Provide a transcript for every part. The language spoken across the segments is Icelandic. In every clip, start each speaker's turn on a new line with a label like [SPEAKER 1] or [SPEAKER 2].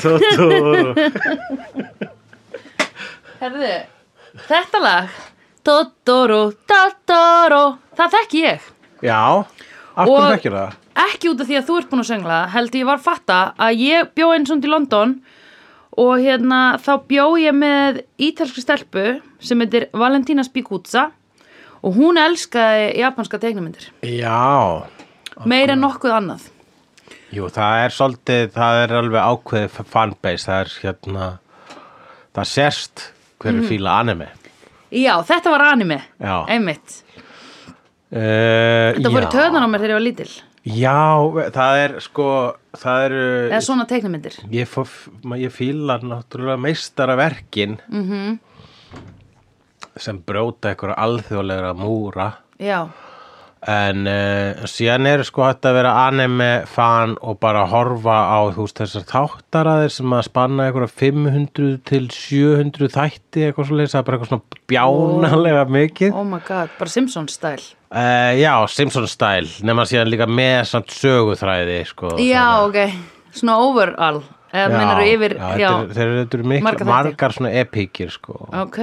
[SPEAKER 1] Tóttó
[SPEAKER 2] Herðu, þetta lag Dotoro, Dotoro Það þekki ég
[SPEAKER 3] Já, af hverju
[SPEAKER 2] Og-
[SPEAKER 3] þekkir það?
[SPEAKER 2] Ekki út af því að þú ert búin að söngla það, Held ég var að fatta að ég bjó eins og í London Og hérna þá bjó ég með ítalskri stelpu Sem heitir Valentina Spikuzza Og hún elskaði japanska teiknumyndir
[SPEAKER 3] Já,
[SPEAKER 2] Meir en nokkuð annað
[SPEAKER 3] jú, það er svolítið, það er alveg ákveðið f- fanbase, það er hérna, það sérst hverju
[SPEAKER 2] Mhm.
[SPEAKER 3] fíla anime.
[SPEAKER 2] Já, þetta var anime
[SPEAKER 3] Já.
[SPEAKER 2] Einmitt
[SPEAKER 3] Uh,
[SPEAKER 2] Þetta voru töðan á mér þegar ég var lítil
[SPEAKER 3] Já, það er sko, það eru,
[SPEAKER 2] Eða svona teiknumyndir
[SPEAKER 3] ég, fó, ma- ég fíla náttúrulega meistaraverkin -hmm.
[SPEAKER 2] Mhm.
[SPEAKER 3] sem brjóta einhverja alþjóðlegra múra.
[SPEAKER 2] Já,
[SPEAKER 3] En uh, síðan er sko hægt að vera anime fan og bara horfa á þú veist þessar þáttaraðir sem að spanna einhverja 500 til 700 þætti eitthvað svo það er bara eitthvað svona bjánalega mikið.
[SPEAKER 2] oh my god, bara Simpsons stæl
[SPEAKER 3] Uh, já, Simpsons style, nema síðan líka með samt söguþræði sko.
[SPEAKER 2] Já, ok, svona overall Eða mennur yfir,
[SPEAKER 3] já,
[SPEAKER 2] já,
[SPEAKER 3] þetta eru- þeir eru- þetta eru
[SPEAKER 2] Marga
[SPEAKER 3] mikla,
[SPEAKER 2] þætti.
[SPEAKER 3] margar svona epíkir sko,
[SPEAKER 2] Ok,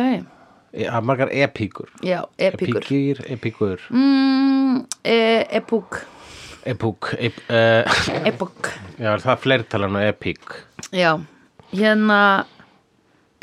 [SPEAKER 3] e, margar epíkur,
[SPEAKER 2] já, epíkur
[SPEAKER 3] epíkir, epíkur,
[SPEAKER 2] mm, e, Epúk,
[SPEAKER 3] epúk, ep, uh,
[SPEAKER 2] epúk
[SPEAKER 3] já það er fleirtalan og epík.
[SPEAKER 2] Já, hérna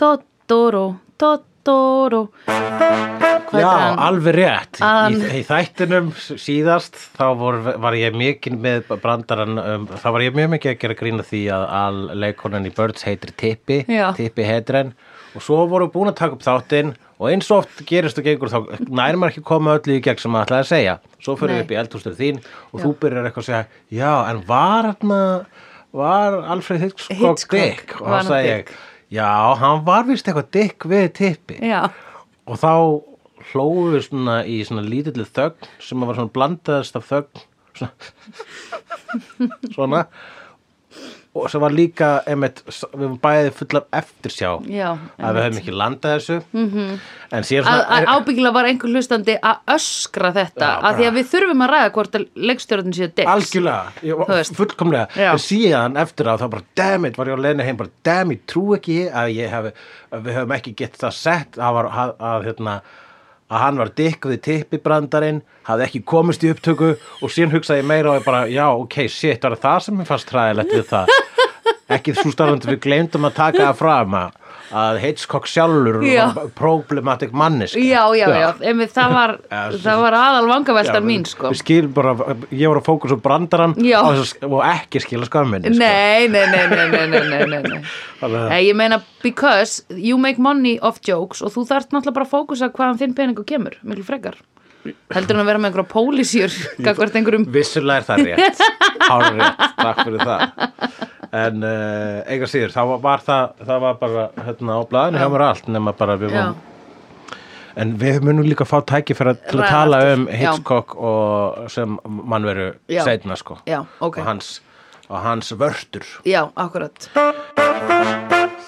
[SPEAKER 2] Totoro, Totoro Hvað
[SPEAKER 3] Já,
[SPEAKER 2] er hann?
[SPEAKER 3] alveg rétt.
[SPEAKER 2] Að
[SPEAKER 3] Í, í þættinum s- síðast þá vor, var ég mikið með brandaran, um, þá var ég mjög mikið að gera grína því að all leikonan í Birds heitir Tippi,
[SPEAKER 2] Já.
[SPEAKER 3] Tippi heitren og svo voru við búin að taka upp þáttinn og eins og oft gerist og gengur þá nærmar ekki koma öllu í gegn sem maður ætlaði að segja. Svo fyrir
[SPEAKER 2] Nei.
[SPEAKER 3] við upp í eldhústur þín og þú byrjar eitthvað að segja, já, en var hann var Alfred Hitchcock,
[SPEAKER 2] Hitchcock,
[SPEAKER 3] Dick og
[SPEAKER 2] var
[SPEAKER 3] hann
[SPEAKER 2] hann
[SPEAKER 3] sagði ég,
[SPEAKER 2] Dick?
[SPEAKER 3] já, hann var vist eitthvað Dick við Tippi
[SPEAKER 2] Já,
[SPEAKER 3] og þá hlóðum við svona í svona lítillu þögn sem var svona blandaðast af þögn svona, svona og sem var líka einmitt, s- við varum bæði full af eftirsjá
[SPEAKER 2] Já, Mhm.
[SPEAKER 3] að við höfum ekki landað þessu -hmm. en síðan
[SPEAKER 2] að, að
[SPEAKER 3] svona
[SPEAKER 2] ábyggilega var einhver hlustandi að öskra þetta
[SPEAKER 3] Já, bara-
[SPEAKER 2] að því að við þurfum að ræða hvort að leikstjórnum séu dicks
[SPEAKER 3] Algjörlega, ég,
[SPEAKER 2] Þú veist.
[SPEAKER 3] fullkomlega
[SPEAKER 2] Já.
[SPEAKER 3] en síðan eftir á þá bara damn it, var ég á leiðinu heim bara damn it, trú ekki að, ég hef, að við höfum ekki gett það sett að, var, að, að, hérna, að hann var dikk við tippibrandarinn hafði ekki komist í upptöku og síðan hugsaði ég meira og ég bara já ok, shit, var það sem ég fannst træðilegt við það ekki svo starfandi við gleymdum að taka það fram að- að Hitchcock sjálfur
[SPEAKER 2] Já.
[SPEAKER 3] var problematic mannisk
[SPEAKER 2] Já, já, já, einmitt það var,
[SPEAKER 3] Já,
[SPEAKER 2] það var aðal
[SPEAKER 3] Já,
[SPEAKER 2] vangavelta
[SPEAKER 3] við-
[SPEAKER 2] mín, sko.
[SPEAKER 3] við skilum bara, ég var að fókus á brandaran
[SPEAKER 2] Já.
[SPEAKER 3] á þessu- og ekki skila skömminni
[SPEAKER 2] Nei, nei, nei, nei, nei, nei, nei, nei, nei.
[SPEAKER 3] sko. Alveg-
[SPEAKER 2] Nei, ég meina, because you make money off jokes og þú þarft náttúrulega bara að fókusa hvaðan þinn peningur kemur, miklu frekar. Heldur hann að vera með einhverja pólisjur, gagvart einhverjum,
[SPEAKER 3] vissulega er það rétt hár rétt, takk fyrir það en uh, eiga síður þá var það, það var bara hérna á blaðinu hjá mér allt nema bara við
[SPEAKER 2] já,
[SPEAKER 3] varum en við munum líka fá tæki fyrir að, til að
[SPEAKER 2] Ræða
[SPEAKER 3] tala
[SPEAKER 2] aftur,
[SPEAKER 3] um
[SPEAKER 2] já.
[SPEAKER 3] Hitchcock og sem mannveru
[SPEAKER 2] Já.
[SPEAKER 3] seinna sko
[SPEAKER 2] Já, ok.
[SPEAKER 3] og hans og hans vörtur.
[SPEAKER 2] já, akkurat.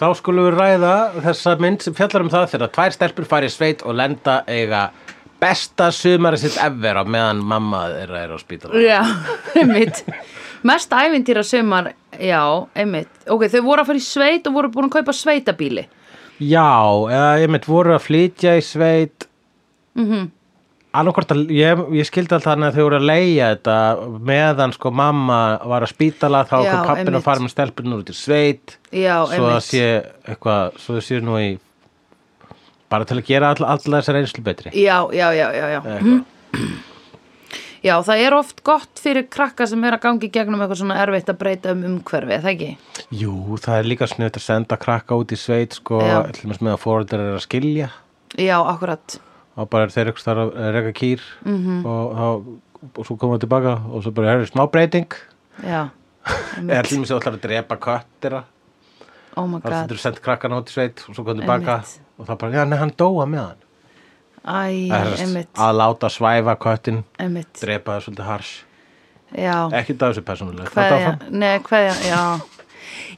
[SPEAKER 3] Þá skulum við ræða þessa mynd sem fjallar um það þegar tvær stelpur fari í sveit og lenda eiga besta sumari sitt ever á meðan mamma þeirra er á spítala.
[SPEAKER 2] Já, einmitt. Mest ævintýra sumar, já, einmitt. Ok, þau voru að fara í sveit og voru búin að kaupa sveitabíli.
[SPEAKER 3] Já, eða ég mynd voru að flytja í sveit.
[SPEAKER 2] Mhm.
[SPEAKER 3] Mm -hmm. að, ég, ég skildi alltaf þannig að þau voru að leigja þetta meðan sko mamma var að spítala þá
[SPEAKER 2] Já,
[SPEAKER 3] okkur pappin
[SPEAKER 2] einmitt.
[SPEAKER 3] að fara með stelpurinn út í sveit.
[SPEAKER 2] Já,
[SPEAKER 3] svo það
[SPEAKER 2] einmitt.
[SPEAKER 3] sé eitthvað, svo það sé nú í bara til að gera all, allar þessar einslu betri.
[SPEAKER 2] Já, já, já, já, já.
[SPEAKER 3] Eitthvað.
[SPEAKER 2] Já, það er oft gott fyrir krakka sem er að gangi gegnum eitthvað svona erfitt að breyta um umhverfi, er það ekki?
[SPEAKER 3] Jú, það er líka snuðt að senda krakka út í sveit sko,
[SPEAKER 2] Já.
[SPEAKER 3] til dæmis með að fóreldrar er að skilja
[SPEAKER 2] Já, akkurat.
[SPEAKER 3] og bara er þeir ykkur þar að að reka kýr
[SPEAKER 2] Mhm.
[SPEAKER 3] -hmm. og, og, og svo koma það tilbaka og svo bara er smá breyting
[SPEAKER 2] Já,
[SPEAKER 3] eða til dæmis að ætlar að drepa köttira
[SPEAKER 2] oh my
[SPEAKER 3] þar
[SPEAKER 2] god.
[SPEAKER 3] þetta er senda krakkana út í sveit og svo koma tilbaka
[SPEAKER 2] Einmitt.
[SPEAKER 3] og það bara, já, nei, hann dóa með hann
[SPEAKER 2] Æ,
[SPEAKER 3] Það er sem sagt
[SPEAKER 2] emmitt,
[SPEAKER 3] að láta svæfa köttin
[SPEAKER 2] emmitt.
[SPEAKER 3] drepa það svolítið hars
[SPEAKER 2] Já,
[SPEAKER 3] ekki það þessu persónulega
[SPEAKER 2] hverja, nei, hverja, já.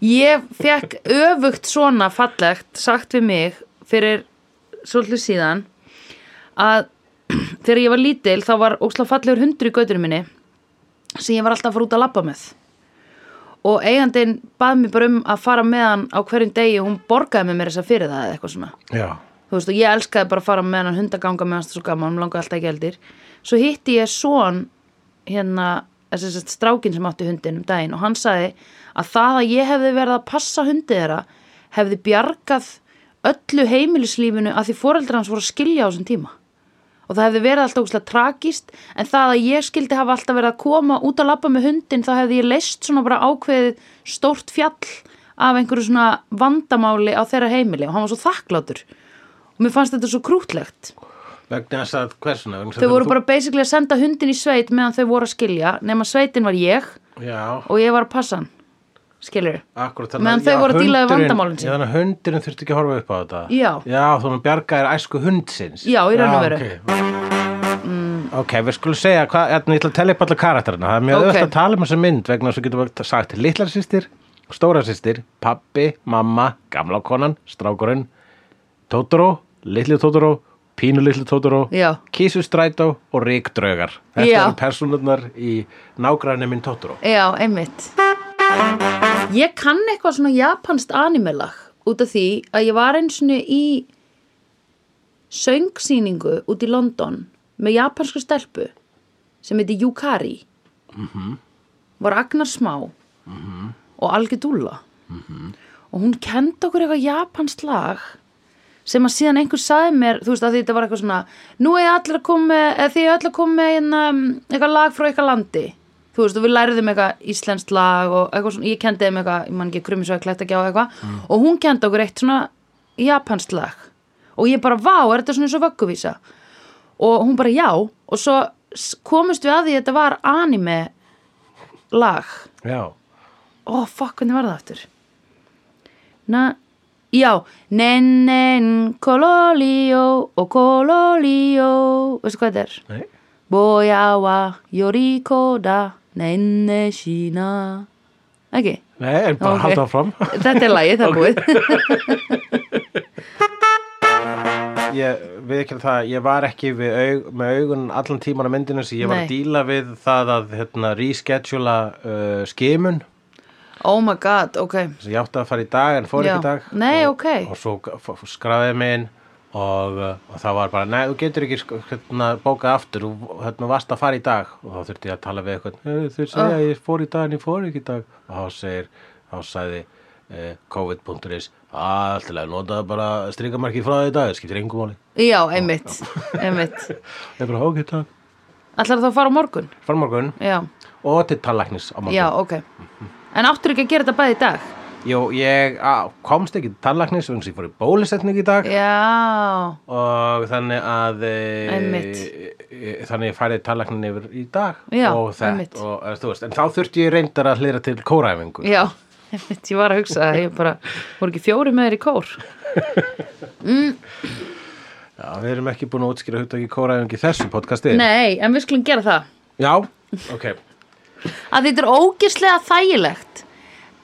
[SPEAKER 2] Ég fekk öfugt svona fallegt sagt við mig fyrir svolítið síðan að þegar ég var lítil þá var ósla fallegur hundur í göttinu minni sem ég var alltaf að fara út að labba með. og eigandinn bað mér bara um að fara með hann á hverjum degi og hún borgaði með mér þess að fyrir það eða eitthvað svona
[SPEAKER 3] já,
[SPEAKER 2] þú veist og ég elskaði bara að fara með hann hundaganga með hann svo gaman, hann langaði alltaf ekki eldir svo hitti ég son hérna, þess að strákin sem átti hundin um daginn og hann sagði að það að ég hefði verið að passa hundi þeirra hefði bjargað öllu heimilislífinu að því foreldrar hans voru að skilja á þessum tíma og það hefði verið alltaf ógustlega tragist en það að ég skildi hafa alltaf verið að koma út að labba með hundin þá hefði ég leist svona bara ákveðið stórt fjall af einhverju svona vandamáli á þeirra heimili og hann var svo þakklátur og mér fannst þetta svo krútlegt
[SPEAKER 3] vegna þess að hversuna
[SPEAKER 2] þau voru bara basically að senda hundin í sveit meðan þau voru að skilja nema sveitin var ég
[SPEAKER 3] já,
[SPEAKER 2] og ég var að passa hann skilur
[SPEAKER 3] akkurat
[SPEAKER 2] Meðan þau
[SPEAKER 3] já,
[SPEAKER 2] voru að díla við
[SPEAKER 3] hundurinn-
[SPEAKER 2] vandamálin sín.
[SPEAKER 3] já, þannig að hundurinn þurfti ekki að horfa upp á þetta
[SPEAKER 2] Já.
[SPEAKER 3] já þú hann bjargaðir æsku hundsins
[SPEAKER 2] Já, í raun og veru.
[SPEAKER 3] ok, Ok, við skulum segja hvað, hérna, ég ætla að tella upp alla karakterina það er mjög
[SPEAKER 2] Ok.
[SPEAKER 3] auðvitað að tala um þessa mynd vegna þess að getum við sagt litlar sýstir, stóra sýstir pappi, mamma, gamla konan strákurinn, Totoro litli Totoro, pínu litli Totoro
[SPEAKER 2] Já.
[SPEAKER 3] kísustrætó og ríkdraugar þetta
[SPEAKER 2] Já.
[SPEAKER 3] eru persónurnar í nágræni minn Totoro
[SPEAKER 2] já, einmitt ég kann eitthvað svona japanskt animelag út af því að ég var eins og í söngsýningu út í London með japansku stelpu sem heiti Yukari var Agnar Smá og Algi Dúlla og hún kendi okkur eitthvað japanskt lag sem að síðan einhver sagði mér, þú veist að því þetta var eitthvað svona nú er allir að koma með, eða þið er allir að koma með einna, eitthvað lag frá eitthvað landi þú veist og við læriðum eitthvað íslenskt lag og eitthvað svona, ég kendi þeim eitthvað ég man ekki krummi svo að klætt að gjá eitthvað og hún kendi okkur eitt svona japanskt lag og ég bara, vá, er þetta svona eins og vögguvísa og hún bara, já og svo s- komumst við að því að þetta var anime lag
[SPEAKER 3] já,
[SPEAKER 2] Ó, oh, fuck, hvernig var það aftur? Na, já, nen, nen, kololíó og kololíó, veistu hvað þetta er?
[SPEAKER 3] nei
[SPEAKER 2] Bojawa, jorikoda, nenne sína. Ekki,
[SPEAKER 3] Nei, en bara
[SPEAKER 2] Ok.
[SPEAKER 3] halda áfram.
[SPEAKER 2] þetta er lagið, það er búið.
[SPEAKER 3] Ég við ekki það, ég var ekki við aug, með augun allan tíman á myndinu sem ég var
[SPEAKER 2] Nei.
[SPEAKER 3] að díla við það að hérna, reschedula uh, skimun
[SPEAKER 2] Oh my god, ok.
[SPEAKER 3] sem ég átti að fara í dag en fór
[SPEAKER 2] Já.
[SPEAKER 3] ekki í dag.
[SPEAKER 2] Nei,
[SPEAKER 3] og,
[SPEAKER 2] ok.
[SPEAKER 3] Og svo f- f- skrafaði mig inn og, uh, og það var bara, nei, þú getur ekki sk- hérna, bókað aftur, þú hérna, varst að fara í dag og þá þurfti ég að tala við eitthvað, þau
[SPEAKER 2] Oh.
[SPEAKER 3] segja að ég fór í dag en ég fór ekki í dag og þá segir, þá sagði uh, covid.is, alltilega notaðu bara strikamarkið frá því í dag, það skiptir engum máli.
[SPEAKER 2] Já, einmitt, einmitt.
[SPEAKER 3] Ég bara, ok, takk.
[SPEAKER 2] Ætlar þá að fara á morgun?
[SPEAKER 3] Fara á morgun
[SPEAKER 2] Já,
[SPEAKER 3] og til tallæknis á morgun.
[SPEAKER 2] já, ok. En áttur ekki að gera þetta bæði í dag?
[SPEAKER 3] Jú, ég á, komst ekki til tallæknis vegna þess að ég fór í bólusetning í dag
[SPEAKER 2] Já,
[SPEAKER 3] og þannig að e,
[SPEAKER 2] Einmitt.
[SPEAKER 3] e, þannig ég færið tallæknin yfir í dag
[SPEAKER 2] Já,
[SPEAKER 3] og
[SPEAKER 2] einmitt.
[SPEAKER 3] þetta og, e, þú veist, en þá þurfti ég reyndar að hlera til kóraæfingu.
[SPEAKER 2] Já, einmitt, ég var að hugsa það, ég bara, voru ekki fjóri með þér í kór?
[SPEAKER 3] Já, við erum ekki búin að útskýra hugtaki kóraæfingu í þessu podcasti.
[SPEAKER 2] Nei, en við skulum gera það.
[SPEAKER 3] Já, ok.
[SPEAKER 2] Að þetta er ógislega þægilegt.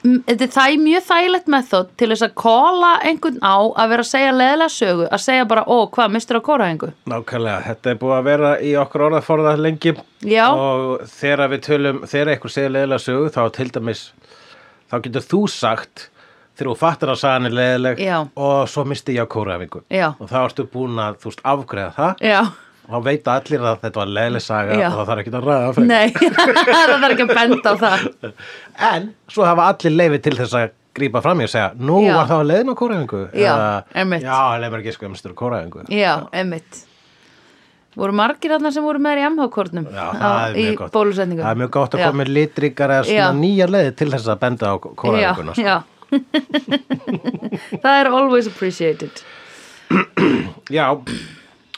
[SPEAKER 2] M- Þetta er það mjög þægilegt method til þess að kóla einhvern á að vera að segja leðilega sögu, að segja bara, ó, hvað, mistur á kóraðingu?
[SPEAKER 3] Nákvæmlega, þetta er búið að vera í okkur orðaforða lengi
[SPEAKER 2] Já.
[SPEAKER 3] og þegar við tölum, þegar einhver segir leðilega sögu þá til dæmis, þá getur þú sagt þegar þú fattar að sagan er leðileg
[SPEAKER 2] Já.
[SPEAKER 3] og svo misti ég á kórafingu
[SPEAKER 2] Já.
[SPEAKER 3] og þá ertu búin að, þú veist, afgreða það
[SPEAKER 2] Já,
[SPEAKER 3] og þá veit allir að þetta var leðileg saga
[SPEAKER 2] Já.
[SPEAKER 3] og það þarf ekki að ræða fyrir
[SPEAKER 2] nei, það þarf ekki að benda á það.
[SPEAKER 3] en svo hafa allir leifi til þess að grípa fram í og segja, nú
[SPEAKER 2] Já.
[SPEAKER 3] var það að leiðin á kórafingu
[SPEAKER 2] Já, einmitt.
[SPEAKER 3] Já, leið mér ekki sko, ég mistur á kórafingu
[SPEAKER 2] Já, einmitt. Voru margir þarna sem voru með þér í MH-kórnum
[SPEAKER 3] Já, það er
[SPEAKER 2] í
[SPEAKER 3] mjög gott.
[SPEAKER 2] bólusetningu?
[SPEAKER 3] Það er mjög gott að koma með litrikar eða svona
[SPEAKER 2] Já.
[SPEAKER 3] nýja leiði til þess að benda á sko. kóraðuguna.
[SPEAKER 2] Já, já. það er always appreciated.
[SPEAKER 3] já,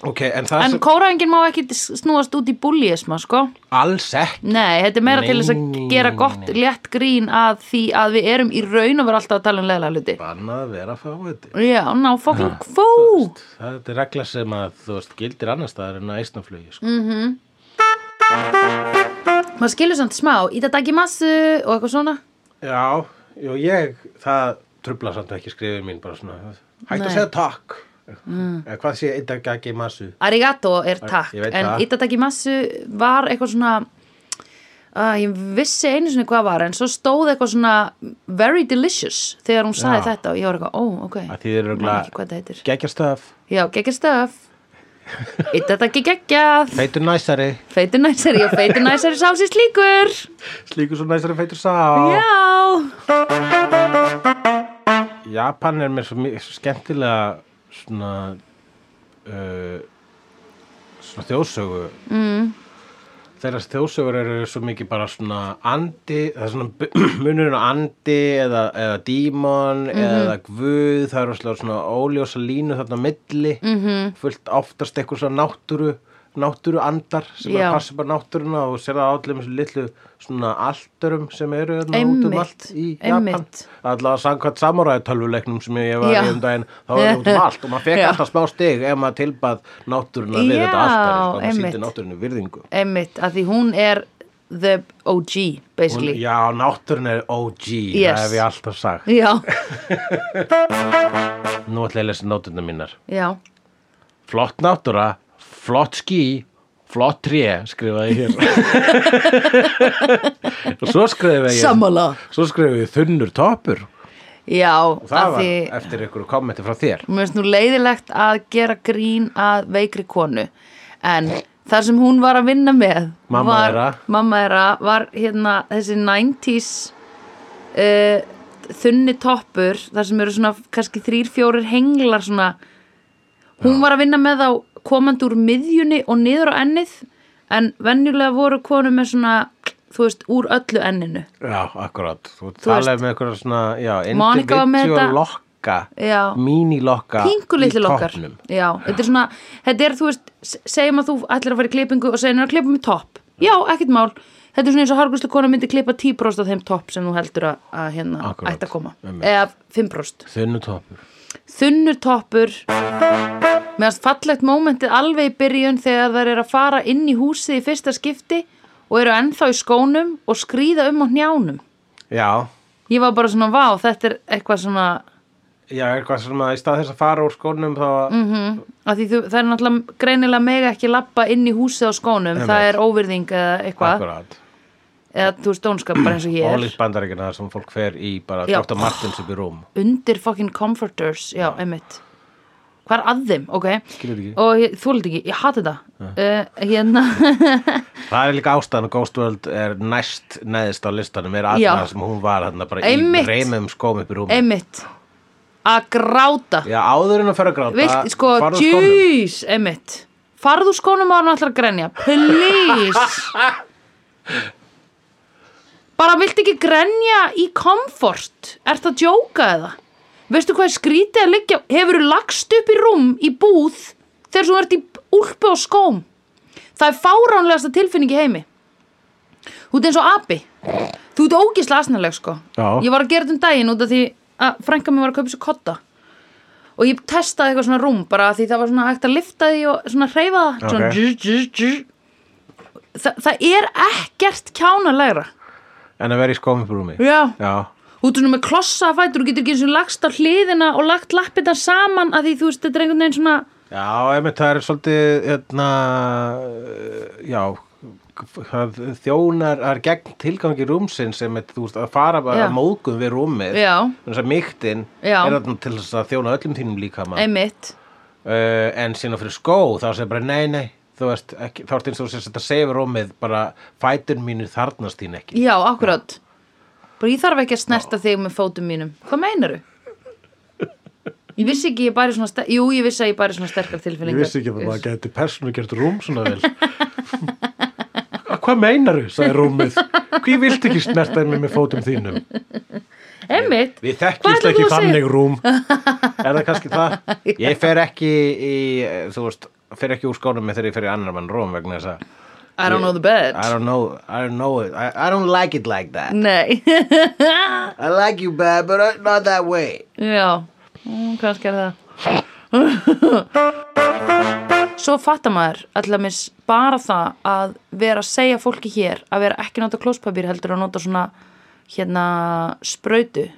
[SPEAKER 3] ok, en það
[SPEAKER 2] En
[SPEAKER 3] sem
[SPEAKER 2] kóraðingin má ekki snúast út í búlíesma, sko.
[SPEAKER 3] alls ekki,
[SPEAKER 2] Nei, þetta er meira
[SPEAKER 3] Nei,
[SPEAKER 2] til þess að
[SPEAKER 3] nei,
[SPEAKER 2] gera
[SPEAKER 3] nei,
[SPEAKER 2] gott
[SPEAKER 3] nei.
[SPEAKER 2] létt grín að því að við erum í raun og vera alltaf að tala um leila hluti.
[SPEAKER 3] bannað að vera fáviti.
[SPEAKER 2] Já, ná, fucking kvó!
[SPEAKER 3] Það er regla sem að, þú veist, gildir annar staðar en að eisnaflugi, sko.
[SPEAKER 2] Mm. Maður skilur samt smá, í þetta ekki massu og eitthvað svona.
[SPEAKER 3] Já, jú, ég, það trubla samt ekki skrifið mín, bara svona, hægt
[SPEAKER 2] Nei. Mm.
[SPEAKER 3] að segja takk. Eða hvað sé, eitthvað ekki ekki massu.
[SPEAKER 2] Arigato er takk,
[SPEAKER 3] ég veit
[SPEAKER 2] en
[SPEAKER 3] það.
[SPEAKER 2] Itatakí Massu var eitthvað svona að ég vissi einu sinni hvað var en svo stóð eitthvað svona very delicious þegar hún sagði
[SPEAKER 3] Já.
[SPEAKER 2] þetta og ég var eitthvað, ó, ok
[SPEAKER 3] Að þið
[SPEAKER 2] Man
[SPEAKER 3] eru
[SPEAKER 2] ekki hvað
[SPEAKER 3] örugglega-
[SPEAKER 2] þetta heitir
[SPEAKER 3] Geggjarstöf,
[SPEAKER 2] Já, geggjað stöf Eitt þetta ekki geggjað
[SPEAKER 3] feitur næsari
[SPEAKER 2] Feitur næsari, já, feitur næsari sá sér slíkur
[SPEAKER 3] Slíkur svo næsari feitur sá
[SPEAKER 2] Já
[SPEAKER 3] Japan er mér svo mi- svo skemmtilega svona uh, svona þjóðsögu mm. þeirra þjóðsögur eru svo mikið bara svona andi, það er svona munurinn á andi eða, eða dímon
[SPEAKER 2] Mhm.
[SPEAKER 3] eða guð, það eru svona, svona óljósa línu þarna á milli
[SPEAKER 2] Mhm.
[SPEAKER 3] -hmm. fullt oftast eitthvað svona náttúru náttúru andar sem er
[SPEAKER 2] Já.
[SPEAKER 3] að passa bara náttúruna og sér það á allir með litlu svona aldurum sem eru þarna út um
[SPEAKER 2] Einmitt,
[SPEAKER 3] allt í Japan
[SPEAKER 2] einmitt.
[SPEAKER 3] allavega samkvæmt samuræði tölvuleiknum sem ég var
[SPEAKER 2] Já.
[SPEAKER 3] í um daginn þá var það út um allt og maður fekk
[SPEAKER 2] Já.
[SPEAKER 3] alltaf smá stig ef maður tilbað náttúruna við
[SPEAKER 2] Já,
[SPEAKER 3] þetta alltaf og maður
[SPEAKER 2] einmitt.
[SPEAKER 3] sýndi náttúrunu virðingu
[SPEAKER 2] Einmitt, að því hún er the OG,
[SPEAKER 3] Hún,
[SPEAKER 2] basically
[SPEAKER 3] já, náttúrun er OG
[SPEAKER 2] Yes.
[SPEAKER 3] það hef ég alltaf sagt
[SPEAKER 2] Já,
[SPEAKER 3] nú ætla ég að lesa náttúruna mínar
[SPEAKER 2] já
[SPEAKER 3] flott náttúra, flott ský flott tré, skrifaði ég hér og svo skrifaði ég
[SPEAKER 2] Sammála
[SPEAKER 3] svo skrifaði ég þunnur toppur
[SPEAKER 2] Já,
[SPEAKER 3] og það
[SPEAKER 2] að
[SPEAKER 3] var
[SPEAKER 2] því
[SPEAKER 3] eftir ykkur kommenti frá þér
[SPEAKER 2] Mér finnst nú leiðilegt að gera grín að veikri konu en það sem hún var að vinna með
[SPEAKER 3] Mamma
[SPEAKER 2] var,
[SPEAKER 3] þeirra.
[SPEAKER 2] mamma þeirra var hérna þessi 90s uh, þunni toppur þar sem eru svona kannski þrír, fjórir henglar svona hún var að vinna með á komandi úr miðjunni og niður á ennið en venjulega voru konu með svona þú veist, úr öllu enninu
[SPEAKER 3] Já, akkurat. Þú,
[SPEAKER 2] Þú
[SPEAKER 3] talaði
[SPEAKER 2] veist-
[SPEAKER 3] með eitthvað svona, já,
[SPEAKER 2] Monica var með
[SPEAKER 3] individual
[SPEAKER 2] þetta-
[SPEAKER 3] lokka,
[SPEAKER 2] Já.
[SPEAKER 3] mínilokka
[SPEAKER 2] pingu litli
[SPEAKER 3] í
[SPEAKER 2] lokkar
[SPEAKER 3] toppnum.
[SPEAKER 2] já, þetta er svona, þetta er þú veist s- segjum að þú ætlir að fara í klippingu og segjum að klippa með topp, já, ekkert mál þetta er svona eins og harguslu kona myndi klippa 10% af þeim topp sem þú heldur að, að hérna
[SPEAKER 3] Akkúrat,
[SPEAKER 2] ætti að koma,
[SPEAKER 3] einmitt.
[SPEAKER 2] eða 5%
[SPEAKER 3] Þunnutoppur.
[SPEAKER 2] þunnur toppur meðan fallegt mómentið alveg í byrjun þegar þær eru að fara inn í húsið í fyrsta skipti og eru ennþá í skónum og skríða um á njánum
[SPEAKER 3] Já,
[SPEAKER 2] ég var bara svona, vá, þetta er eitthvað svona
[SPEAKER 3] já, eitthvað sem að í stað þess að fara úr skónum þá,
[SPEAKER 2] Mm, að því þú, það er náttúrulega greinilega mega ekki lappa inn í húsið á skónum
[SPEAKER 3] Einmitt.
[SPEAKER 2] það er óvirðing eða eitthvað
[SPEAKER 3] akkurat,
[SPEAKER 2] eða þú veist dónskap bara eins og ég er
[SPEAKER 3] ólíkt bandaríkina sem fólk fer í bara
[SPEAKER 2] Já.
[SPEAKER 3] Dr. Martins upp í rúm.
[SPEAKER 2] undir fucking comforters, já, einmitt hvað er að þeim, ok
[SPEAKER 3] Skilur ekki.
[SPEAKER 2] og ég, þú lítið ekki, ég hati þetta uh, hérna,
[SPEAKER 3] Það er líka ástæðan og Ghost World er næst neðist á listanum, er
[SPEAKER 2] Já.
[SPEAKER 3] aðna sem hún var þarna bara
[SPEAKER 2] Einmitt.
[SPEAKER 3] í reymum skóm upp í rúm.
[SPEAKER 2] einmitt að gráta,
[SPEAKER 3] Já, áður en að fara að gráta,
[SPEAKER 2] vilt, sko
[SPEAKER 3] farðu úr skónum.
[SPEAKER 2] djús, einmitt farðu úr skónum á hann allar að grenja please bara vilt ekki grenja í komfort er það djóka eða veistu hvað er skrítið að liggja hefur þú lagst upp í rúm í búð þegar þú ert í úlpu og skóm það er fáránlegasta tilfinning í heimi þú ert eins og api þú ert ógislega asnaleg sko
[SPEAKER 3] Já.
[SPEAKER 2] ég var að gera þetta um daginn út af því að frænka mér var að kaupa sér kotta og ég testaði eitthvað svona rúm bara af því það var svona hægt að lifta því og svona hreyfa það svona,
[SPEAKER 3] Ok.
[SPEAKER 2] djú, djú, djú. Þa, það er ekkert kjánalegra
[SPEAKER 3] En að vera í skóm upp í rúmi.
[SPEAKER 2] já
[SPEAKER 3] Já.
[SPEAKER 2] út svona með klossa að fætur og getur ekki eins og lagst á hliðina og lagt lappina saman að því þú veist þetta er einhvern veginn svona
[SPEAKER 3] Já, einmitt, það er svolítið hérna, eh, já það þjónar það er gegn tilgangi rúmsins sem er, þú veist, að fara bara
[SPEAKER 2] Já.
[SPEAKER 3] að móðgum við rúmið
[SPEAKER 2] Já.
[SPEAKER 3] þess að mýktin
[SPEAKER 2] Já.
[SPEAKER 3] er þarna til þess að þjóna öllum þínum líkama uh,
[SPEAKER 2] einmitt
[SPEAKER 3] en sína fyrir skó þá segir bara nei, nei þú veist, ekki, þá er eins og þú sérst að segja rúmið bara fætur mínu þarnast þín ekki
[SPEAKER 2] já, akkurat bara ég þarf ekki að snerta þig með fótum mínum hvað meinaru? ég vissi ekki ég bæri svona ster- jú, ég vissi að ég bæri svona sterkar tilfinningar
[SPEAKER 3] gæti persónu gert rúm svona vel Hvað meinaru, sagði rúmið Hví vilt ekki snertaði mig með fótum þínum
[SPEAKER 2] einmitt
[SPEAKER 3] Við
[SPEAKER 2] Hvað
[SPEAKER 3] þekkjumst
[SPEAKER 2] ætlar
[SPEAKER 3] ekki
[SPEAKER 2] þú að segja?
[SPEAKER 3] þannig rúm Er það kannski það? Ég fer ekki í, eh, þú veist, fer ekki úr skónum með þegar ég fer í annar mann rúm vegna þess að
[SPEAKER 2] I don't know the bed
[SPEAKER 3] I don't know, I don't know it I, I don't like it like that
[SPEAKER 2] Nei,
[SPEAKER 3] I like you bad, but I- not that way
[SPEAKER 2] já, mm, kannski er það Svo fattar maður allamis bara það að vera að segja fólki hér að vera ekki að nota klóspapír heldur að nota svona hérna sprautu
[SPEAKER 3] Já.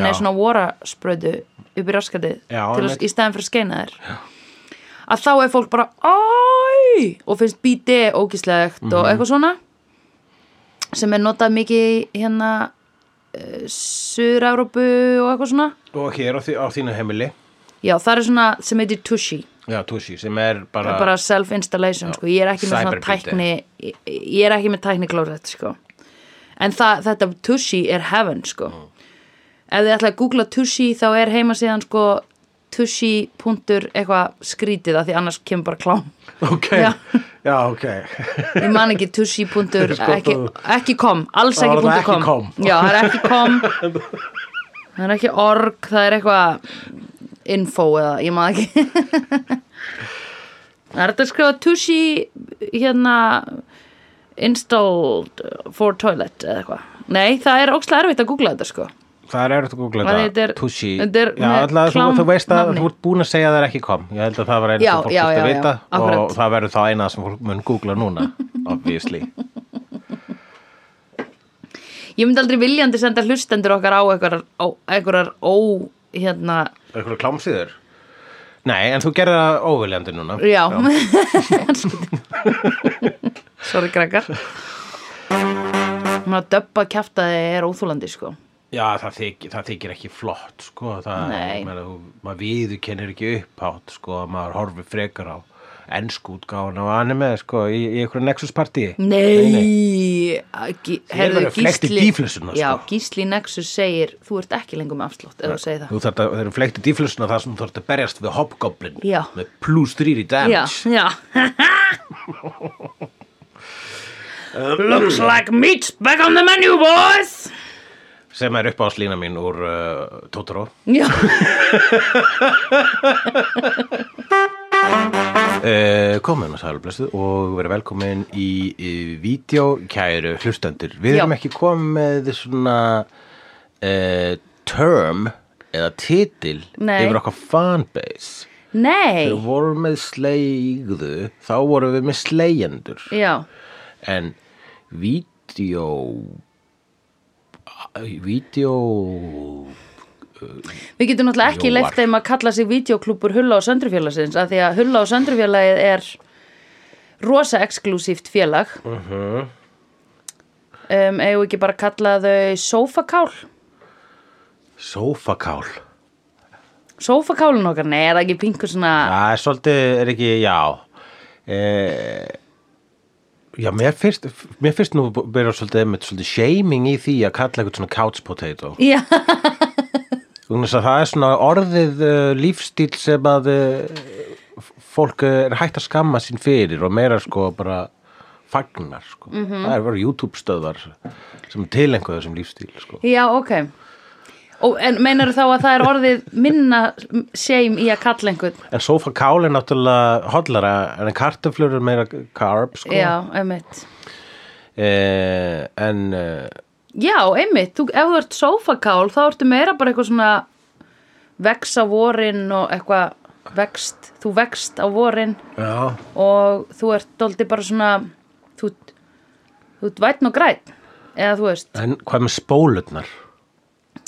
[SPEAKER 2] nei svona vora sprautu upp í raskatið
[SPEAKER 3] Já,
[SPEAKER 2] til
[SPEAKER 3] einmitt.
[SPEAKER 2] að, í stæðan fyrir að skeina þér já. að þá er fólk
[SPEAKER 3] Mhm.
[SPEAKER 2] bara æ og finnst bíti ógíslegt og eitthvað svona sem er notað mikið í, hérna uh, Suður-Európu og eitthvað svona
[SPEAKER 3] og hér á, því, á þínu heimili
[SPEAKER 2] já, það er svona sem heitir Tushy
[SPEAKER 3] já, Tushy, sem er
[SPEAKER 2] það
[SPEAKER 3] bara,
[SPEAKER 2] er bara self-installation sko. ég er ekki með svona
[SPEAKER 3] Cyberbýti.
[SPEAKER 2] tækni ég, ég er ekki með tækni klóret sko. en það, þetta Tushy er heaven sko. ef þið ætla að googla Tushy þá er heima síðan sko, Tushy punktur eitthvað skrítið af því annars kemur bara klám
[SPEAKER 3] ok,
[SPEAKER 2] Já.
[SPEAKER 3] já, ok
[SPEAKER 2] ég man ekki Tushy punktur
[SPEAKER 3] Sko,
[SPEAKER 2] ekki,
[SPEAKER 3] þú-
[SPEAKER 2] ekki kom, alls
[SPEAKER 3] Það
[SPEAKER 2] ekki
[SPEAKER 3] var það
[SPEAKER 2] punktur kom
[SPEAKER 3] ekki com.
[SPEAKER 2] já, það er ekki kom það er ekki org, það er eitthvað info eða ég maður ekki það er þetta að skrifa Tushy hérna installed for toilet eða eitthvað, nei það er ókslega erfitt að googla þetta sko
[SPEAKER 3] það er erfitt að googla
[SPEAKER 2] Hvað
[SPEAKER 3] þetta,
[SPEAKER 2] heitir-
[SPEAKER 3] Tushy
[SPEAKER 2] þetta er
[SPEAKER 3] já,
[SPEAKER 2] með
[SPEAKER 3] alltaf, þú,
[SPEAKER 2] klám-
[SPEAKER 3] þú veist að
[SPEAKER 2] nafni.
[SPEAKER 3] þú ert búin að segja að það er ekki kom ég held að það var eina
[SPEAKER 2] Já,
[SPEAKER 3] sem fólk
[SPEAKER 2] já,
[SPEAKER 3] þurfti
[SPEAKER 2] já,
[SPEAKER 3] að
[SPEAKER 2] já,
[SPEAKER 3] vita
[SPEAKER 2] akkurat.
[SPEAKER 3] og það verður þá eina sem fólk mun googla núna obviously
[SPEAKER 2] ég myndi aldrei viljandi senda hlustendur okkar á einhverjar, á einhverjar ó hérna
[SPEAKER 3] eitthvað klámsýður nei, en þú gerir það óviljandi núna
[SPEAKER 2] Já, Sorry krakkar Mér að döbba kjafta þig er óþúlandi sko
[SPEAKER 3] Já, það þykir, það þykir ekki flott, sko, það,
[SPEAKER 2] Nei.
[SPEAKER 3] ég meina, þú- maður viður kennir ekki upphátt, sko, að maður horfir frekar á ennsku útgáfuna og anime, sko, í, í einhverju Nexus partíi.
[SPEAKER 2] Nei, Nei.
[SPEAKER 3] verður fleygt í dýflissuna, sko.
[SPEAKER 2] Já, Gísli Nexus segir Þú ert ekki lengur með afslátt eða þú segir það
[SPEAKER 3] Þú þarft að, þeir eru fleikti dýflusuna þar sem þú þarft að berjast við hobgoblin
[SPEAKER 2] Já.
[SPEAKER 3] með plus 3 í
[SPEAKER 2] Já,
[SPEAKER 3] damage.
[SPEAKER 2] já Looks like meat's back on the menu boys
[SPEAKER 3] Sem er uppáðslína mín úr uh, Totoro.
[SPEAKER 2] Já,
[SPEAKER 3] Uh, komin og sælblessuð og verið velkomin í, í vídeo, kæru hlustendur. Við
[SPEAKER 2] Já.
[SPEAKER 3] erum ekki komið með svona uh, term eða titil
[SPEAKER 2] Nei.
[SPEAKER 3] yfir okkar fanbase.
[SPEAKER 2] nei
[SPEAKER 3] Við vorum með sleigðu, þá vorum við með slegjendur.
[SPEAKER 2] Já,
[SPEAKER 3] En vídeo, vídeo,
[SPEAKER 2] Við getum náttúrulega ekki
[SPEAKER 3] Jóar.
[SPEAKER 2] leift þeim að kalla sig videoklúpur Hulla og Söndrufélagsins af því að Hulla og Söndrufélagið er rosa exklúsíft félag uh
[SPEAKER 3] Mhm.
[SPEAKER 2] um, eigum við ekki bara að kalla þau sofakál
[SPEAKER 3] sofakál.
[SPEAKER 2] sofakálun okkar, nei, er það ekki pingu svona
[SPEAKER 3] Það er svolítið, er ekki, já eh, Já, mér finnst mér finnst nú byrja svolítið með svolítið shaming í því að kalla eitthvað svona couch potato
[SPEAKER 2] Já,
[SPEAKER 3] Þannig að það er svona orðið uh, lífstíl sem að uh, fólk eh, er hægt að skamma sín fyrir og meira sko bara fagnar sko. Það er verið YouTube stöðvar sem tilengu þessum lífstíl sko.
[SPEAKER 2] já, ok Og, en meinar þá að það er orðið minna shame í að kalla einhvern
[SPEAKER 3] En sofa kál er náttúrulega hollara en kartaflur er meira carb sko.
[SPEAKER 2] Já, einmitt
[SPEAKER 3] Eh, en eh,
[SPEAKER 2] Já, einmitt, þú, ef þú ert sofakál þá ertu meira bara eitthvað svona vex á vorin og eitthvað vext, þú vext á vorin
[SPEAKER 3] Já,
[SPEAKER 2] og þú ert dóldi bara svona þú, ert- þú ert vætn og græn eða þú veist,
[SPEAKER 3] en hvað með spólurnar?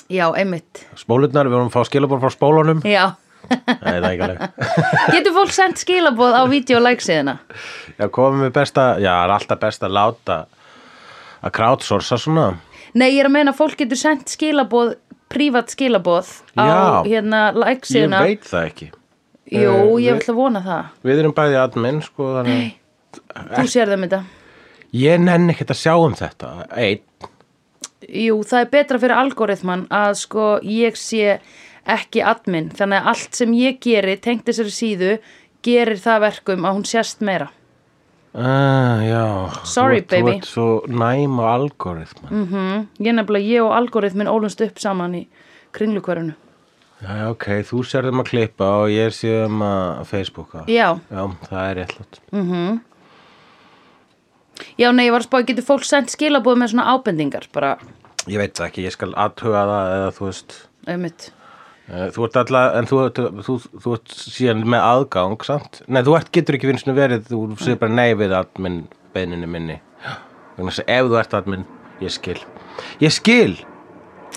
[SPEAKER 2] já, einmitt
[SPEAKER 3] Spólurnar, við vorum að fá skilabór frá spólunum
[SPEAKER 2] Já,
[SPEAKER 3] Nei, það er ekki alveg
[SPEAKER 2] getur fólk sendt skilaboð á videolæksíðina?
[SPEAKER 3] Já, komum við besta, já, það er alltaf best að láta að crowdsourca svona
[SPEAKER 2] Nei, ég er að meina að fólk getur sendt skilaboð prívat skilaboð á
[SPEAKER 3] Já.
[SPEAKER 2] hérna
[SPEAKER 3] Ég
[SPEAKER 2] læksíðina
[SPEAKER 3] veit það ekki
[SPEAKER 2] Jú,
[SPEAKER 3] Eh,
[SPEAKER 2] ég
[SPEAKER 3] við-
[SPEAKER 2] ætla að vona það
[SPEAKER 3] Við erum bæði admin, sko þannig
[SPEAKER 2] Nei,
[SPEAKER 3] Eh.
[SPEAKER 2] þú sér þeim þetta
[SPEAKER 3] Ég nenni ekkert að sjá um þetta Einn,
[SPEAKER 2] Jú, það er betra fyrir algoritman að sko ég sé ekki admin, þannig að allt sem ég geri tengt þessari síðu, gerir það verkum að hún sérst meira.
[SPEAKER 3] uh, já
[SPEAKER 2] Sorry,
[SPEAKER 3] þú, ert-
[SPEAKER 2] baby.
[SPEAKER 3] Þú ert svo næm á algoritman mm.
[SPEAKER 2] Mm, ég nefnilega, ég og algoritmin ólumst upp saman í kringlukvarinu.
[SPEAKER 3] Já, já, ok, þú sérðum að klippa og ég séðum að Facebooka
[SPEAKER 2] Já.
[SPEAKER 3] það er réttlátt
[SPEAKER 2] Já, nei, ég var að spá, getur fólk sendt skilaboð með svona ábendingar, bara,
[SPEAKER 3] Ég veit það ekki, ég skal aðtuga það eða þú veist
[SPEAKER 2] auðvitað.
[SPEAKER 3] Eh, Þú ert alltaf, en þú, þú, þú, þú ert síðan með aðgang, samt? Nei, þú ert, getur ekki finnst verið, þú segir bara nei við admin beininu minni. Þannig að ef þú ert admin, ég skil. Ég skil!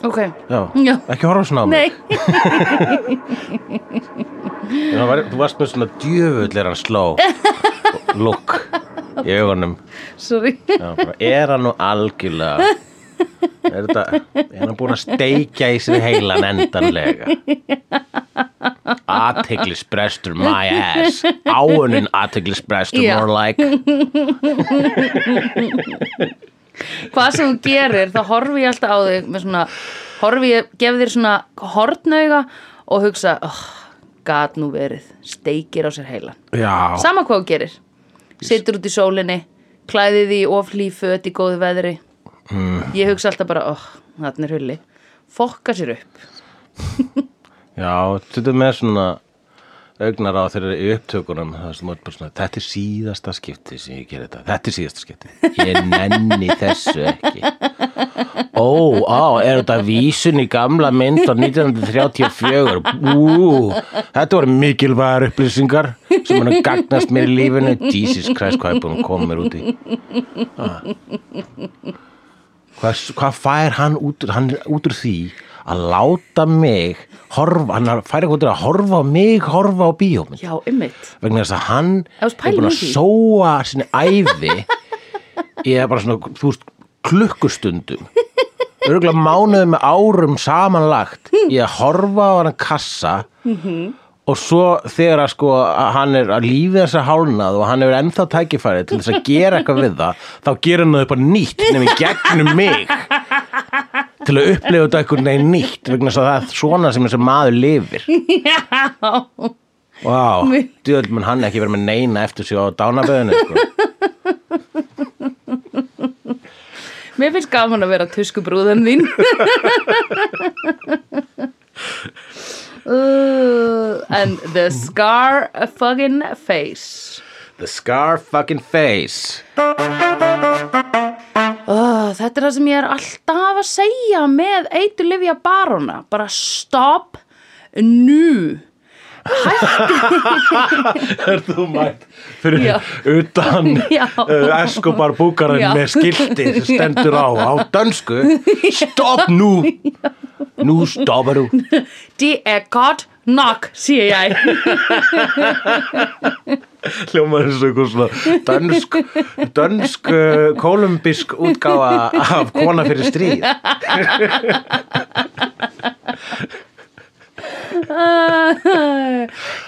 [SPEAKER 2] Ok,
[SPEAKER 3] Já,
[SPEAKER 2] Já.
[SPEAKER 3] ekki horfa svona á
[SPEAKER 2] nei,
[SPEAKER 3] mig. Nei. Var, þú varst með svona djöfull er hann sló look. í augunum
[SPEAKER 2] sorry
[SPEAKER 3] Já, bara, er hann nú algjörlega er, þetta, er hann búin að steikja í sér heilan endanlega aðteglisbrestur my ass áunin aðteglisbrestur
[SPEAKER 2] Já.
[SPEAKER 3] more like
[SPEAKER 2] hvað sem þú gerir þá horfi ég alltaf á þig með svona, horfi ég, gef þér svona hortnauga og hugsa oh, gat nú verið, steikir á sér heilan
[SPEAKER 3] já,
[SPEAKER 2] sama hvað þú gerir situr út í sólinni, klæðið í oflí föt í góðu veðri ég hugsa alltaf bara, oh, þarna er hulli fokka sér upp
[SPEAKER 3] já þetta er með svona augnar á þeirra í upptökunum það sem er bara svona, þetta er síðasta skipti sem ég gerir þetta, þetta er síðasta skipti ég nenni þessu ekki ó, á, er þetta vísun í gamla mynd á 1934 ú, þetta voru mikilvægar upplýsingar sem hann gagnast mér í lífinu Jesus Christ, hvað er búin að koma mér úti hvað, hvað fær hann út, úr- hann, út úr því að láta mig horfa, hann fær eitthvað til að horfa á mig, horfa á bíómynd
[SPEAKER 2] já, ymmit
[SPEAKER 3] vegna þess að hann
[SPEAKER 2] Ef þú
[SPEAKER 3] er
[SPEAKER 2] pælir í
[SPEAKER 3] búin að
[SPEAKER 2] því.
[SPEAKER 3] sóa sinni æði í að bara svona, þú veist, klukkustundum örgulega mánuðum með árum samanlagt í að horfa á hann kassa og svo þegar að sko að hann er að lífi þessa hálnað og hann hefur ennþá tækifærið til þess að gera eitthvað við það þá gerir hann það upp að nýtt nefnir gegnum mig til að upplifa þetta eitthvað neginn nýtt vegna þess að það er svona sem þessi maður lifir
[SPEAKER 2] já,
[SPEAKER 3] Vá, djöðl mun hann ekki verið með neina eftir sig á dánaböðinu sko.
[SPEAKER 2] mér finnst gaman að vera tuskubrúðan þín uh, and the scar fucking face
[SPEAKER 3] The scar fucking face
[SPEAKER 2] Oh, þetta er það sem ég er alltaf að segja með eitur lifja barona. Bara stop nú.
[SPEAKER 3] Er þú mætt fyrir
[SPEAKER 2] Já.
[SPEAKER 3] utan
[SPEAKER 2] Já.
[SPEAKER 3] uh, Escobar búkarinn
[SPEAKER 2] Já.
[SPEAKER 3] með skilti sem stendur á á dönsku Stopp nú Nú stoppar þú
[SPEAKER 2] Die er gott nokk, sé ég.
[SPEAKER 3] Hljómaður eins og eitthvað svona dönsk, dönsk uh, kolumbísk útgáfa af kona fyrir stríð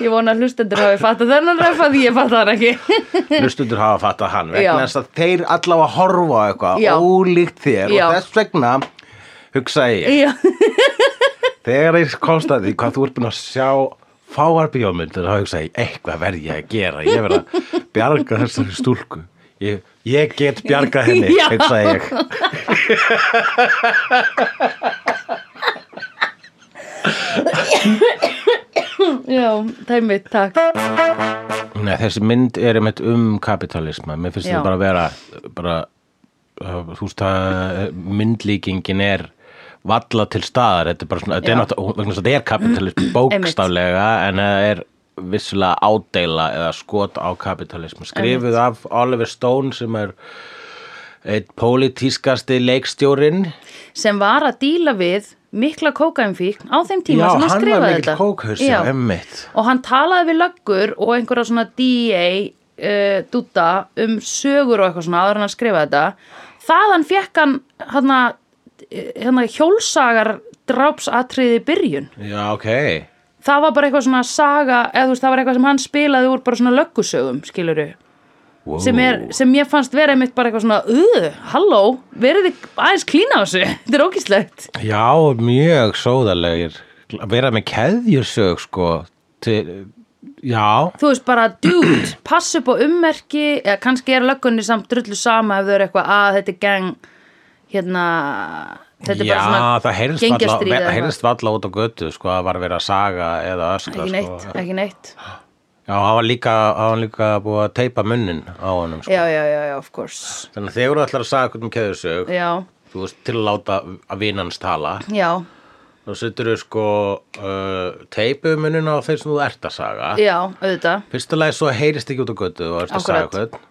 [SPEAKER 2] ég vona að hlustendur hafi fattað þennan röfa því ég fattað hann ekki.
[SPEAKER 3] hlustundur hafa fattað hann
[SPEAKER 2] Já.
[SPEAKER 3] vegna þess að þeir allavega horfa á eitthvað
[SPEAKER 2] Já.
[SPEAKER 3] ólíkt þér
[SPEAKER 2] Já.
[SPEAKER 3] og þess vegna hugsa ég,
[SPEAKER 2] Já,
[SPEAKER 3] þegar ég komst að því hvað þú ert búin að sjá fáar bíómyndir þá hugsa ég, eitthvað verð ég að gera ég verð að bjarga þessari stúlku ég, ég get bjargað henni
[SPEAKER 2] Já.
[SPEAKER 3] hugsa ég
[SPEAKER 2] já, það er mitt, takk.
[SPEAKER 3] Nei, þessi mynd er einmitt um kapitalisma mér finnst
[SPEAKER 2] Já.
[SPEAKER 3] þetta bara að vera bara, uh, þú veist að uh, myndlíkingin er valla til staðar, þetta er bara svona þetta
[SPEAKER 2] Já.
[SPEAKER 3] er, náttúrulega- vegna þess að þetta er kapitalism bókstaflega en það er vissulega ádeila eða skot á kapitalism skrifuð af Oliver Stone sem er eitt pólitískasti leikstjórinn
[SPEAKER 2] Sem var að díla við mikla kókainfíkn á þeim tíma sem hann
[SPEAKER 3] hann var
[SPEAKER 2] skrifaði
[SPEAKER 3] mikill
[SPEAKER 2] þetta.
[SPEAKER 3] kókhaus
[SPEAKER 2] Já.
[SPEAKER 3] já, emmitt
[SPEAKER 2] Og hann talaði við löggur og einhverja svona DA uh, dúta um sögur og eitthvað svona áður en hann skrifaði þetta þaðan fekk hann hana, eh, hana hjólsagar drápsatriði byrjun
[SPEAKER 3] já, ok,
[SPEAKER 2] það var bara eitthvað svona saga eða þú veist það var eitthvað sem hann spilaði úr bara svona löggusögum skiluru
[SPEAKER 3] wow.
[SPEAKER 2] sem, er, sem ég fannst vera einmitt bara eitthvað svona uh, halló, verið þið aðeins klína á þessu þetta er ógíslegt
[SPEAKER 3] Já, mjög sóðalegir að vera með keðjursög sko til, já
[SPEAKER 2] þú veist bara, dude, pass upp á ummerki eða kannski er löggunni samt drullu sama ef þau eru eitthvað að þetta er gang hérna, þetta er
[SPEAKER 3] já,
[SPEAKER 2] bara svona
[SPEAKER 3] það heyrðist
[SPEAKER 2] gengjastríð
[SPEAKER 3] valla,
[SPEAKER 2] eða
[SPEAKER 3] heyrðist valla út á götu sko, það var verið að saga eða öskra
[SPEAKER 2] ekki neitt,
[SPEAKER 3] sko.
[SPEAKER 2] ekki neitt
[SPEAKER 3] Já, það var líka, það var líka búið að teipa munnin á honum sko.
[SPEAKER 2] já, já, já, já, of course
[SPEAKER 3] Þannig að þegar þú ætlar að saga eitthvað um keðjursög
[SPEAKER 2] já,
[SPEAKER 3] þú veist til að láta að vinans tala
[SPEAKER 2] já,
[SPEAKER 3] þá setur þau sko uh, teipu munnin á þeir sem þú ert að saga
[SPEAKER 2] já, auðvitað
[SPEAKER 3] Fyrsta lagi svo heyrist ekki út á götu og erst að saga
[SPEAKER 2] Akkurat.
[SPEAKER 3] hvern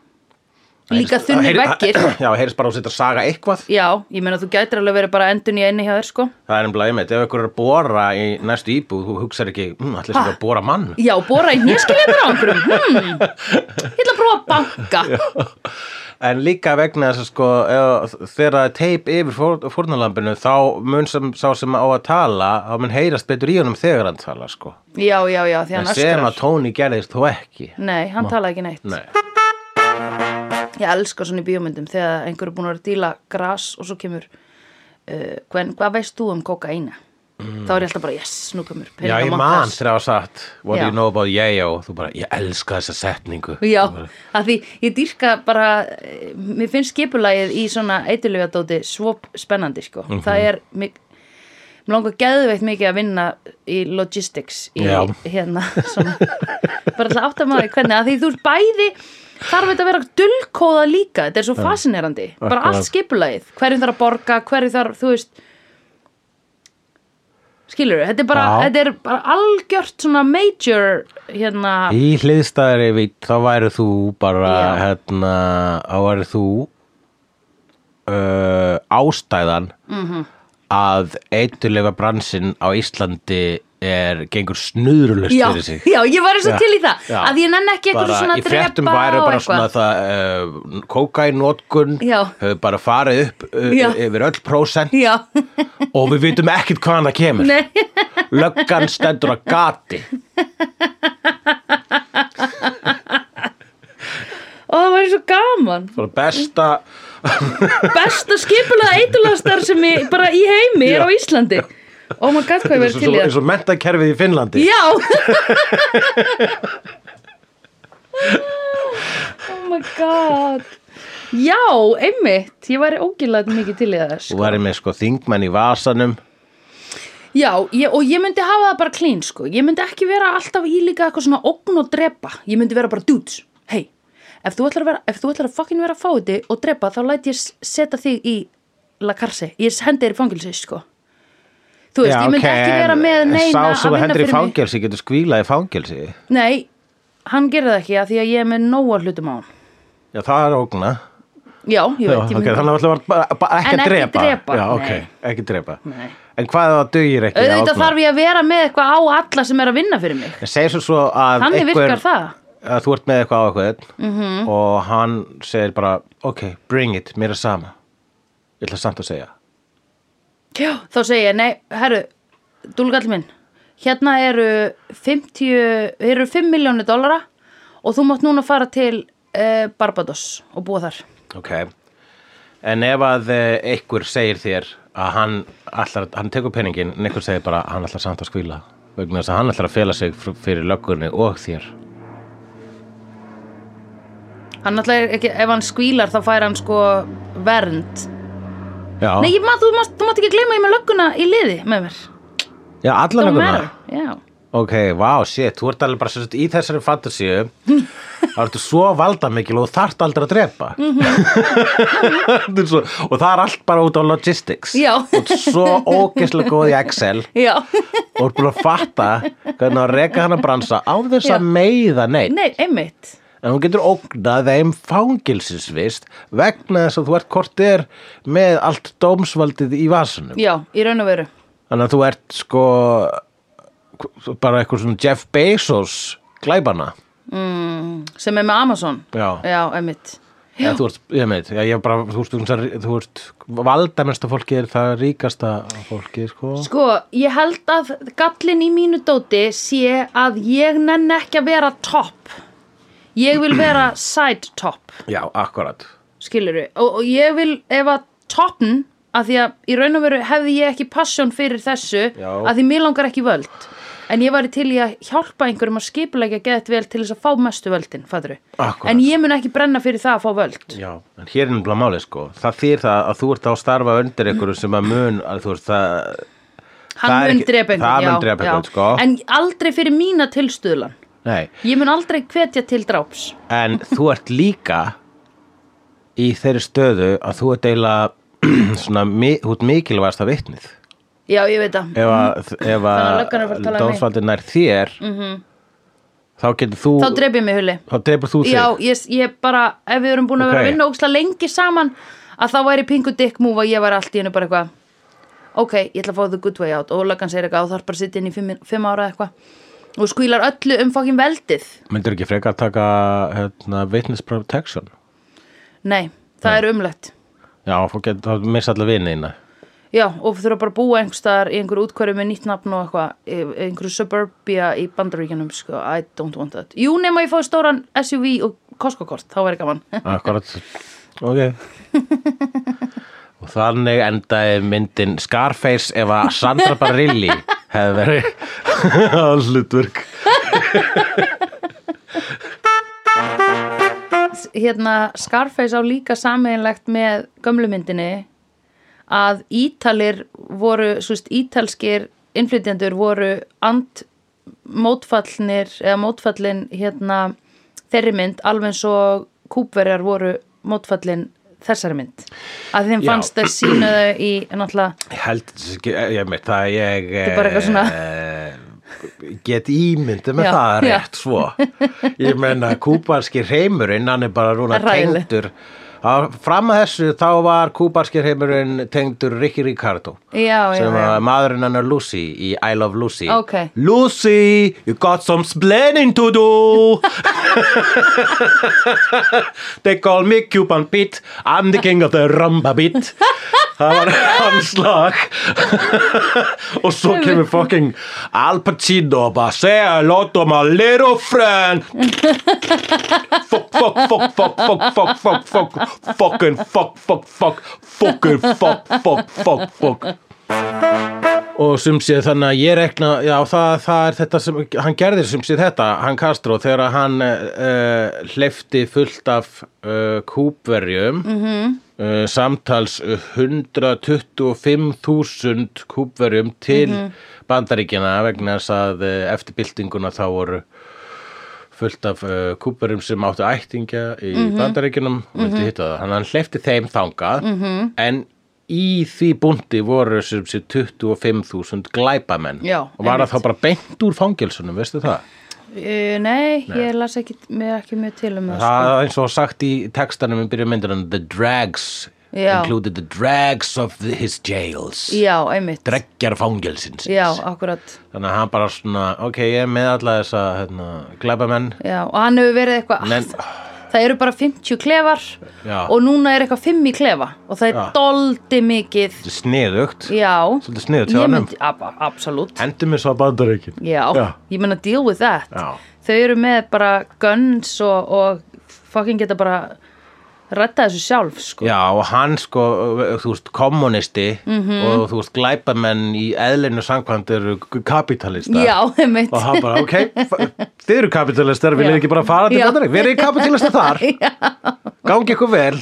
[SPEAKER 2] líka
[SPEAKER 3] Heyrist-
[SPEAKER 2] þunni
[SPEAKER 3] heyri-
[SPEAKER 2] veggir
[SPEAKER 3] Já, heyrist bara á sitt að saga eitthvað
[SPEAKER 2] já, ég meina þú gætir alveg verið bara endun í einni hjá þér sko
[SPEAKER 3] Það er nefnilega einmitt, ef ykkur er að bóra í næstu íbúð, þú hugsar ekki, mm, allir sem er að bóra mann.
[SPEAKER 2] já, bóra í nýskiljöfur á einhverjum hmm. ég ætla að prófa að banka
[SPEAKER 3] En líka vegna þess að sko, ef- þegar það er teip yfir fór, fórnalambinu, þá mun sem, sá sem á að tala, þá mun heyrast betur í honum þegar hann talar, sko.
[SPEAKER 2] já, já, já, því hann
[SPEAKER 3] En sem að
[SPEAKER 2] öskrar Mm.
[SPEAKER 3] Tony gerðist þó ekki.
[SPEAKER 2] nei, hann talaði ekki neitt
[SPEAKER 3] Nei.
[SPEAKER 2] Ég elska svona í bíómyndum þegar einhver er búin að vera að díla gras og svo kemur uh, hven, hvað veist þú um kokaina? Þá er ég alltaf bara, yes, nú kemur
[SPEAKER 3] Já, ég man
[SPEAKER 2] peningamontans.
[SPEAKER 3] þegar það var satt, what do
[SPEAKER 2] Já.
[SPEAKER 3] you know about yayo? Þú bara, ég elska þessa setningu.
[SPEAKER 2] Já,
[SPEAKER 3] Þú bara,
[SPEAKER 2] að því ég dýrka bara, eh, mér finnst skipulagið í svona eitilöfjadóti svo spennandi sko.
[SPEAKER 3] Mhm.
[SPEAKER 2] Það er, mér, mér langar geðveitt mikið að vinna í logistics í
[SPEAKER 3] Já.
[SPEAKER 2] hérna svona, bara alltaf áttamáði hvernig að því þú ert bæði þarf þetta að vera dullkóða líka, þetta er svo fascinerandi, bara
[SPEAKER 3] akkurat.
[SPEAKER 2] allt skipulagið, hverju þarf að borga, hverju þarf, þú veist, skilur við, þetta er bara,
[SPEAKER 3] Já.
[SPEAKER 2] þetta er bara algjört svona major hérna,
[SPEAKER 3] Í hliðstæðri vít, þá væri þú bara,
[SPEAKER 2] Já.
[SPEAKER 3] hérna, þá væri þú uh, ástæðan
[SPEAKER 2] Mhm.
[SPEAKER 3] að eitulega bransinn á Íslandi er gengur snurulust
[SPEAKER 2] já,
[SPEAKER 3] fyrir sig.
[SPEAKER 2] já, ég var eins og
[SPEAKER 3] Já,
[SPEAKER 2] til í það
[SPEAKER 3] já.
[SPEAKER 2] að ég nenni ekki eitthvað svona
[SPEAKER 3] í
[SPEAKER 2] að
[SPEAKER 3] fréttum
[SPEAKER 2] drepa
[SPEAKER 3] væri
[SPEAKER 2] og
[SPEAKER 3] bara svona
[SPEAKER 2] eitthvað
[SPEAKER 3] það uh, kókainótkun
[SPEAKER 2] Já.
[SPEAKER 3] hefur bara farið upp uh,
[SPEAKER 2] Já.
[SPEAKER 3] yfir öll prósent
[SPEAKER 2] já,
[SPEAKER 3] og við vitum ekkit hvaðan það kemur
[SPEAKER 2] Nei.
[SPEAKER 3] löggan stendur að gati
[SPEAKER 2] og það var eins og gaman
[SPEAKER 3] Bara besta
[SPEAKER 2] besta skipulað eitulagastar sem ég, bara í heimi er á Íslandi oh my god, hvað ég verið
[SPEAKER 3] eins og,
[SPEAKER 2] til í
[SPEAKER 3] eins
[SPEAKER 2] það
[SPEAKER 3] og mentakerfið í Finnlandi
[SPEAKER 2] já oh Oh my god já, einmitt, ég væri ógilað mikið til í það
[SPEAKER 3] Þú
[SPEAKER 2] sko.
[SPEAKER 3] væri með sko þingmenn í vasanum
[SPEAKER 2] Já, ég, og ég myndi hafa það bara klín, sko. Ég myndi ekki vera alltaf í líka eitthvað svona ógn og drepa. Ég myndi vera bara dudes. Hei, ef þú ætlar að vera, ef þú ætlar að fucking vera fáiði og drepa, þá læt ég s- setja þig í la karse. Ég hendi þér í fangilsi, sko. Þú veist, ég myndi
[SPEAKER 3] ok,
[SPEAKER 2] ekki vera
[SPEAKER 3] en-
[SPEAKER 2] með
[SPEAKER 3] en
[SPEAKER 2] neina
[SPEAKER 3] Sá sem
[SPEAKER 2] að vinna
[SPEAKER 3] hendur í
[SPEAKER 2] fyrir mig.
[SPEAKER 3] fangelsi getur skvílað í fangelsi
[SPEAKER 2] Nei, hann gerir það ekki að því að ég er með nóa hlutum á hann.
[SPEAKER 3] Já, það er ógna
[SPEAKER 2] Já, ég veit,
[SPEAKER 3] Já,
[SPEAKER 2] ég
[SPEAKER 3] ok,
[SPEAKER 2] myndi.
[SPEAKER 3] Þannig að það var bara, bara ekki
[SPEAKER 2] En
[SPEAKER 3] að
[SPEAKER 2] ekki
[SPEAKER 3] drepa
[SPEAKER 2] drepa,
[SPEAKER 3] Já, ok,
[SPEAKER 2] nei.
[SPEAKER 3] ekki drepa
[SPEAKER 2] Nei.
[SPEAKER 3] En hvað ef það dugir ekki að
[SPEAKER 2] Auðvitað
[SPEAKER 3] ógna?
[SPEAKER 2] þarf ég að vera með eitthvað á alla sem er að vinna fyrir mig.
[SPEAKER 3] En segjum svo svo að
[SPEAKER 2] Þannig
[SPEAKER 3] einhver-
[SPEAKER 2] virkar það. Mhm.
[SPEAKER 3] að Þú ert með eitthvað á eitthvað -hmm. og hann segir bara ok, bring it, mér er sama Ég ætla samt að segja
[SPEAKER 2] Já, þá segi ég, nei, herru, dúlgall minn, hérna eru 50, eru 5 miljónir dollara og þú mátt núna fara til uh, Barbados og búa þar.
[SPEAKER 3] Ok En ef að eh, einhver segir þér að hann, allar, hann tekur peningin en einhver segir bara að hann ætlar samt að skvíla vegna þess að hann ætlar að fela sig fr- fyrir löggunni og þér
[SPEAKER 2] Hann náttúrulega er ekki, ef hann skvílar þá fær hann sko vernd.
[SPEAKER 3] Já,
[SPEAKER 2] Nei, ég, maður, þú, mátt, þú mátt ekki gleyma ég með lögguna í liði með mér.
[SPEAKER 3] Já alla
[SPEAKER 2] Don't
[SPEAKER 3] lögguna
[SPEAKER 2] matter, Já.
[SPEAKER 3] Ok, vá, shit, þú ert alveg bara sem sagt, í þessari fantasíu þá ertu svo valdamikil og þú þarft aldrei að drepa Þetta er svo, og það er allt bara út á logistics
[SPEAKER 2] Mhm. Já.
[SPEAKER 3] Þú ert svo ógeðslega góð í Excel
[SPEAKER 2] Já.
[SPEAKER 3] og ert búin að fatta hvernig að reka hann að bransa á þess
[SPEAKER 2] Já.
[SPEAKER 3] að meiða neitt
[SPEAKER 2] Nei, einmitt.
[SPEAKER 3] en hún getur ógnað þeim fangilsisvist vegna þess að þú ert hvort er með allt dómsvaldið í vasanum.
[SPEAKER 2] Já, í raun og veru.
[SPEAKER 3] Þannig að þú ert sko bara eitthvað svona Jeff Bezos glæbana.
[SPEAKER 2] Mm, sem er með Amazon.
[SPEAKER 3] Já.
[SPEAKER 2] Já, einmitt.
[SPEAKER 3] Eða, þú ert, ég meit, já, ég bara, þú ert, þú ert, þú ert valdamesta fólkið er það ríkasta fólkið, sko.
[SPEAKER 2] Sko, ég held að gallin í mínu dóti sé að ég nenn ekki að vera topp. Ég vil vera side topp,
[SPEAKER 3] Já, akkurat.
[SPEAKER 2] skilurðu. Og, og ég vil, ef að toppn, að því að í raun og veru hefði ég ekki passion fyrir þessu,
[SPEAKER 3] Já.
[SPEAKER 2] að því mér langar ekki völd. En ég var til í að hjálpa einhverjum að skipulegja geðt vel til þess að fá mestu völdin, fadru.
[SPEAKER 3] Akkúrat.
[SPEAKER 2] En ég mun ekki brenna fyrir það að fá völd.
[SPEAKER 3] Já, en hér er nefnilega málið, sko. Það þýr það að þú ert að starfa undir einhverju sem að mun, að þú ert það,
[SPEAKER 2] Hann
[SPEAKER 3] Það er
[SPEAKER 2] mun
[SPEAKER 3] ekki-
[SPEAKER 2] drepa
[SPEAKER 3] það
[SPEAKER 2] einhvern,
[SPEAKER 3] mun
[SPEAKER 2] já,
[SPEAKER 3] drepa
[SPEAKER 2] já.
[SPEAKER 3] einhvern, sko.
[SPEAKER 2] En aldrei fyrir mína tilstuðlan.
[SPEAKER 3] nei,
[SPEAKER 2] Ég mun aldrei hvetja til dráps.
[SPEAKER 3] en þú ert líka í þeirri stöðu að þú ert eiginlega svona, mi- þú ert mikilvægast að vitnið
[SPEAKER 2] Já, ég veit það.
[SPEAKER 3] ef að, ef
[SPEAKER 2] Þannig Mhm. að löggan er að fara að
[SPEAKER 3] að
[SPEAKER 2] tala um mig.
[SPEAKER 3] dómsvaldin nær þér þá getur þú
[SPEAKER 2] þá dref ég mig huli
[SPEAKER 3] þá drepur þú þig
[SPEAKER 2] já, ég, ég bara, ef við erum búin að vera
[SPEAKER 3] Ok.
[SPEAKER 2] að vinna ógslag lengi saman að þá væri pingu dick move að ég væri allt í hennu bara eitthvað ok, ég ætla að fá the good way out og löggan segir eitthvað og þarf bara að sitja inn í fimm, fimm ára eða eitthvað og skvílar öllu um fokkin veldið
[SPEAKER 3] myndir ekki frekar taka hérna, witness protection
[SPEAKER 2] nei, það er umlegt
[SPEAKER 3] já, þá getur þá missa allar vinina
[SPEAKER 2] já, og þurfa bara að búa einhverstaðar í einhverju útkværu með nýtt nafn og eitthvað í- í einhverju suburbia í bandaríkjanum sko, I don't want that jú, nema ég fá stóran SUV og Costco-kort, þá væri gaman
[SPEAKER 3] akkurat ok og þannig endaði myndin Scarface ef að Sandra Barilli hefði verið allutverk
[SPEAKER 2] hérna Scarface á líka sameinlegt með gömlu myndinni að Ítalir voru, svo veist, ítalskir innflytjendur voru and mótfallnir eða mótfallin hérna þeirri mynd alveg eins og kúpverjar voru mótfallin þessari mynd að þeim
[SPEAKER 3] Já.
[SPEAKER 2] fannst þeir sína þau í náttúrulega,
[SPEAKER 3] ég held þetta sé ekki- eh, ég mitt það ég
[SPEAKER 2] er bara eitthvað svona-
[SPEAKER 3] eh, get ímyndi með
[SPEAKER 2] Já,
[SPEAKER 3] það
[SPEAKER 2] já.
[SPEAKER 3] rétt svo ég menna kúbarski hreimurinn hann er bara rúna
[SPEAKER 2] Hræðileg.
[SPEAKER 3] tengdur Á- fram að þessu þá var kúbarski hreimurinn tengdur Ricky Ricardo
[SPEAKER 2] já, já,
[SPEAKER 3] sem
[SPEAKER 2] já.
[SPEAKER 3] að maðurinn hennar Lucy í I Love Lucy
[SPEAKER 2] Ok.
[SPEAKER 3] Lucy, you got some splaining to do they call me Cuban Pete I'm the king of the rumba beat það var hans lag og svo kemur fucking Al Pacino og bara say hello to my little friend fuck, fuck, fuck, fuck, fuck, fuck, fuck, fuck fucking fuck, fuck, fuck fucking fuck, fuck, fuck, fuck og sem sé þannig að ég rekna já það, það er þetta sem hann gerðir sem sé þetta, hann Castro þegar að hann uh, hleyfti fullt af uh, kúpverjum -hmm. uh, samtals 125.000 kúpverjum til bandaríkjana vegna þess að uh, eftir byltinguna þá voru fullt af uh, kúparum sem áttu ættingja í
[SPEAKER 2] Mhm.
[SPEAKER 3] bandaríkjunum og vildi hitta það. Þannig að hann hleyfti þeim þangað
[SPEAKER 2] Mhm.
[SPEAKER 3] en í því búndi voru sem sé 25.000 glæpamenn
[SPEAKER 2] Já,
[SPEAKER 3] og var það
[SPEAKER 2] einmitt.
[SPEAKER 3] þá bara beint úr fangilsunum, veistu það?
[SPEAKER 2] Uh, nei, ég las ekki, mér ekki mjög til um það,
[SPEAKER 3] Það er eins og sagt í textanum í byrju myndirinn The drags
[SPEAKER 2] Já.
[SPEAKER 3] included the drags of the, his jails
[SPEAKER 2] sko. já, einmitt
[SPEAKER 3] dreggjar fangilsins
[SPEAKER 2] já, akkurat
[SPEAKER 3] þannig að hann bara svona, ok, ég er með alla þessa hérna, glæpamenn
[SPEAKER 2] Já, og hann hefur verið eitthvað
[SPEAKER 3] Men-
[SPEAKER 2] Það eru bara 50 klefar
[SPEAKER 3] Já.
[SPEAKER 2] og núna er eitthvað 5 í klefa og það er
[SPEAKER 3] Já.
[SPEAKER 2] doldi mikið
[SPEAKER 3] sniðugt,
[SPEAKER 2] Já,
[SPEAKER 3] svolítið sniðugt hjá
[SPEAKER 2] ég
[SPEAKER 3] honum.
[SPEAKER 2] myndi, ab, absolutt
[SPEAKER 3] Endum við svo að bandaríkin
[SPEAKER 2] Já,
[SPEAKER 3] Já.
[SPEAKER 2] ég meina deal with that
[SPEAKER 3] Já.
[SPEAKER 2] Þau eru með bara guns og, og fucking geta bara rætta þessu sjálf sko.
[SPEAKER 3] Já, og hann sko, þú veist, kommunisti
[SPEAKER 2] Mhm.
[SPEAKER 3] og þú veist, glæpamenn í eðlinu samkvæmt eru kapitalistar
[SPEAKER 2] Já, einmitt
[SPEAKER 3] og hann bara, ok, f- þið eru kapitalistar, viljið
[SPEAKER 2] Já.
[SPEAKER 3] ekki bara fara til
[SPEAKER 2] Já.
[SPEAKER 3] bandarík verið kapitalistar þar, gangi ykkur vel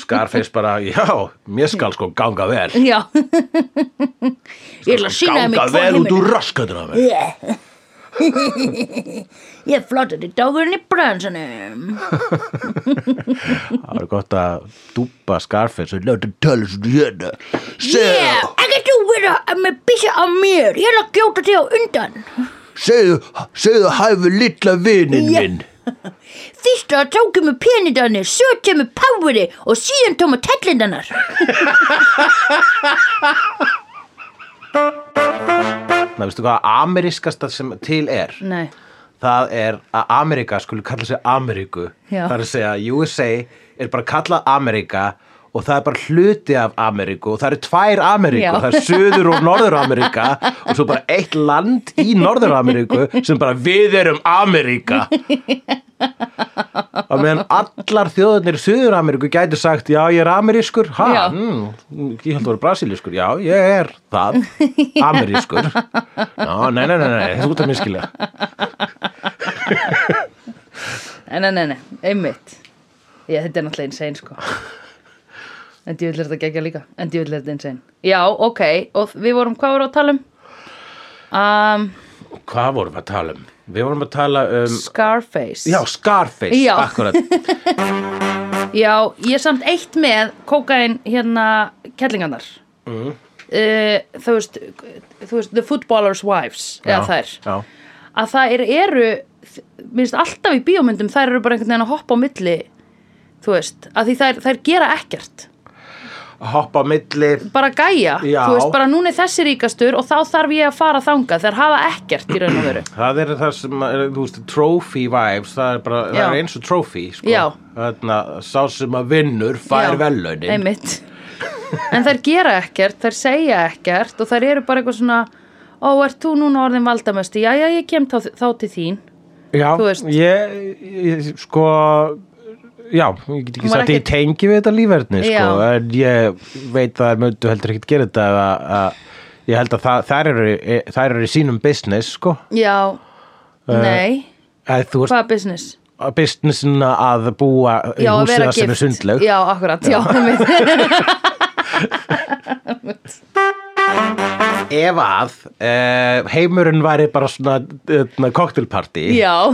[SPEAKER 3] Scarface bara, já, mér skal sko ganga vel
[SPEAKER 2] Já Ég ætla að sína þeim í
[SPEAKER 3] ganga
[SPEAKER 2] tvo
[SPEAKER 3] vel út
[SPEAKER 2] heimili.
[SPEAKER 3] úr raskatina mér
[SPEAKER 2] Ég flottaði dagurinn í bransanum
[SPEAKER 3] Það er gott að dúpa Scarface og láta tala svo hérna
[SPEAKER 1] Yeah,
[SPEAKER 3] segðu,
[SPEAKER 1] I can do with a, með byssu á mér. Ég er að gjóta þig á undan.
[SPEAKER 3] segðu, segðu hæfi litla vininn
[SPEAKER 1] Já.
[SPEAKER 3] minn
[SPEAKER 1] Fyrst að tóku með peningarnir, svo kemur poweri og síðan tóma tellindarnar.
[SPEAKER 3] Nei, hérna, veistu hvað amerískasta sem til er?
[SPEAKER 2] Nei,
[SPEAKER 3] Það er að Ameríka skuli kalla sig Ameríku.
[SPEAKER 2] Já.
[SPEAKER 3] Það er að segja að USA er bara kallað Ameríka og það er bara hluti af Ameríku og það eru tvær Ameríku,
[SPEAKER 2] Já.
[SPEAKER 3] það er Suður og Norður Ameríka og svo bara eitt land í Norður Ameríku sem bara við erum Ameríka. Og meðan allar þjóðunir í Suður Ameríku gætu sagt, já ég er amerískur, ha,
[SPEAKER 2] Já.
[SPEAKER 3] mm, ég held að vera brasilískur, já ég er það, amerískur. Já, nei, nei, nei, nei, þetta er út að minnskilja.
[SPEAKER 2] Nei, nei, nei, nei, einmitt Já, þetta er náttúrulega insane, sko En djúvill er þetta gegja líka En djúvill er þetta insane Já, ok, og við vorum, hvað vorum við að tala um? Um,
[SPEAKER 3] Hvað vorum við að tala um? Við vorum að tala um
[SPEAKER 2] Scarface
[SPEAKER 3] Já, Scarface,
[SPEAKER 2] Já.
[SPEAKER 3] akkurat
[SPEAKER 2] Já, ég er samt eitt með kókain hérna kellingarnar Uh, mm. Þú veist, þú veist The Footballers Wives, eða þær
[SPEAKER 3] já,
[SPEAKER 2] að það er, eru minnst alltaf í bíómyndum þær eru bara einhvern veginn að hoppa á milli þú veist, að því þær, þær gera ekkert
[SPEAKER 3] hoppa á milli
[SPEAKER 2] bara gæja,
[SPEAKER 3] Já.
[SPEAKER 2] þú veist, bara núna er þessi ríkastur og þá þarf ég að fara þangað þær hafa ekkert í raun og veru
[SPEAKER 3] Það er það sem, er, þú veist, trophy vibes, það er bara,
[SPEAKER 2] Já.
[SPEAKER 3] það er eins og trophy, sko.
[SPEAKER 2] Já.
[SPEAKER 3] Þarna, sá sem að vinnur fær
[SPEAKER 2] Já,
[SPEAKER 3] velaunin.
[SPEAKER 2] einmitt en þær gera ekkert, þær segja ekkert og þær eru bara eitthvað svona ó, ert þú núna orðin valdamösti, já, já, ég kem þá, þá til þín
[SPEAKER 3] Já,
[SPEAKER 2] þú veist.
[SPEAKER 3] ég, ég, sko, já, ég get
[SPEAKER 2] Hún
[SPEAKER 3] ekki
[SPEAKER 2] var
[SPEAKER 3] sagt að ég
[SPEAKER 2] ekkert-
[SPEAKER 3] tengi við þetta lífverðni,
[SPEAKER 2] Já.
[SPEAKER 3] sko, en ég veit að það möndu heldur ekkert gera þetta eða að, ég held að það, þær eru, e- þær eru í sínum business, sko,
[SPEAKER 2] já, nei
[SPEAKER 3] eða Eh, þú veist,
[SPEAKER 2] hvaða business?
[SPEAKER 3] businessin að búa í
[SPEAKER 2] Já, að
[SPEAKER 3] húsi
[SPEAKER 2] vera
[SPEAKER 3] það sem er
[SPEAKER 2] gift.
[SPEAKER 3] sundleg.
[SPEAKER 2] Já, akkurat, já, einmitt.
[SPEAKER 3] Ef að uh, heimurinn væri bara svona, svona cocktailparty,
[SPEAKER 2] já,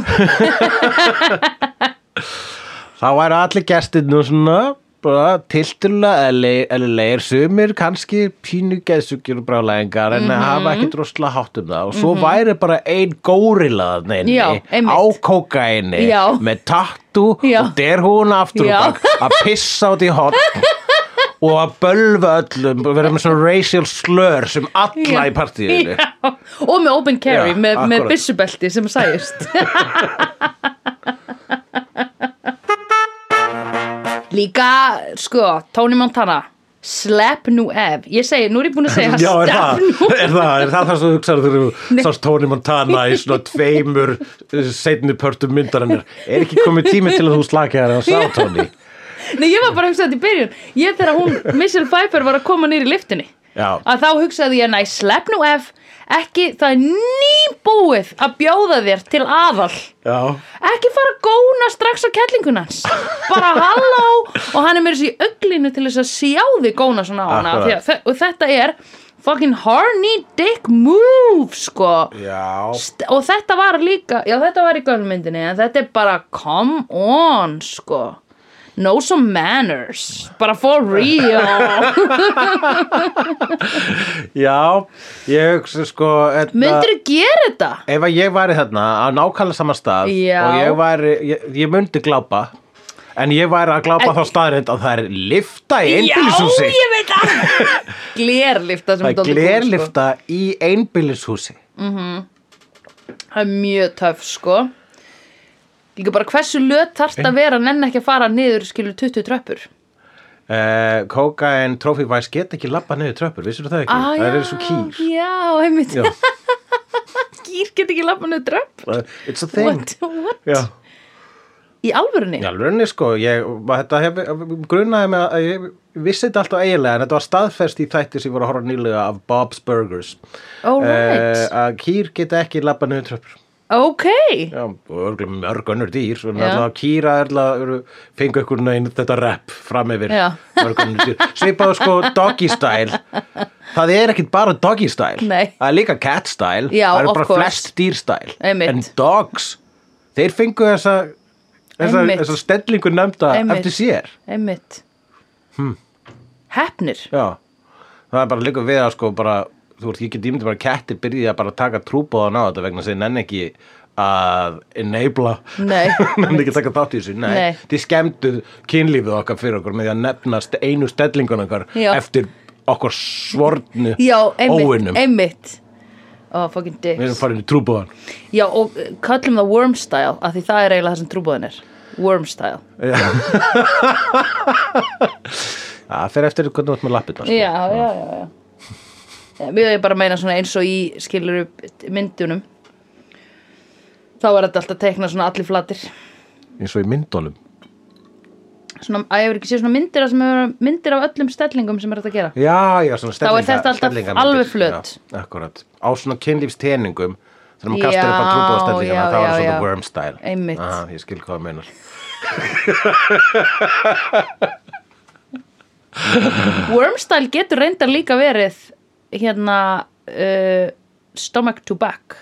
[SPEAKER 3] þá væri allir gestirnum svona bara tiltulega eðlilegir sumir kannski pínu geðsugir og bráleðingar en
[SPEAKER 2] Mhm.
[SPEAKER 3] hafa ekkert rosalega hátt um það og svo væri bara ein górila neini
[SPEAKER 2] Já, einmitt.
[SPEAKER 3] á kókaini
[SPEAKER 2] Já.
[SPEAKER 3] með tattu
[SPEAKER 2] Já.
[SPEAKER 3] og der hún aftur
[SPEAKER 2] Já.
[SPEAKER 3] og bak að pissa út í hot og að bölva öllum og vera með svona racial slur sem alla
[SPEAKER 2] Já.
[SPEAKER 3] í partíinu
[SPEAKER 2] já og með open carry,
[SPEAKER 3] Já,
[SPEAKER 2] með, með
[SPEAKER 3] akkurat.
[SPEAKER 2] byssubelti sem sæjist Líka, sko, Tony Montana Slap nú ef Ég segi, nú er ég búin að segja
[SPEAKER 3] Já, er það,
[SPEAKER 2] Slap nú
[SPEAKER 3] er það, er það það sem þú hugsaður þegar þú sást Tony Montana í svona tveimur setni pörtum myndarinnar er ekki komið tími til að þú slakið þær að sá Tony
[SPEAKER 2] Nei, ég var bara að hugsa þetta í byrjun Ég þegar hún, Michelle Pfeiffer var að koma nýri liftinni
[SPEAKER 3] Já.
[SPEAKER 2] Að þá hugsaði ég, næ, slepp nú ef Ekki, það er nýbúið að bjóða þér til aðal
[SPEAKER 3] Já,
[SPEAKER 2] Ekki fara að góna strax á kettlinguna hans Bara halló Og hann er mér þessi í auglinu til þess að sjá þig góna svona á hana
[SPEAKER 3] Akkurat.
[SPEAKER 2] Því að þe- Og þetta er fucking horny dick move, sko
[SPEAKER 3] já
[SPEAKER 2] St- Og þetta var líka, já þetta var í gönnmyndinni en þetta er bara come on sko Know some manners, bara for real
[SPEAKER 3] Já, ég hugsa sko þetta-
[SPEAKER 2] Myndirðu gera þetta?
[SPEAKER 3] Ef að ég væri þarna á nákvæmlega sama stað
[SPEAKER 2] Já.
[SPEAKER 3] og ég væri, ég, ég myndi glápa en ég væri að glápa
[SPEAKER 2] En-
[SPEAKER 3] þá staðrind að það er lifta í
[SPEAKER 2] Já,
[SPEAKER 3] einbýlishúsi
[SPEAKER 2] ég veit það Glerlifta sem
[SPEAKER 3] Það er
[SPEAKER 2] dálítið sko. kúl,
[SPEAKER 3] glerlifta í einbýlishúsi
[SPEAKER 2] sko. Það er mjög töf sko Líka bara hversu löt þarft að vera en enn ekki að fara niður skilur 20 tröppur
[SPEAKER 3] Uh, Kókain Trophy Vice get ekki labba niður tröppur, vissir það ekki?
[SPEAKER 2] Ah,
[SPEAKER 3] það eru svo kýr.
[SPEAKER 2] Já, einmitt
[SPEAKER 3] Já,
[SPEAKER 2] Kýr get ekki lappa niður tröpp
[SPEAKER 3] uh, it's a thing.
[SPEAKER 2] What? What?
[SPEAKER 3] Já,
[SPEAKER 2] Í alvörunni?
[SPEAKER 3] í alvörunni sko, ég, var- þetta hef, grunaði mig að ég vissi þetta alltaf eiginlega en þetta var staðfest í þætti sem ég voru að horfa á nýlega af Bob's Burgers.
[SPEAKER 2] All right.
[SPEAKER 3] Eh, að kýr geta ekki labba niður tröppur.
[SPEAKER 2] Ok
[SPEAKER 3] Já, og örgulega mörg önnur dýr, svona
[SPEAKER 2] Já.
[SPEAKER 3] alltaf kýra alltaf eru- fengu ykkur neginn þetta rep fram yfir
[SPEAKER 2] Já.
[SPEAKER 3] mörg önnur dýr. Svipaðu sko doggy style, það er ekkit bara doggy style,
[SPEAKER 2] Nei.
[SPEAKER 3] það er líka cat style,
[SPEAKER 2] Já,
[SPEAKER 3] það
[SPEAKER 2] of
[SPEAKER 3] eru bara
[SPEAKER 2] course.
[SPEAKER 3] flest dýr style.
[SPEAKER 2] Einmitt.
[SPEAKER 3] En dogs, þeir fengu þessa, þessa,
[SPEAKER 2] Einmitt.
[SPEAKER 3] þessa stellingu nefnda
[SPEAKER 2] Einmitt.
[SPEAKER 3] eftir sér.
[SPEAKER 2] Einmitt
[SPEAKER 3] Hm.
[SPEAKER 2] Hefnir
[SPEAKER 3] Já, það er bara líka við að sko bara, þú veist, ég get ímyndi bara að kettir byrjaði að bara taka trúbóðan á þetta vegna sem nenni ekki að enabla
[SPEAKER 2] Nei.
[SPEAKER 3] nenni ekki að taka þátt í þessu, nei,
[SPEAKER 2] Nei.
[SPEAKER 3] þið skemmtu kynlífið okkar fyrir okkur með því að nefnast einu stellingun okkar
[SPEAKER 2] Já.
[SPEAKER 3] eftir okkur svornu
[SPEAKER 2] Já, einmitt
[SPEAKER 3] óvinnum,
[SPEAKER 2] Einmitt Oh, fucking dicks
[SPEAKER 3] við erum farin í trúbóðan
[SPEAKER 2] Já, og eh, köllum það worm style af því það er eiginlega það sem trúbóðin er worm style
[SPEAKER 3] það fer eftir hvernig þú ert með lappirna
[SPEAKER 2] Já,
[SPEAKER 3] sko.
[SPEAKER 2] já, já, já Eh, Mér er bara að meina svona eins og í skilur upp myndunum þá er þetta alltaf teikna svona allir flatir
[SPEAKER 3] eins og í myndunum
[SPEAKER 2] svona, að ég verið ekki sé svona myndir af, sem eru myndir af öllum stellingum sem er þetta að gera
[SPEAKER 3] Já, já, svona stellinga
[SPEAKER 2] þetta alltaf
[SPEAKER 3] stellingamyndir.
[SPEAKER 2] alveg flöt.
[SPEAKER 3] já, Akkurat, á svona kynlífsteningum þegar maður kastar
[SPEAKER 2] Já,
[SPEAKER 3] upp að trúbóða stellingum
[SPEAKER 2] já,
[SPEAKER 3] þá er
[SPEAKER 2] já,
[SPEAKER 3] það svona
[SPEAKER 2] já.
[SPEAKER 3] worm style
[SPEAKER 2] Einmitt.
[SPEAKER 3] Aha, Ég skil hvað það meinar
[SPEAKER 2] worm style getur reyndar líka verið hérna uh, stomach to back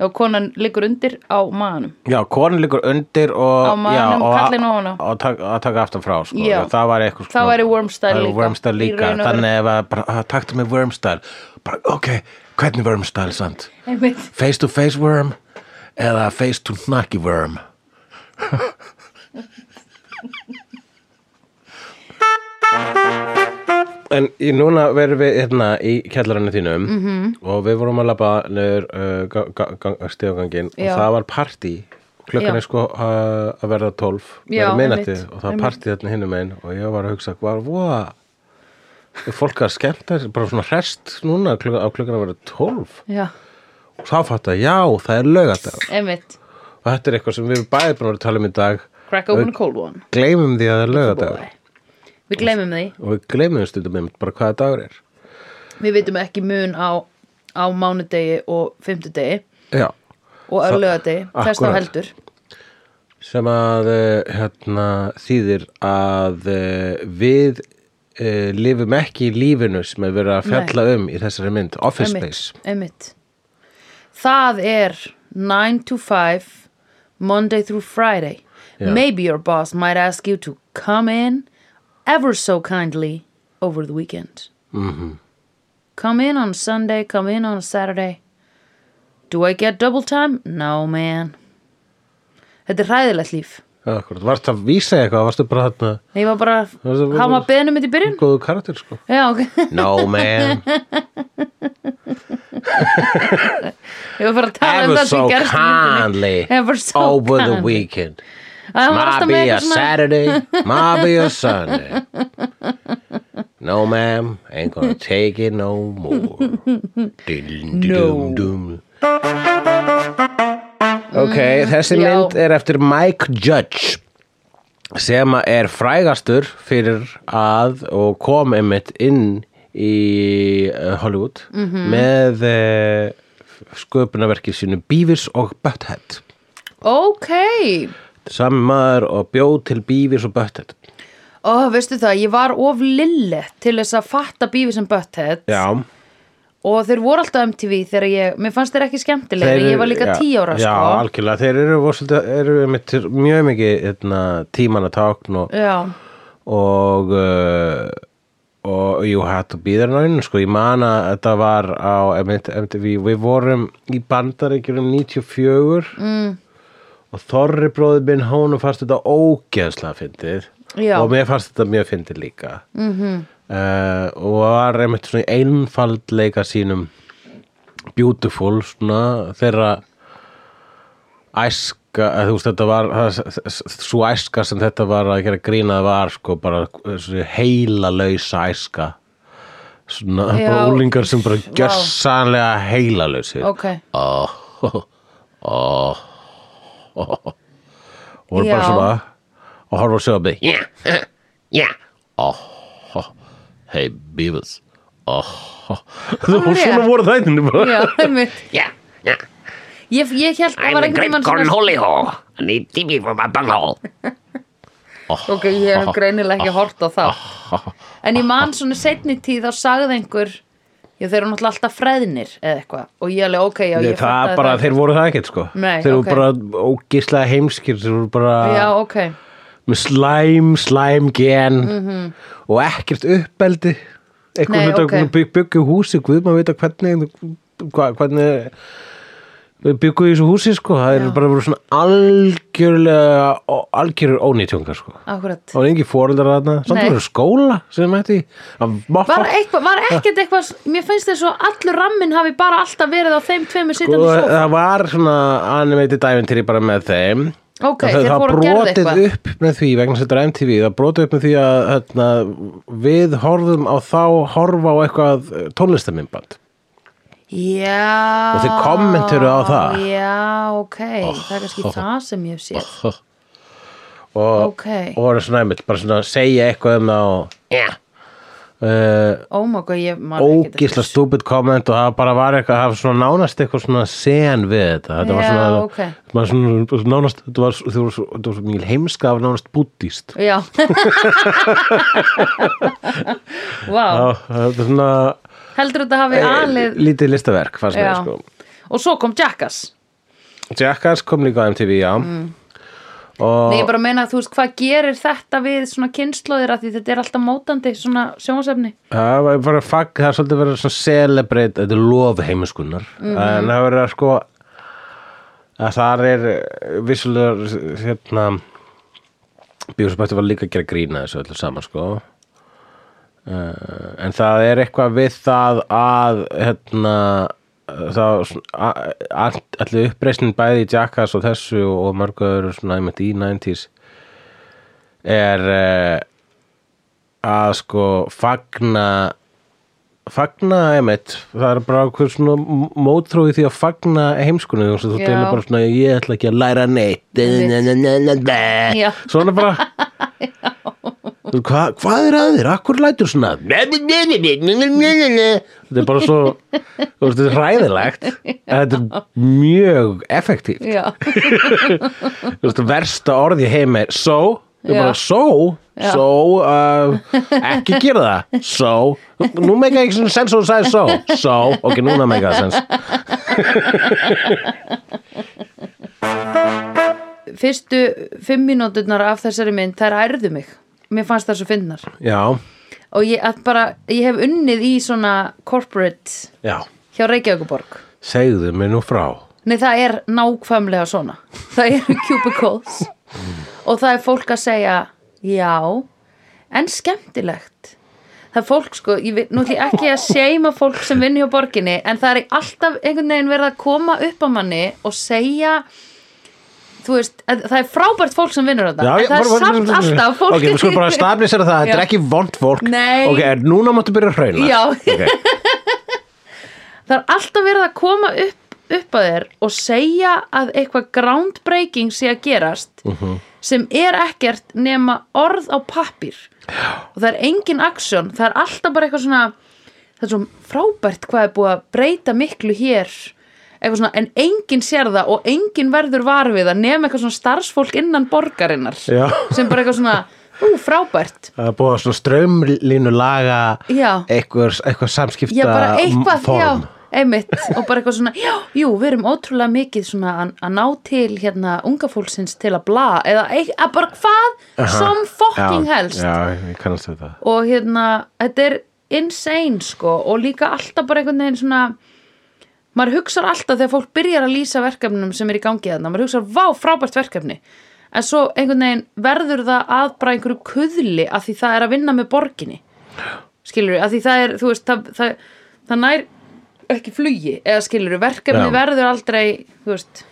[SPEAKER 2] og konan liggur undir á maðanum
[SPEAKER 3] Já, konin liggur undir og
[SPEAKER 2] Á maganum,
[SPEAKER 3] já, og,
[SPEAKER 2] kallinn ofan á.
[SPEAKER 3] og tak, að taka aftan frá sko.
[SPEAKER 2] Já.
[SPEAKER 3] Já, það var eitthvað
[SPEAKER 2] Það væri worm style
[SPEAKER 3] það væri
[SPEAKER 2] líka.
[SPEAKER 3] worm
[SPEAKER 2] Í
[SPEAKER 3] style líka.
[SPEAKER 2] raun og veru.
[SPEAKER 3] Þannig ef að bara, að, taktu mig worm style bara, ok, hvernig worm style samt
[SPEAKER 2] einmitt
[SPEAKER 3] face to face worm eða face to knocky worm En í núna verðum við hérna í kjallarinu þínum -hmm.
[SPEAKER 2] Mhm.
[SPEAKER 3] og við vorum að labba niður uh, stegangangin og
[SPEAKER 2] Já.
[SPEAKER 3] það var partí klukkan
[SPEAKER 2] Já.
[SPEAKER 3] er sko uh, að verða 12
[SPEAKER 2] Já,
[SPEAKER 3] verða minnati
[SPEAKER 2] einmitt,
[SPEAKER 3] og það var
[SPEAKER 2] einmitt.
[SPEAKER 3] partí þarna hinnum einn og ég var að hugsa hvað, voða er fólk að skemmta sér, bara svona rest núna klukkan, á klukkan að verða 12
[SPEAKER 2] já,
[SPEAKER 3] og þá fatt að já, það er lögadagur
[SPEAKER 2] einmitt
[SPEAKER 3] og þetta er eitthvað sem við erum bæði búin að vera að tala um í dag
[SPEAKER 2] crack open a cold one
[SPEAKER 3] gleymum því að það er lögadagur
[SPEAKER 2] boy. við glemum því
[SPEAKER 3] og við gleymum stundum einmitt bara hvaða dagur er
[SPEAKER 2] við vitum ekki mun á, á mánudegi og fymtudegi
[SPEAKER 3] já,
[SPEAKER 2] og örlögadegi, þess þá
[SPEAKER 3] Akkurat.
[SPEAKER 2] heldur
[SPEAKER 3] sem að eh, hérna, þýðir að eh, við uh, lifum ekki í lífinu sem er verið að fjalla um í þessari mynd, Office Space
[SPEAKER 2] einmitt, einmitt það er 9 to 5 Monday through Friday
[SPEAKER 3] Já.
[SPEAKER 2] maybe your boss might ask you to come in ever so kindly over the weekend
[SPEAKER 3] Mm-hmm.
[SPEAKER 2] come in on Sunday come in on Saturday do I get double time? no man þetta er hræðilegt líf
[SPEAKER 3] Akkurat, varst það að vísa í eitthvað, varstu bara þarna
[SPEAKER 2] ég var bara,
[SPEAKER 3] Það er-
[SPEAKER 2] hann var beðnum mitt um í byrjun
[SPEAKER 3] góðu karakter sko
[SPEAKER 2] já ok,
[SPEAKER 3] No man,
[SPEAKER 2] ég var bara að tala um
[SPEAKER 3] ever
[SPEAKER 2] það
[SPEAKER 3] so
[SPEAKER 2] sem gerst í myndinni.
[SPEAKER 3] kindly
[SPEAKER 2] ever so
[SPEAKER 3] over the
[SPEAKER 2] kindly.
[SPEAKER 3] weekend
[SPEAKER 2] Æ, hann var alltaf
[SPEAKER 3] Might
[SPEAKER 2] með
[SPEAKER 3] be a
[SPEAKER 2] eitthvað svona-
[SPEAKER 3] Saturday, might be a Sunday. No, ma'am, ain't gonna take it no more.
[SPEAKER 2] No.
[SPEAKER 3] no. Ok, þessi
[SPEAKER 2] já.
[SPEAKER 3] mynd er eftir Mike Judge sem að er frægastur fyrir að og kom einmitt inn í eh, Hollywood með eh, sköpunarverkið sínu Beavis og Butthead
[SPEAKER 2] Ok,
[SPEAKER 3] sami maður og bjóð til Beavis og Butthead
[SPEAKER 2] og veistu það, ég var of lille til þess að fatta Beavis and Butthead
[SPEAKER 3] Já,
[SPEAKER 2] og þeir voru alltaf MTV þegar ég, mér fannst þeir ekki skemmtilegri, ég var líka
[SPEAKER 3] já,
[SPEAKER 2] tíu ára
[SPEAKER 3] Já,
[SPEAKER 2] sko.
[SPEAKER 3] algjörlega, þeir eru, vorsölda, eru einmitt til mjög mikið hérna, tíman að tákn og,
[SPEAKER 2] Já,
[SPEAKER 3] og, uh, og jú, hætt og býðar náinu, sko, ég man að þetta var á einmitt, MTV, við vorum í bandaríkjurum 94 mm. og Þorri bróðið minn honum fannst þetta ógeðslega fyndið
[SPEAKER 2] Já.
[SPEAKER 3] og mér fannst þetta mjög fyndið líka mm -hmm. og var einmitt svona í einfaldleika sínum beautiful svona þeirra æska að þú veist þetta var svo æska sem þetta var að gera grínað var sko bara heila lausa æska svona
[SPEAKER 2] Já.
[SPEAKER 3] bara úlingar sem bara gjössanlega heila lausi
[SPEAKER 2] ok,
[SPEAKER 3] oh, oh, oh, og voru bara
[SPEAKER 2] Já.
[SPEAKER 3] svona og horfa á sjófið yeah, yeah oh, oh, hey Beavis oh, oh.
[SPEAKER 2] Það var
[SPEAKER 3] svona
[SPEAKER 2] rétt.
[SPEAKER 3] voru þættinu bara
[SPEAKER 2] já, einmitt
[SPEAKER 4] Yeah, yeah.
[SPEAKER 2] Ég, ég held að það var
[SPEAKER 4] I'm a
[SPEAKER 2] einhvern
[SPEAKER 4] great
[SPEAKER 2] tímann
[SPEAKER 4] corn holy hole. I need TV for my bunghole.
[SPEAKER 2] Ok, ég hef greinilega ekki hort á það
[SPEAKER 3] Ah,
[SPEAKER 2] En ég man svona setni tíð þá sagði einhver Já, þeir eru náttúrulega alltaf freðnir eða eitthvað og ég alveg, ok, já,
[SPEAKER 3] Nei,
[SPEAKER 2] ég
[SPEAKER 3] það
[SPEAKER 2] fattaði
[SPEAKER 3] bara, þeir voru það ekkert sko
[SPEAKER 2] Nei,
[SPEAKER 3] Þeir
[SPEAKER 2] ok.
[SPEAKER 3] voru bara ógislega heimskir Þeir voru bara
[SPEAKER 2] Já, ok,
[SPEAKER 3] með slæm, slæm gen og ekkert uppeldi
[SPEAKER 2] Mhm. Nei,
[SPEAKER 3] Eitthvað
[SPEAKER 2] ok.
[SPEAKER 3] okay. bygg, byggju húsi Guð maður veit að hvernig hva, hvernig við byggum í þessu húsi sko það eru bara voru svona algjörlega algjörur ónýtjóngar sko
[SPEAKER 2] akkurat
[SPEAKER 3] það var engin fóreldar þarna, samt
[SPEAKER 2] Nei.
[SPEAKER 3] voru skóla sem mætti
[SPEAKER 2] Var, eitthvað, var ekkert eitthvað, mér finnst þess að allur ramminn hafi bara alltaf verið á þeim tveimur sittandi
[SPEAKER 3] sko,
[SPEAKER 2] sófa.
[SPEAKER 3] það var svona animated æventýri bara með þeim
[SPEAKER 2] Ok,
[SPEAKER 3] það,
[SPEAKER 2] þeir
[SPEAKER 3] það
[SPEAKER 2] fóru að gerðu
[SPEAKER 3] brotið
[SPEAKER 2] eitthvað.
[SPEAKER 3] upp með því vegna þess að þetta er MTV það brotið upp með því að hérna, við horfum á þá horfa á eitthvað eh, tónlistamimband
[SPEAKER 2] Já.
[SPEAKER 3] eh, Og þeir kommenteru á það. Oh,
[SPEAKER 2] Já, ok, það er kannski það sem ég hef séð.
[SPEAKER 3] og,
[SPEAKER 2] Ok.
[SPEAKER 3] og voru svona einmitt bara svona að segja eitthvað um það og
[SPEAKER 4] Yeah.
[SPEAKER 3] uh,
[SPEAKER 2] Ómaga, Oh ég man ekkert eftir
[SPEAKER 3] ógísla
[SPEAKER 2] þessu.
[SPEAKER 3] stúpid komment og það bara var eitthvað, það var svona nánast eitthvað svona sen við þetta þetta var
[SPEAKER 2] Já,
[SPEAKER 3] svona,
[SPEAKER 2] ok.
[SPEAKER 3] þetta var svona nánast, þetta var, þetta var, þetta var svo mjög heimska það var nánast búddíst
[SPEAKER 2] Já. Vá,
[SPEAKER 3] Já, þetta er svona
[SPEAKER 2] heldur þetta hafi alið.
[SPEAKER 3] lítið listaverk fannst
[SPEAKER 2] Já.
[SPEAKER 3] mér sko
[SPEAKER 2] Og svo kom Jackass. Mm.
[SPEAKER 3] Jackass kom líka á MTV já og
[SPEAKER 2] Nei, ég bara meina að þú veist, hvað gerir þetta við svona kynnslóðir að því þetta er alltaf mótandi svona sjónasefni?
[SPEAKER 3] það var bara fag, það er svolítið verið svona celebrate, þetta er lof heimiskunnar
[SPEAKER 2] Mhm.
[SPEAKER 3] en það verið að sko að þar er eh, vissulega hérna bjóðsbætti var líka að gera grína þessu öllu saman sko uh, en það er eitthvað við það að hérna þá allir uppreisnin bæði í Jackass og þessu og mörgu öðru svona einmitt í 90s er uh, að sko fagna fagna einmitt það er bara okkur svona mótrói því að fagna heimskunni þú veist, þú
[SPEAKER 2] Já.
[SPEAKER 3] deilur bara svona ég ætla ekki að læra neitt
[SPEAKER 2] Já.
[SPEAKER 3] svona bara Þú, Hva, hvað er að þér? Akkur lætur svona Þetta er bara svo þú veist, Þetta er hræðilegt en Þetta er mjög effektív
[SPEAKER 2] Já,
[SPEAKER 3] Þú veist, Versta orð í heim er So, þetta er
[SPEAKER 2] Já.
[SPEAKER 3] bara so So, uh, ekki gera það So, nú meika ekki svona sens og þú sagði so So, ok, núna meika það sens
[SPEAKER 2] fyrstu fimm mínúturnar af þessari mynd, þær ærðu mig. Mér fannst það svo finnar.
[SPEAKER 3] Já,
[SPEAKER 2] Og ég, að bara, ég hef unnið í svona corporate
[SPEAKER 3] já,
[SPEAKER 2] hjá Reykjavíkuborg.
[SPEAKER 3] segðu mér nú frá
[SPEAKER 2] Nei, það er nákvæmlega svona. Það eru cubicles og það er fólk að segja já, en skemmtilegt. Það er fólk, sko, ég veit, nú ætla ég ekki að seima fólk sem vinn hjá borginni, en það er alltaf einhvern veginn verið að koma upp á manni og segja, þú veist, að, það er frábært fólk sem vinnur þetta,
[SPEAKER 3] Já,
[SPEAKER 2] en
[SPEAKER 3] já,
[SPEAKER 2] það
[SPEAKER 3] bara-
[SPEAKER 2] er samt
[SPEAKER 3] bara-
[SPEAKER 2] alltaf fólk.
[SPEAKER 3] Ok, við skulum bara stabilisera það, þetta er
[SPEAKER 2] Já.
[SPEAKER 3] ekki vond fólk
[SPEAKER 2] Nei.
[SPEAKER 3] Ok, en núna máttu byrja að hrauna
[SPEAKER 2] Já.
[SPEAKER 3] Ok.
[SPEAKER 2] það er alltaf verið að koma upp, upp að þér og segja að eitthvað groundbreaking sé að gerast sem er ekkert nema orð á pappir og það er engin aksjón það er alltaf bara eitthvað svona það er svo frábært hvað er búið að breyta miklu hér eitthvað svona en enginn sér það og enginn verður var við það nema eitthvað svona starfsfólk innan borgarinnar
[SPEAKER 3] Já.
[SPEAKER 2] sem bara eitthvað svona ú frábært
[SPEAKER 3] Það er búið að svona strömlínu laga
[SPEAKER 2] Já.
[SPEAKER 3] eitthvað, eitthvað samskipta
[SPEAKER 2] já, bara eitthvað,
[SPEAKER 3] form.
[SPEAKER 2] já, einmitt og bara eitthvað svona, já, jú, við erum ótrúlega mikið svona að- að ná til hérna unga fólksins til að bla eða eit- að bara hvað, some fucking
[SPEAKER 3] já,
[SPEAKER 2] helst
[SPEAKER 3] Já, ég kannast þetta
[SPEAKER 2] og hérna, þetta er insane sko og líka alltaf bara einhvern veginn svona maður hugsar alltaf þegar fólk byrjar að lýsa verkefnum sem er í gangi þarna, maður hugsar vá frábært verkefni en svo einhvern veginn verður það að bara einhverju kuðli að því það er að vinna með borginni skilur við, að því það er þú veist, það, það, það nær ekki flugi, eða skilur við, verkefni
[SPEAKER 3] Já.
[SPEAKER 2] verður aldrei, þú veist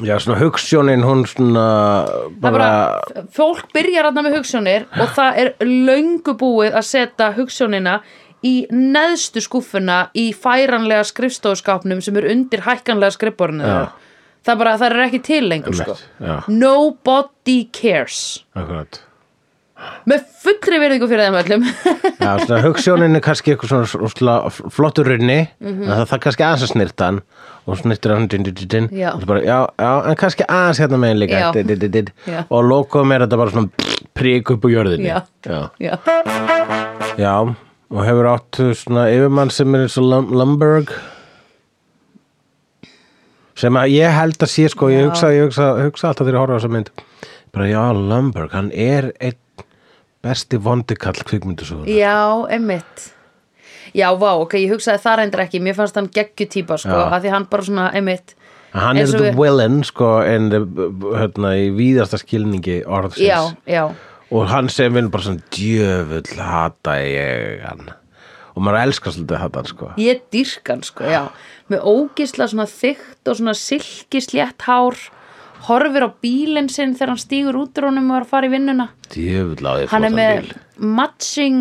[SPEAKER 3] Já, svona hugsjónin hún svona
[SPEAKER 2] það
[SPEAKER 3] bara,
[SPEAKER 2] bara, fólk byrjar aðna með hugsjónir og það er löngu búið að setja hugsjónina í neðstu skúffuna í færanlega skrifstofskápnum sem er undir hækkanlega skrifborinu það bara, það er ekki til lengur sko.
[SPEAKER 3] Einmitt, já.
[SPEAKER 2] nobody cares
[SPEAKER 3] Akkurat
[SPEAKER 2] með fullri verðingu fyrir þeim öllum
[SPEAKER 3] Já, svona hugsjónin er kannski eitthvað svona, svona flottur runni
[SPEAKER 2] Mhm.
[SPEAKER 3] en það það er kannski aðeins að snirta hann og snirtir hann din, din, din, din,
[SPEAKER 2] Já.
[SPEAKER 3] og svo bara, já, já, en kannski aðeins hérna megin
[SPEAKER 2] Já.
[SPEAKER 3] líka din, din, din, din.
[SPEAKER 2] Já.
[SPEAKER 3] og lokum er þetta bara svona prik upp á jörðinni
[SPEAKER 2] Já.
[SPEAKER 3] Já.
[SPEAKER 2] já,
[SPEAKER 3] Já, og hefur átt svona yfirmann sem er eins og Lum- Lumberg sem að ég held að sé sko, ég
[SPEAKER 2] Já.
[SPEAKER 3] hugsa, ég hugsa, hugsa alltaf þegar ég horfa á þessa mynd bara já, Lumberg, hann er einn besti vondikall kvikmyndusögun
[SPEAKER 2] já, emmitt já, vá, ok, ég hugsaði það reyndir ekki mér fannst hann geggjutýpa sko,
[SPEAKER 3] Já.
[SPEAKER 2] að því hann bara svona, emmitt
[SPEAKER 3] hann er
[SPEAKER 2] eins og
[SPEAKER 3] the
[SPEAKER 2] við-
[SPEAKER 3] villain sko, en the, hérna, í víðasta skilningi orðsins
[SPEAKER 2] já, já
[SPEAKER 3] og hann sem vinn bara svona djöfull hata ég hann og maður elskar svolítið að hata hann sko
[SPEAKER 2] ég dýrkan sko, já með ógisla svona þykkt og svona silkislétt hár horfir á bílinn sinn þegar hann stígur út úr honum og er að fara í vinnuna
[SPEAKER 3] djöfull á því
[SPEAKER 2] hann er
[SPEAKER 3] flottan
[SPEAKER 2] með
[SPEAKER 3] bíl.
[SPEAKER 2] matching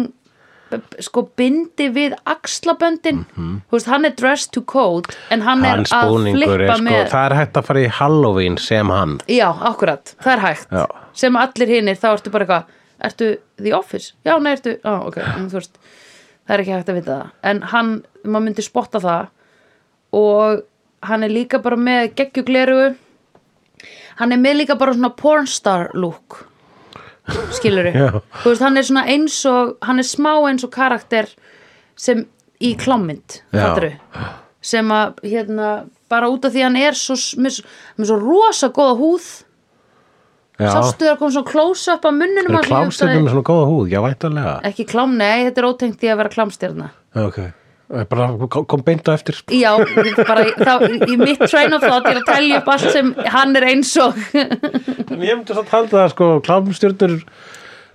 [SPEAKER 2] b- b- sko bindi við axlaböndin
[SPEAKER 3] Mhm.
[SPEAKER 2] Þú veist, hann er dressed to code en hann er
[SPEAKER 3] hans
[SPEAKER 2] að
[SPEAKER 3] búningur
[SPEAKER 2] flippa
[SPEAKER 3] er sko,
[SPEAKER 2] með
[SPEAKER 3] það er hægt að fara í Halloween sem hann
[SPEAKER 2] já, akkurat, það er hægt
[SPEAKER 3] Já.
[SPEAKER 2] sem allir hinnir, þá ertu bara eitthvað ertu The Office? Já, nei, ertu á, ok, en, þú veist, það er ekki hægt að vita það en hann, maður myndi spotta það og hann er líka bara með geggjugleru hann er með líka bara svona pornstar look skilurðu
[SPEAKER 3] Já.
[SPEAKER 2] þú veist, hann er svona eins og hann er smá eins og karakter sem í klámynd
[SPEAKER 3] Já.
[SPEAKER 2] fattarðu? sem að hérna bara út af því að hann er svo, s- með, s- með svo rosa góða húð
[SPEAKER 3] Já.
[SPEAKER 2] sástu það kom svona close-up á munnunum
[SPEAKER 3] Eru
[SPEAKER 2] hans og ég
[SPEAKER 3] klámstjörnum
[SPEAKER 2] hugsaði-
[SPEAKER 3] með svona góða húð? Já, væntanlega.
[SPEAKER 2] ekki klám, nei, þetta er ótengt því að vera klámstjörna
[SPEAKER 3] Ok. Eh, Bara kom- kom beint á eftir.
[SPEAKER 2] já, bara þá, í mitt train of thought er að telja upp allt sem hann er eins og
[SPEAKER 3] En ég myndi satt halda að sko klámstjörnur, eða,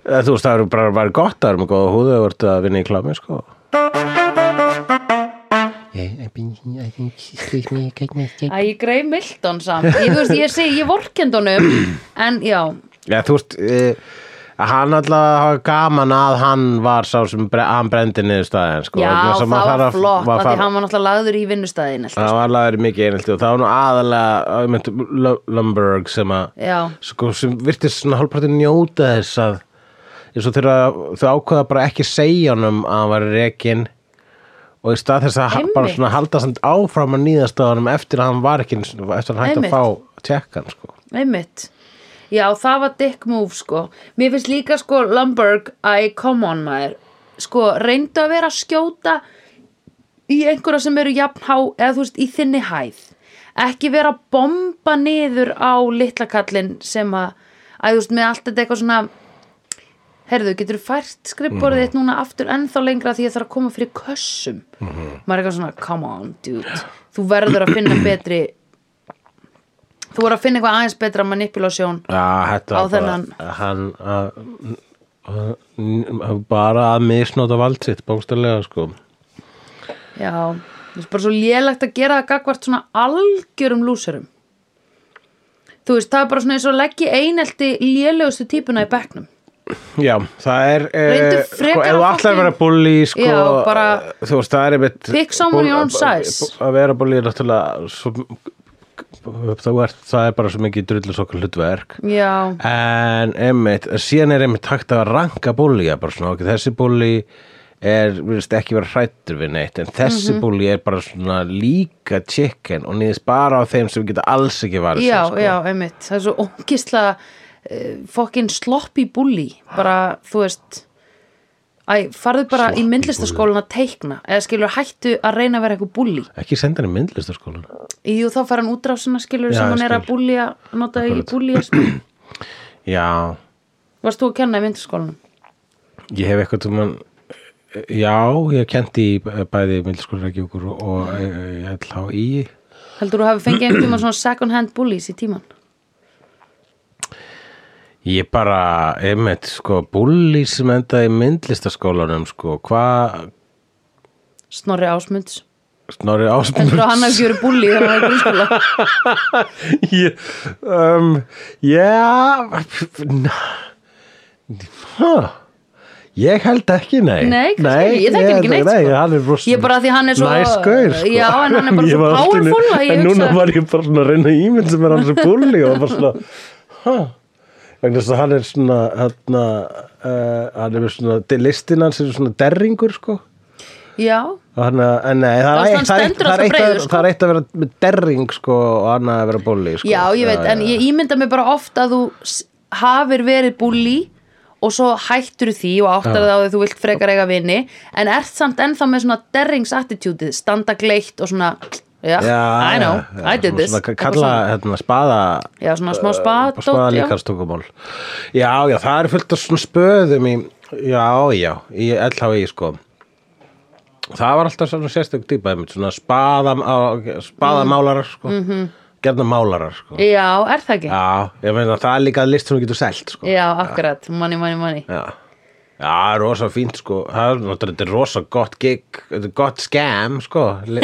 [SPEAKER 3] Eh, þú veist, það eru bara bara gott að það eru með góða húðu að verða að vinna í klámi, sko.
[SPEAKER 5] Yeah, I've been, I think she's with me, I got my stick.
[SPEAKER 2] að ég greið Milton samt ég, þú veist, ég segi, ég vorkend honum en já,
[SPEAKER 3] Já, þú veist, e, hann alltaf hafa gaman að hann var sá sem bre, hann brendi niður staðin, sko.
[SPEAKER 2] já,
[SPEAKER 3] Vegna þess
[SPEAKER 2] það
[SPEAKER 3] að maður
[SPEAKER 2] var
[SPEAKER 3] þarf að-
[SPEAKER 2] flott
[SPEAKER 3] maður
[SPEAKER 2] af því
[SPEAKER 3] þarf-
[SPEAKER 2] hann var náttúrulega lagður í vinnustæðin
[SPEAKER 3] Það var alveg verið mikið einhaldi og það var nú aðalega, ég myndi, Lumberg sem að
[SPEAKER 2] já,
[SPEAKER 3] sko, sem virtist svona hálfpartin njóta þess að eins og þegar þau ákvaða bara ekki segja honum að hann var rekin og í stað þess að ha- bara
[SPEAKER 2] Einmitt.
[SPEAKER 3] svona halda samt áfram að nýðast á honum eftir að hann var ekki eftir að hann hægt
[SPEAKER 2] Einmitt.
[SPEAKER 3] að fá tjekkan sko.
[SPEAKER 2] einmitt já, það var dick move sko mér finnst líka sko Lumberg æ, come on maður sko, reyndu að vera að skjóta í einhverja sem eru jafnhá eða þú veist, í þinni hæð ekki vera að bomba niður á litla kallinn sem að að þú veist, með allt þetta eitthvað svona herðu, getur fært skrippborðið þitt núna aftur ennþá lengra því ég þarf að koma fyrir kössum maður er eitthvað svona, come on dude þú verður að finna betri þú verður að finna eitthvað aðeins betra manipulation
[SPEAKER 3] Já, þetta
[SPEAKER 2] Á
[SPEAKER 3] var bara
[SPEAKER 2] þennan.
[SPEAKER 3] hann að, að, að bara að misnóta vald sitt bókstælega sko.
[SPEAKER 2] já, þú veist bara svo lélegt að gera það gagvart svona algjörum lúsurum þú veist, það er bara svona eins og að leggja einelti lélegustu típuna í bekknum
[SPEAKER 3] Já, það er
[SPEAKER 2] Reyndu
[SPEAKER 3] sko,
[SPEAKER 2] frekar
[SPEAKER 3] ef
[SPEAKER 2] að
[SPEAKER 3] þú ætlar að vera
[SPEAKER 2] fucking-
[SPEAKER 3] bulli sko,
[SPEAKER 2] Já, bara
[SPEAKER 3] þú veist, það er einmitt
[SPEAKER 2] Pick someone
[SPEAKER 3] bull-
[SPEAKER 2] your own size.
[SPEAKER 3] að vera bulli er náttúrulega svo, það, er, það er bara svo mikið drullusokkur hlutverk
[SPEAKER 2] já,
[SPEAKER 3] en einmitt, síðan er einmitt hægt að ranka bulli bara svona, ok, þessi bulli er, viðst, ekki vera hrættur við neitt en þessi
[SPEAKER 2] Mhm.
[SPEAKER 3] mm er bara svona líka chicken og nýðist bara á þeim sem geta alls ekki varist
[SPEAKER 2] já,
[SPEAKER 3] sko.
[SPEAKER 2] já, einmitt það er svo ógisla uh, fokkin sloppy bully bara, þú veist Æ, farðu bara í myndlistaskólan að teikna eða skilur hættu að reyna að vera eitthvað bully
[SPEAKER 3] ekki senda henni myndlistaskólan
[SPEAKER 2] Jú, þá fær hann útrásina skilur
[SPEAKER 3] Já,
[SPEAKER 2] sem
[SPEAKER 3] ég
[SPEAKER 2] hann er að
[SPEAKER 3] skil.
[SPEAKER 2] búlja, nota í
[SPEAKER 3] Akkurat.
[SPEAKER 2] búlja
[SPEAKER 3] já,
[SPEAKER 2] Varst þú að kenna í myndaskólanum?
[SPEAKER 3] Ég hef eitthvað tímann Já, ég hef kent í bæði Mildaskólarækjókur og ég ætla á í
[SPEAKER 2] Heldur þú hafi fengið einhvern tímann svona second hand bullies í tíman?
[SPEAKER 3] Ég bara, einmitt, sko, búli sem endaði í myndlistaskólanum, sko, hvað
[SPEAKER 2] Snorri Ásmunds
[SPEAKER 3] Snorri
[SPEAKER 2] Heldur þú að hann
[SPEAKER 3] Ásmunds
[SPEAKER 2] hafi verið bulli þegar hann var í grunnskóla?
[SPEAKER 3] Ég- um, Já na, ha, Ég held ekki, nei
[SPEAKER 2] Nei, kannski ekki, ég þekki hann ekki neitt,
[SPEAKER 3] Nei,
[SPEAKER 2] sko.
[SPEAKER 3] hann er rosa
[SPEAKER 2] Ég bara því hann er svo-
[SPEAKER 3] Nice gaur, sko
[SPEAKER 2] Já, en hann er bara
[SPEAKER 3] Ég
[SPEAKER 2] svo
[SPEAKER 3] var allt í einu-
[SPEAKER 2] powerful að ég
[SPEAKER 3] En núna
[SPEAKER 2] hugsaði-
[SPEAKER 3] var ég bara svona að reyna ímynd sem er hans er búli og bara svona Hæ Vegna þess að hann er svona, hérna, uh, hann er með svona, listin hans er svona derringur, sko.
[SPEAKER 2] Já,
[SPEAKER 3] Og hann, að- en nei, það,
[SPEAKER 2] Þú
[SPEAKER 3] er
[SPEAKER 2] veist,
[SPEAKER 3] eitt-
[SPEAKER 2] hann
[SPEAKER 3] það, er eitt-
[SPEAKER 2] stendur
[SPEAKER 3] það, er
[SPEAKER 2] alltaf
[SPEAKER 3] eitt að-
[SPEAKER 2] breiður, sko.
[SPEAKER 3] það er eitt að vera með derring sko, og annað að vera bóli sko.
[SPEAKER 2] já, ég veit, en ég ímynda mig bara oft að þú s- hafir verið bulli og svo hættur því og áttar það á því að þú vilt frekar eiga vini en ert samt ennþá með svona derringsattitútið, standa gleitt og svona Já,
[SPEAKER 3] já,
[SPEAKER 2] I know,
[SPEAKER 3] já,
[SPEAKER 2] I did
[SPEAKER 3] svona-
[SPEAKER 2] this
[SPEAKER 3] svona
[SPEAKER 2] Eitthvað
[SPEAKER 3] kalla
[SPEAKER 2] svona.
[SPEAKER 3] hérna, spaða
[SPEAKER 2] Já, svona smá spadót,
[SPEAKER 3] spaða
[SPEAKER 2] já.
[SPEAKER 3] líkastungumál já, já, það er fullt af svona spöðum í, já, já, í LHI sko það var alltaf svona sérstök típa einmitt, svona spaðam, á- spaðamálarar sko, mm
[SPEAKER 2] Mhm.
[SPEAKER 3] -hmm. málarar sko.
[SPEAKER 2] Já, er það ekki?
[SPEAKER 3] já, ég meina það er líka list sem þú getur selt sko.
[SPEAKER 2] Já, akkurat, money, money, money
[SPEAKER 3] Já, já rosa fínt sko Það er náttúrulega þetta er rosa gott gig Þetta er gott scam sko Li-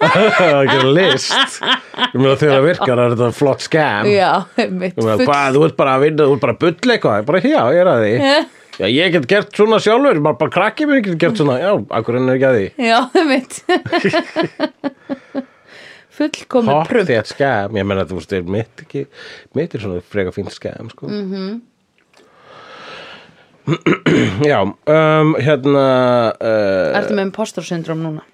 [SPEAKER 3] Að gera list Ég meina þegar það virkar er þetta flott scam
[SPEAKER 2] Já, mitt
[SPEAKER 3] Ég meina,
[SPEAKER 2] full
[SPEAKER 3] Hvað, þú ert bara að vinna, þú ert bara að bulla eitthvað Bara já, ég er að því Já, ég get gert svona sjálfur, bara, bara krakki mér get gert svona, já, akkur henni er ekki að því
[SPEAKER 2] Já, mitt Fullkomið
[SPEAKER 3] Hótt
[SPEAKER 2] prump
[SPEAKER 3] þétt skam, ég meina þú veist, er mitt ekki mitt er svona freka fínt skam sko.
[SPEAKER 2] Mhm.
[SPEAKER 3] Já, um, hérna uh,
[SPEAKER 2] Ertu með impostor syndrom núna?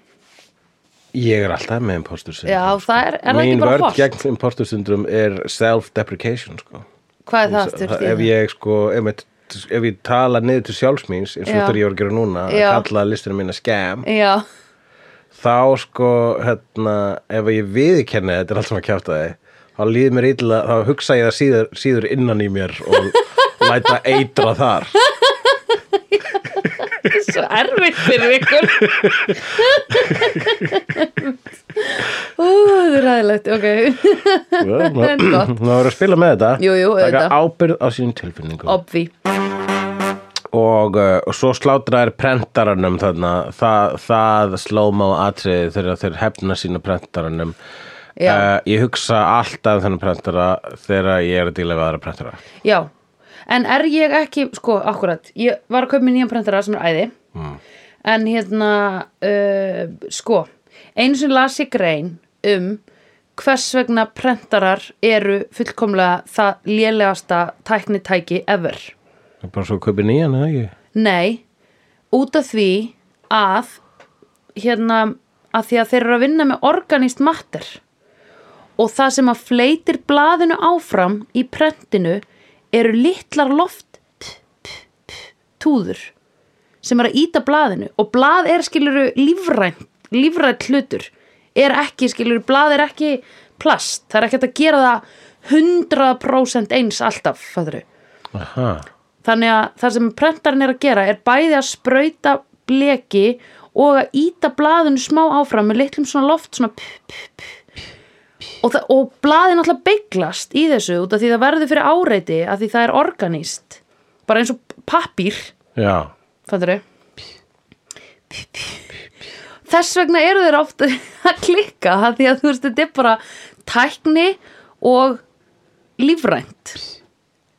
[SPEAKER 3] Ég er alltaf með impostor syndrom.
[SPEAKER 2] Já, það er- er það ekki
[SPEAKER 3] Mín
[SPEAKER 2] bara
[SPEAKER 3] vörn
[SPEAKER 2] hollt?
[SPEAKER 3] gegn impostor syndrom er self-deprecation, sko.
[SPEAKER 2] Hvað er það aftur?
[SPEAKER 3] Það- Ef ég, sko, einmitt, ef ég tala niður til sjálfsmýns, eins og
[SPEAKER 2] Já.
[SPEAKER 3] þetta er ég var að gera núna,
[SPEAKER 2] Já.
[SPEAKER 3] að kalla listinu mína skam,
[SPEAKER 2] Já,
[SPEAKER 3] þá, sko, hérna, ef ég viðkenni þetta er allt sem að kjáta þið, þá líður mér illa, þá hugsa ég það síður, síður innan í mér og læta eitra þar
[SPEAKER 2] Svo erfitt fyrir ykkur Ú, það er ræðilegt, ok
[SPEAKER 3] Já, Ná
[SPEAKER 2] En gott.
[SPEAKER 3] ná verður að spila með þetta
[SPEAKER 2] Jú, jú,
[SPEAKER 3] taka
[SPEAKER 2] auðvitað.
[SPEAKER 3] ábyrgð á sínum tilfinningum
[SPEAKER 2] Obvi
[SPEAKER 3] og, uh, og svo slátraðir prentaranum þarna það, það slóma á atriði þegar þeir hefna sína prentaranum
[SPEAKER 2] Já.
[SPEAKER 3] uh, ég hugsa alltaf um þennan prentara þegar ég er að díla við aðra prentara
[SPEAKER 2] Já, en er ég ekki, sko, akkurat, ég var að kaupa mér nýjan prentara sem er æði,
[SPEAKER 3] Hmm.
[SPEAKER 2] en hérna, uh, sko, einu sem las ég grein um hvers vegna prentarar eru fullkomlega það lélegasta tæknitæki ever.
[SPEAKER 3] það er bara svo að kaupi nýjan eða ekki
[SPEAKER 2] Nei, út af því að, hérna, að því að þeir eru að vinna með organist matter og það sem að fleitir blaðinu áfram í prentinu eru litlar loft p, p, p, túður sem er að íta blaðinu og blað er skiluru lífrænt, lífrænt hlutur er ekki skiluru, blað er ekki plast, það er ekki hægt að gera það 100% eins alltaf, fæður
[SPEAKER 3] Aha.
[SPEAKER 2] þannig að það sem prentarinn er að gera er bæði að sprauta bleki og að íta blaðinu smá áfram með litlum svona loft svona p, p, p. og, það- og blaðin alltaf beiglast í þessu út af því það verður fyrir áreiti af því það er organist bara eins og pappír
[SPEAKER 3] já,
[SPEAKER 2] fattur þau þess vegna eru þeir oft að klikka af því að þú veist þetta er bara tækni og lífrænt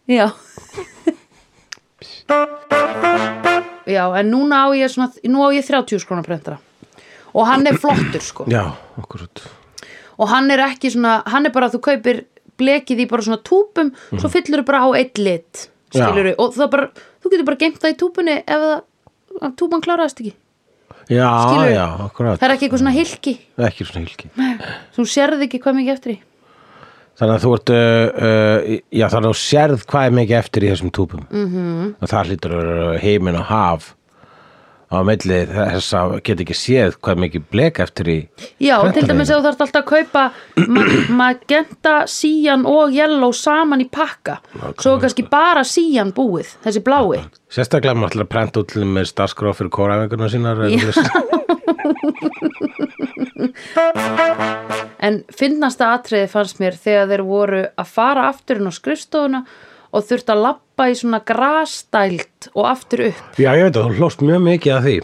[SPEAKER 2] já já en núna á ég svona, nú á ég 30 skrona prentara og hann er flottur sko
[SPEAKER 3] já, okkur
[SPEAKER 2] og hann er ekki svona, hann er bara að þú kaupir blekið í bara svona túpum svo fyllur þú bara á eitt lit skilurðu, og það bara, þú getur bara geimt það í túpunni ef það, að túpan kláraðast ekki
[SPEAKER 3] já,
[SPEAKER 2] Skilurðu?
[SPEAKER 3] já, okkur
[SPEAKER 2] það er ekki eitthvað svona hilki
[SPEAKER 3] ekki svona hilki
[SPEAKER 2] þú sérð ekki hvað mikið eftir í
[SPEAKER 3] þannig að þú ert uh, uh, já, þannig að þú sérð hvað er mikið eftir í þessum túpum mm
[SPEAKER 2] Mhm.
[SPEAKER 3] -hmm. og það hlýtur að vera heiminn og haf á milli þess að geta ekki séð hvað er mikið blek eftir í
[SPEAKER 2] já, og til
[SPEAKER 3] prentarinu.
[SPEAKER 2] dæmis ef þú þarft alltaf að kaupa ma- magenta, síjan og yellow saman í pakka svo er kannski bara síjan búið þessi blái
[SPEAKER 3] Sérstaklega maður ætlar að prenta út til með starfskráf fyrir kóraæfingarna sínar eða þú veist.
[SPEAKER 2] En finnasta atriði fannst mér þegar þeir voru að fara aftur inn á skrifstofuna og þurfti að lappa í svona grasstælt og aftur upp.
[SPEAKER 3] Já, ég veit að þú hlóst mjög mikið að því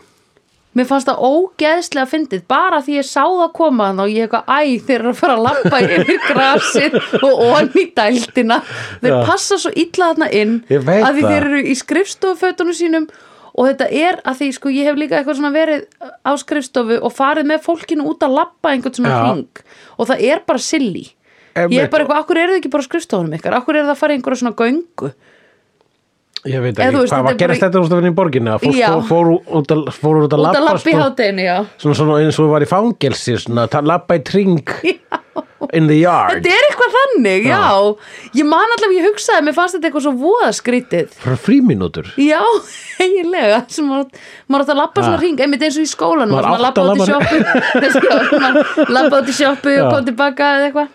[SPEAKER 2] Mér fannst það ógeðslega fyndið bara því ég sá það koma þann og ég eitthvað æ þeir eru að fara að lappa yfir grasið og onni í dæltina. Þeir
[SPEAKER 3] Já.
[SPEAKER 2] passa svo illa þarna inn
[SPEAKER 3] Ég veit
[SPEAKER 2] að því
[SPEAKER 3] það.
[SPEAKER 2] þeir eru í skrifstofufötunum sínum og þetta er að því sko ég hef líka eitthvað svona verið á skrifstofu og farið með fólkinu út að lappa einhvern svona
[SPEAKER 3] Já.
[SPEAKER 2] hring og það er bara silly ég er
[SPEAKER 3] Einmitt.
[SPEAKER 2] bara eitthvað, akkur eru þið ekki bara á skrifstofunum ykkar akkur eru það að fara í einhverja svona göngu
[SPEAKER 3] Ég veit
[SPEAKER 2] Eða
[SPEAKER 3] ekki,
[SPEAKER 2] þú veist,
[SPEAKER 3] hvað
[SPEAKER 2] þetta
[SPEAKER 3] var
[SPEAKER 2] er
[SPEAKER 3] að gerast
[SPEAKER 2] bara-
[SPEAKER 3] þetta úrstafinn í borginni að fólk
[SPEAKER 2] Já.
[SPEAKER 3] fór, fór, út að, fór út að
[SPEAKER 2] út að
[SPEAKER 3] labba sko.
[SPEAKER 2] lappa í hátæðinu, já
[SPEAKER 3] svona, svona eins og var í fangelsi svona, að labba í tring in the yard
[SPEAKER 2] þetta er eitthvað þannig, já, ég man allavega, ég hugsaði, mér fannst þetta eitthvað svo voðaskrítið
[SPEAKER 3] frá frímínútur
[SPEAKER 2] já, eiginlega sem maður, maður átt að lappa svona
[SPEAKER 3] Ah.
[SPEAKER 2] hring einmitt eins og í skólanum,
[SPEAKER 3] Maður
[SPEAKER 2] maður
[SPEAKER 3] átti
[SPEAKER 2] lappa
[SPEAKER 3] að
[SPEAKER 2] út í
[SPEAKER 3] labba-
[SPEAKER 2] sjoppu Þessi, já, maður lappa út í sjoppu og kom tilbaka eða eitthvað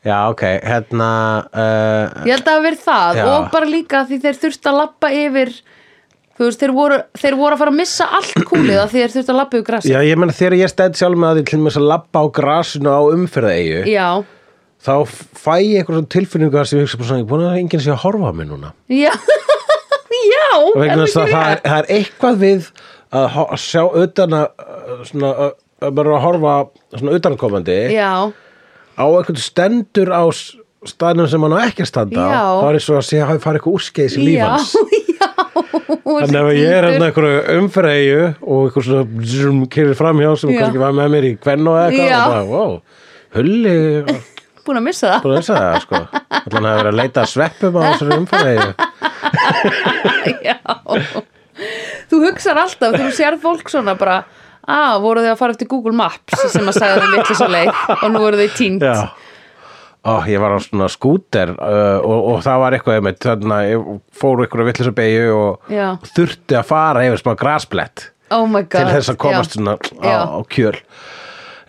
[SPEAKER 3] Já, ok, hérna uh,
[SPEAKER 2] ég held að það hafi verið það
[SPEAKER 3] Já.
[SPEAKER 2] og bara líka því þeir þurftu að lappa yfir þú veist, þeir voru, þeir voru að fara að missa allt kúlið að því þeir þurftu að lappa yfir grasi
[SPEAKER 3] Já, ég meina þegar ég stæð sjálf með að því til mér að labba á grasinu á umferðaeyju
[SPEAKER 2] já.
[SPEAKER 3] þá fæ ég eitthvað svona tilfinningu þar sem ég hugsa bara svona, ég er búin að enginn sé að horfa á mig núna
[SPEAKER 2] Já, já
[SPEAKER 3] vegna þess
[SPEAKER 2] heldur
[SPEAKER 3] að það,
[SPEAKER 2] betur.
[SPEAKER 3] er- það er eitthvað við að ho- að sjá utan að uh, svona, að- að bara að horfa svona utankomandi
[SPEAKER 2] Já,
[SPEAKER 3] á eitthvað stendur á s- staðnum sem hann á ekki að standa á
[SPEAKER 2] Já.
[SPEAKER 3] þá er svo að sé að hafi farið eitthvað úrskeiðis í
[SPEAKER 2] já,
[SPEAKER 3] lífans
[SPEAKER 2] já
[SPEAKER 3] Þannig að ef ég er hérna einhverju umfreyju og eitthvað svona zoom, kyrrir framhjá sem
[SPEAKER 2] Já.
[SPEAKER 3] kannski var með mér í kvenn og eitthvað
[SPEAKER 2] Já.
[SPEAKER 3] og bara, wow, hulli og
[SPEAKER 2] Búin að missa það,
[SPEAKER 3] þess að það sko allan að vera að leita að sveppum á þessari umfreyju
[SPEAKER 2] já Þú hugsar alltaf, þú sér fólk svona bara Ah, voru þau að fara eftir Google Maps sem að sagði þeim vitlis að leið og nú voru þau týnd
[SPEAKER 3] Já Ó, ég var á svona skúter uh, og, og það var eitthvað einmitt þannig að ég fór ykkur að villisa beigju og
[SPEAKER 2] Já.
[SPEAKER 3] þurfti að fara yfir smá grasblett
[SPEAKER 2] Oh my
[SPEAKER 3] til
[SPEAKER 2] god
[SPEAKER 3] þess að komast
[SPEAKER 2] já.
[SPEAKER 3] svona
[SPEAKER 2] Já.
[SPEAKER 3] á, á kjöl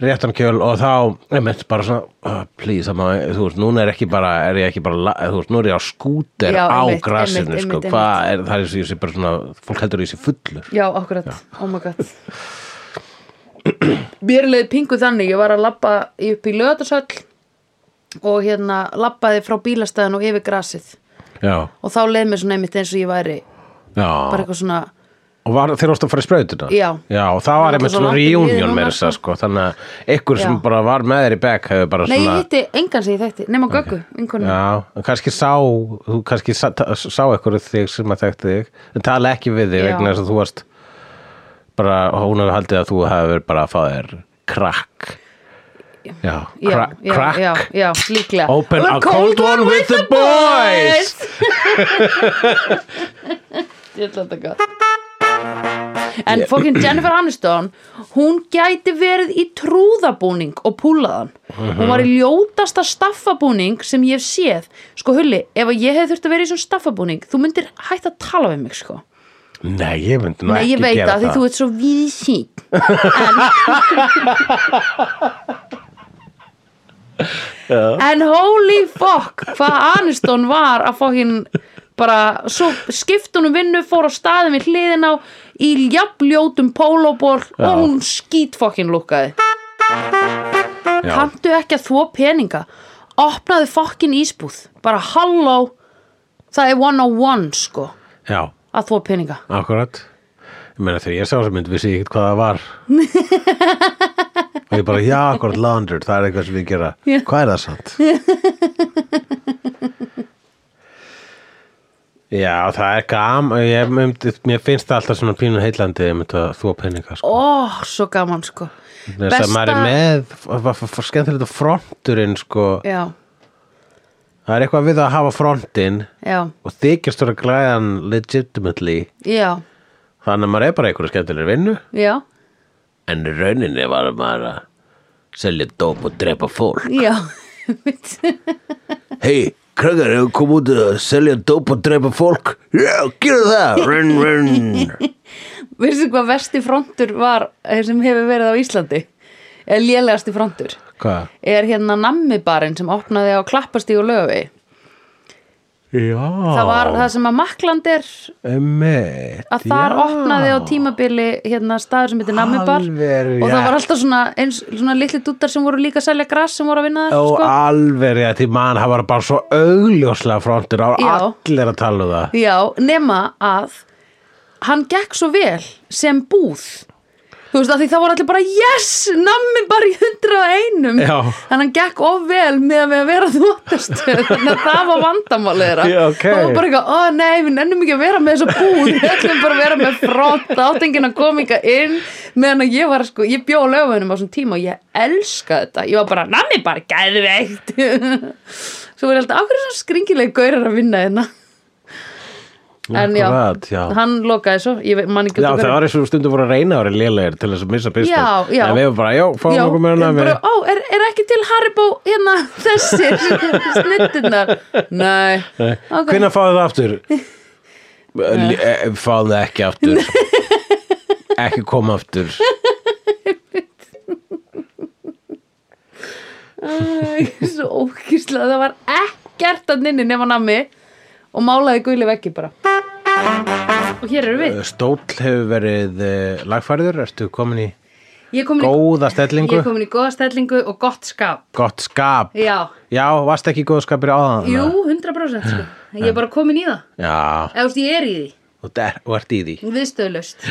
[SPEAKER 3] réttan kjöl og þá einmitt bara svona, uh, please amma, þú veist, núna er ekki bara, er ég ekki bara la- þú veist, nú er ég á skúter
[SPEAKER 2] Já,
[SPEAKER 3] á
[SPEAKER 2] einmitt,
[SPEAKER 3] grasinu,
[SPEAKER 2] einmitt,
[SPEAKER 3] sko,
[SPEAKER 2] einmitt,
[SPEAKER 3] hvað er það er eins og ég sé bara svona, fólk heldur ég sé fullur
[SPEAKER 2] Já, akkurat, oh my god Mér leiði pingu þannig, ég var að labba upp í lögatarsöll og hérna labbaði frá bílastæðan og yfir grasið
[SPEAKER 3] já,
[SPEAKER 2] og þá leiði mér svona einmitt eins og ég væri
[SPEAKER 3] já,
[SPEAKER 2] bara eitthvað svona
[SPEAKER 3] og var, þeir ástu að fara í sprautina
[SPEAKER 2] Já.
[SPEAKER 3] og það var
[SPEAKER 2] var
[SPEAKER 3] einmitt
[SPEAKER 2] svo
[SPEAKER 3] svona
[SPEAKER 2] langt í liðið
[SPEAKER 3] reunion
[SPEAKER 2] núna,
[SPEAKER 3] með þess að
[SPEAKER 2] sko.
[SPEAKER 3] sko, þannig að ykkur sem
[SPEAKER 2] Já.
[SPEAKER 3] bara var með þér í bekk hefur bara
[SPEAKER 2] Nei, ég
[SPEAKER 3] svona
[SPEAKER 2] hitti engan sem ég þekkti, nema Göggu, einhvern
[SPEAKER 3] Já, en kannski sá þú kannski sá, ta- sá ekkur þig sem að þekkti þig en tala ekki við þig
[SPEAKER 2] Já.
[SPEAKER 3] vegna þess að þú varst bara, hún hefur haldið að þú hefur verið bara að fá þér krakk Já,
[SPEAKER 2] já,
[SPEAKER 3] krakk,
[SPEAKER 2] já,
[SPEAKER 3] krakk.
[SPEAKER 2] já, já, líklega
[SPEAKER 3] Open a cold one with the boys.
[SPEAKER 2] Ég ætla þetta gott En fokkin Jennifer Aniston hún gæti verið í trúðabúning og púlaðan hún var
[SPEAKER 3] Mhm.
[SPEAKER 2] í ljótasta staffabúning sem ég hef séð sko Hulli, ef að ég hef þurft að vera í svona staffabúning þú myndir hægt að tala við mig sko
[SPEAKER 3] Nei, ég myndi nú
[SPEAKER 2] Nei,
[SPEAKER 3] ekki
[SPEAKER 2] ég veit
[SPEAKER 3] gera
[SPEAKER 2] að því
[SPEAKER 3] það
[SPEAKER 2] þú ert svo víðsýn en, en holy fuck hvað Aniston var að fókin bara, svo skipt hún um vinnu fór á staðum við hliðin á í jafnljótum pólóból og hún skýt fókin lúkaði
[SPEAKER 3] Já.
[SPEAKER 2] kanntu ekki að þvó peninga opnaði fókin ísbúð bara halló það er one on one sko
[SPEAKER 3] Já,
[SPEAKER 2] að þvó peninga
[SPEAKER 3] akkurat Ég meina þegar ég sá þess að myndi vissi ég ekkert hvað það var og ég bara, já, akkurat laundered það er eitthvað sem við gera, hvað er það samt? já, það er gam ég, myndi, mér finnst það alltaf svona pínu heillandi ég myndi að þú að peninga sko.
[SPEAKER 2] Ó, svo gaman sko
[SPEAKER 3] þess að maður er með, var, var, var skemmtilegt að fronturinn, sko,
[SPEAKER 2] Já,
[SPEAKER 3] það er eitthvað við að hafa frontinn
[SPEAKER 2] já,
[SPEAKER 3] og þykjast vera glæðan legitimately
[SPEAKER 2] já,
[SPEAKER 3] þannig að maður er bara í einhverju skemmtilegri vinnu
[SPEAKER 2] já,
[SPEAKER 3] en í rauninni var maður að selja dóp og drepa fólk
[SPEAKER 2] já
[SPEAKER 3] hei, krakkar, hefur kom út að selja dóp og drepa fólk já, gera það run, run.
[SPEAKER 2] Veistu hvað vesti frontur var eh, sem hefur verið á Íslandi eða lélegasti frontur
[SPEAKER 3] hvað?
[SPEAKER 2] er hérna nammibarinn sem opnaði á klappastíg og löfi
[SPEAKER 3] já,
[SPEAKER 2] Það var það sem að Makland er
[SPEAKER 3] emitt,
[SPEAKER 2] að þar opnaði á tímabili hérna staður sem heitir nammibar
[SPEAKER 3] Alveg
[SPEAKER 2] og það var
[SPEAKER 3] rétt.
[SPEAKER 2] alltaf svona, eins, svona litli dúttar sem voru líka að selja gras sem voru að vinna
[SPEAKER 3] og
[SPEAKER 2] þar sko.
[SPEAKER 3] alveg rétt í mann, það var bara svo augljóslega frontur, það
[SPEAKER 2] Já.
[SPEAKER 3] var allir að tala um það
[SPEAKER 2] Já, nema að hann gekk svo vel sem búð Þú veist, að því það voru allir bara yes, nammi bara í 101
[SPEAKER 3] Já.
[SPEAKER 2] Þannig að hann gekk of vel með að við að vera þvottastöð Þannig að það var vandamálið þeirra
[SPEAKER 3] Já, ok.
[SPEAKER 2] Það var bara eitthvað, ó nei, við nennum ekki að vera með þessa búð Við ætlum bara að vera með front Áttengina kominga inn Meðan að ég var, sko, ég bjó á lögvöðunum á svona tíma Og ég elska þetta Ég var bara, nammi bara, gæðveikt Svo var ég alltaf, af hverju er svona skringileg gaurar að vinna hérna En já,
[SPEAKER 3] Akkurat, já.
[SPEAKER 2] hann lokaði svo Ég veit- man ekki út
[SPEAKER 3] Já,
[SPEAKER 2] af
[SPEAKER 3] það
[SPEAKER 2] hverju.
[SPEAKER 3] var eins og stundum voru að reyna að vera lélegir til þess að missa pistol
[SPEAKER 2] Já, já.
[SPEAKER 3] En við varum bara, já, fáum
[SPEAKER 2] Já,
[SPEAKER 3] okkur með hana
[SPEAKER 2] en bara, ó, er, er ekki til Haribo hérna þessi snittinnar Nei,
[SPEAKER 3] Okay.
[SPEAKER 2] ok.
[SPEAKER 3] Hvenær fáðu það aftur? L- e- fáðu það ekki aftur Ekki koma aftur
[SPEAKER 2] Æ, Svo ókýrslega, það var ekkert að nynni nema nammi og málaði guli veggi bara Og hér eru við
[SPEAKER 3] Stóll hefur verið eh, lagfærður Ertu komin í
[SPEAKER 2] Ég er komin í,
[SPEAKER 3] góða
[SPEAKER 2] ég
[SPEAKER 3] stellingu?
[SPEAKER 2] er komin í góða stellingu og gott skap
[SPEAKER 3] Gott skap
[SPEAKER 2] Já,
[SPEAKER 3] Já, varst ekki í góða skapir áðan
[SPEAKER 2] jú, 100% sko. Ég er bara komin í það
[SPEAKER 3] Já,
[SPEAKER 2] Eða þú veist, ég er í því,
[SPEAKER 3] og, der, og ert í því
[SPEAKER 2] viðstöðlaust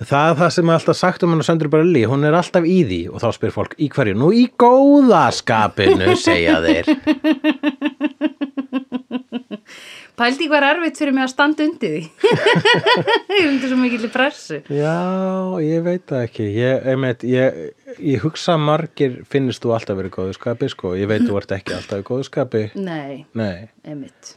[SPEAKER 3] Það er það sem er alltaf sagt um hann og Söndur Brölli Hún er alltaf í því og þá spyr fólk Í hverju? Nú í góða skapinu, segja þeir
[SPEAKER 2] Pældi hvað er erfitt fyrir mig að standa undir því Ég er undir svo mikil í pressu
[SPEAKER 3] Já, ég veit það ekki ég, einmitt, ég, ég hugsa að margir finnist þú alltaf verið í góðu skapi sko. ég veit þú ert ekki alltaf í góðu skapi
[SPEAKER 2] Nei,
[SPEAKER 3] Nei,
[SPEAKER 2] einmitt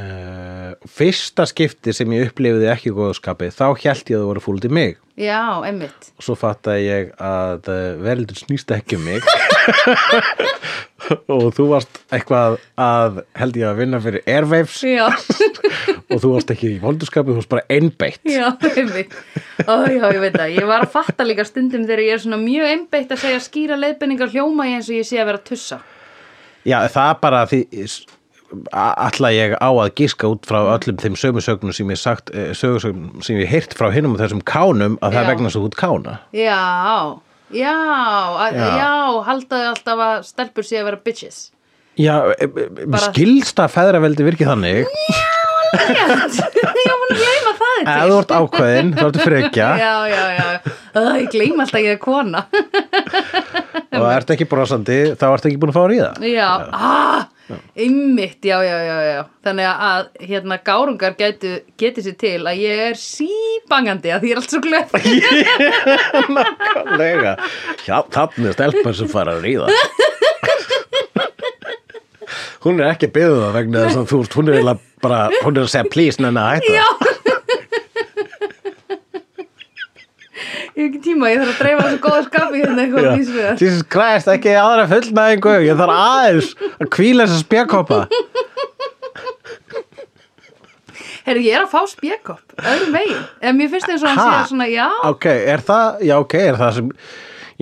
[SPEAKER 3] uh, fyrsta skipti sem ég upplifiði ekki góðskapi þá hélt ég að það voru fúldi mig
[SPEAKER 2] Já, einmitt.
[SPEAKER 3] og svo fattaði ég að verður snýst ekki um mig og þú varst eitthvað að held ég að vinna fyrir Airwaves
[SPEAKER 2] Já,
[SPEAKER 3] og þú varst ekki í voldurskapi, þú varst bara einbeitt
[SPEAKER 2] já, einmitt. Ó, já, ég veit það. Ég var að fatta líka stundum þegar ég er svona mjög einbeitt að segja skýra leiðbendingar hljóma ég eins og ég sé að vera að tussa.
[SPEAKER 3] Já, það bara því alla ég á að gíska út frá öllum þeim sögusögnum sem ég sagt eh, sögusögnum sem ég heyrt frá hinum og þessum kánum að það
[SPEAKER 2] Já.
[SPEAKER 3] vegna svo út kána
[SPEAKER 2] Já, já, að,
[SPEAKER 3] Já.
[SPEAKER 2] já. haldaði alltaf að stelpur sé að vera bitches.
[SPEAKER 3] Já, eh, eh, mér skilst að feðraveldi virki þannig
[SPEAKER 2] Rétt, ég var búin að gleyma það til.
[SPEAKER 3] eða þú ert ákveðin, þú ert frekja
[SPEAKER 2] Já, já, já. Æ, ég gleyma alltaf að ég er kona.
[SPEAKER 3] og ert ekki brosandi, þá ert ekki búin að fá að ríða
[SPEAKER 2] Já, ah, einmitt, já, já, já, já. Þannig að hérna gárungar gætu, geti sér til að ég er síbangandi að því ég er allt svo glöð.
[SPEAKER 3] Nákvæmlega Já, þannig er stelpan sem fara að ríða Hún er ekki að byggða það vegna þess að þú veist, hún er eiginlega bara, hún er að segja please, nenni að hætta
[SPEAKER 2] Ég hef ekki tíma, ég þarf að dreifa þessu góða skapi hérna eitthvað
[SPEAKER 3] Já.
[SPEAKER 2] að vísa við það.
[SPEAKER 3] Jesus Christ, ekki aðra fullnæðingu Ég þarf aðeins að kvíla þessa spjarkopa
[SPEAKER 2] Herru, ég er að fá spjekopp, öðrum veginn. En mér finnst eins og hann
[SPEAKER 3] Ha?
[SPEAKER 2] sé svona, já,
[SPEAKER 3] Ok, er það, já ok, er það sem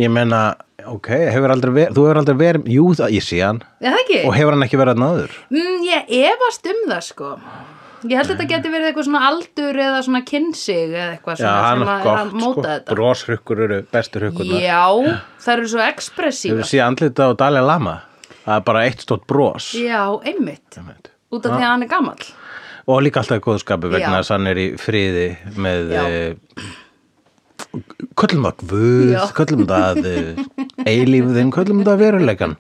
[SPEAKER 3] Ég meina, ok, hefur aldrei verið Þú hefur aldrei verið, jú það, ég sé hann
[SPEAKER 2] er það ekki?
[SPEAKER 3] Og hefur hann ekki verið að náður
[SPEAKER 2] Mm, ég efast um það sko Ég held að þetta geti verið eitthvað svona aldur eða svona kynnsig eða eitthvað
[SPEAKER 3] Já,
[SPEAKER 2] svona
[SPEAKER 3] hann
[SPEAKER 2] sem
[SPEAKER 3] er
[SPEAKER 2] að, er að
[SPEAKER 3] gott,
[SPEAKER 2] móta
[SPEAKER 3] sko,
[SPEAKER 2] þetta
[SPEAKER 3] broshrukkur eru bestu hrukkurnar
[SPEAKER 2] Já, það eru svo
[SPEAKER 3] Þú
[SPEAKER 2] ekspressívar
[SPEAKER 3] hefur séð andlita á Dalai Lama Það er bara eitt stórt bros
[SPEAKER 2] Já, einmitt
[SPEAKER 3] Einmitt.
[SPEAKER 2] Út af því að hann er gamall
[SPEAKER 3] Og líka alltaf í góðskapi
[SPEAKER 2] Já.
[SPEAKER 3] vegna þess að hann er í friði með
[SPEAKER 2] Já.
[SPEAKER 3] eh, Köllum það guð,
[SPEAKER 2] Já.
[SPEAKER 3] köllum það eh, eilífðin, köllum það veruleikan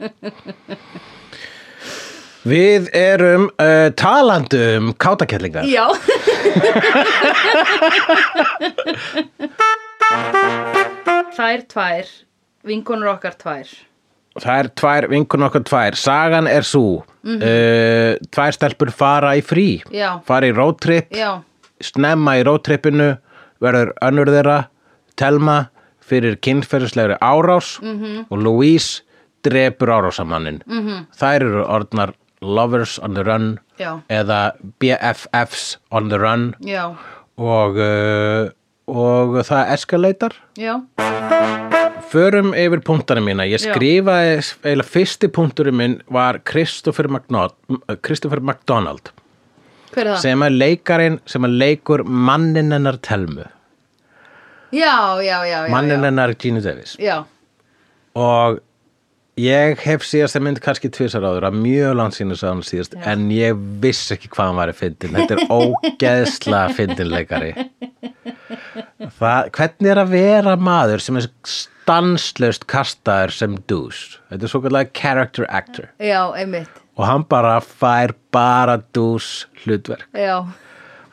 [SPEAKER 3] Við erum uh, talandum kátakellingar
[SPEAKER 2] Já, Þær tvær Vinkonur okkar tvær
[SPEAKER 3] Það er tvær, vinkun okkar tvær Sagan er svo mm Tvær stelpur fara í frí
[SPEAKER 2] Mhm. Já.
[SPEAKER 3] Fara í roadtrip
[SPEAKER 2] Já,
[SPEAKER 3] Snemma í roadtripinu Verður önnur þeirra Telma fyrir kynferðislegri árás
[SPEAKER 2] Mhm.
[SPEAKER 3] -hmm. Og Louise drepur árásamannin -hmm. Þær eru orðnar Lovers on the Run
[SPEAKER 2] Já.
[SPEAKER 3] Eða BFFs on the Run
[SPEAKER 2] já,
[SPEAKER 3] Og, uh, og það eskaletar
[SPEAKER 2] já
[SPEAKER 3] Förum yfir punktana mína. Ég
[SPEAKER 2] Já.
[SPEAKER 3] skrifaði, eiginlega fyrsti punkturinn minn var Christopher, McNaud, Christopher McDonald
[SPEAKER 2] Hver er það?
[SPEAKER 3] sem er leikarinn sem er leikur mannin hennar Telmu,
[SPEAKER 2] Já, já, já, já
[SPEAKER 3] mannin
[SPEAKER 2] já.
[SPEAKER 3] hennar Gina Davis
[SPEAKER 2] já,
[SPEAKER 3] og ég hef síðast að mynd kannski tvisar áður að mjög langt sínu sá hann síðast en ég vissi ekki hvað hann var að fyndin þetta er ógeðsla fyndinleikari Það, hvernig er að vera maður sem er stanslaust kastaður sem dús þetta er svo kallega character actor
[SPEAKER 2] já, einmitt
[SPEAKER 3] og hann bara fær bara dús hlutverk
[SPEAKER 2] Já,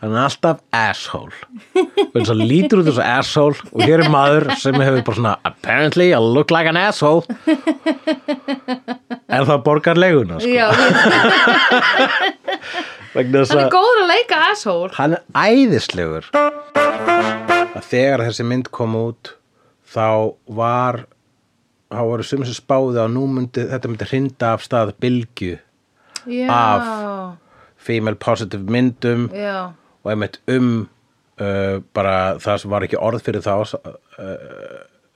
[SPEAKER 3] hann er alltaf asshole og eins og lítur út þessu asshole og hér er maður sem hefur bara svona apparently I look like an asshole en það borgar leguna sko.
[SPEAKER 2] já Hann
[SPEAKER 3] vegna þess
[SPEAKER 2] er
[SPEAKER 3] að
[SPEAKER 2] góður að leika asshole
[SPEAKER 3] hann er æðislegur að þegar þessi mynd kom út þá var þá voru sumir sem spáði að nú myndi þetta myndi hrinda af stað bylgju
[SPEAKER 2] Já,
[SPEAKER 3] Af. female positive myndum
[SPEAKER 2] já,
[SPEAKER 3] og einmitt um uh, bara það sem var ekki orð fyrir þá uh,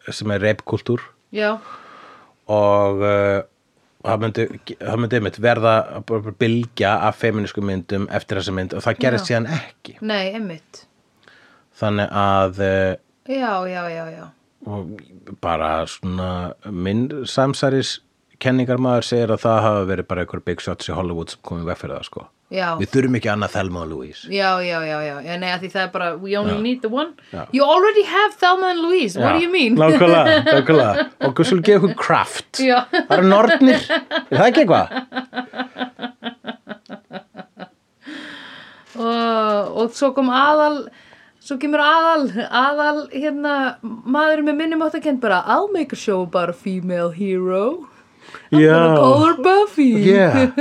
[SPEAKER 3] sem er reipkultúr
[SPEAKER 2] já,
[SPEAKER 3] og uh, það myndi, það myndi einmitt verða bara- bara bylgja af feminísku myndum eftir þessa mynd og það gerist síðan ekki
[SPEAKER 2] nei, einmitt
[SPEAKER 3] þannig að uh,
[SPEAKER 2] Já, já, já, já
[SPEAKER 3] og bara svona minn samsæris kenningarmaður segir að það hafa verið bara einhver big shots í Hollywood sem komið veg fyrir það sko
[SPEAKER 2] Já,
[SPEAKER 3] við þurfum ekki annað Thelma og Louise
[SPEAKER 2] já, já, já, já, já, nei, að því það er bara We only
[SPEAKER 3] Já.
[SPEAKER 2] need the one
[SPEAKER 3] Já.
[SPEAKER 2] You already have Thelma and Louise, what do you mean?
[SPEAKER 3] Nákvæmlega, nákvæmlega Og hvað svolítið gefa ykkur kraft
[SPEAKER 2] Já.
[SPEAKER 3] Það eru nornir, er það ekki eitthvað?
[SPEAKER 2] og, og svo kom aðal Svo kemur aðal, aðal, hérna, maður með minnum átt að kenn bara I'll make a show about a female hero I'm gonna call her Buffy
[SPEAKER 3] yeah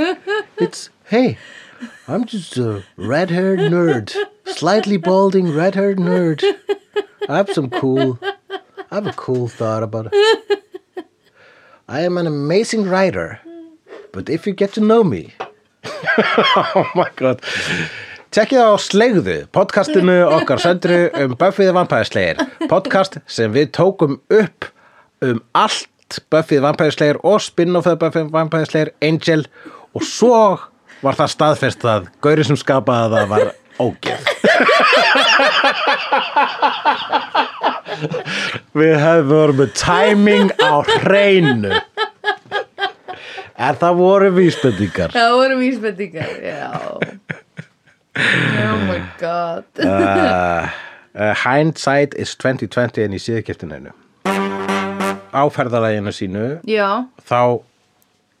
[SPEAKER 3] It's, hey I'm just a red-haired nerd, slightly balding red-haired nerd. I have some cool, I have a cool thought about it. I am an amazing writer, but if you get to know me... oh my god. Tekkið á Slegðu, podcastinu okkar söndru um Buffy the Vampire Slayer. Podcast sem við tókum upp um allt Buffy the Vampire Slayer og spin-off of Buffy the Vampire Slayer, Angel og svo var það staðfest að gaurið sem skapaði það var ógeð. við hefum voru með timing á hreinu. En það voru vísbendingar.
[SPEAKER 2] Það voru vísbendingar, já Oh my god
[SPEAKER 3] uh, uh, Hindsight is 2020 en í síðakiptinu á ferðalæginu sínu
[SPEAKER 2] Já,
[SPEAKER 3] þá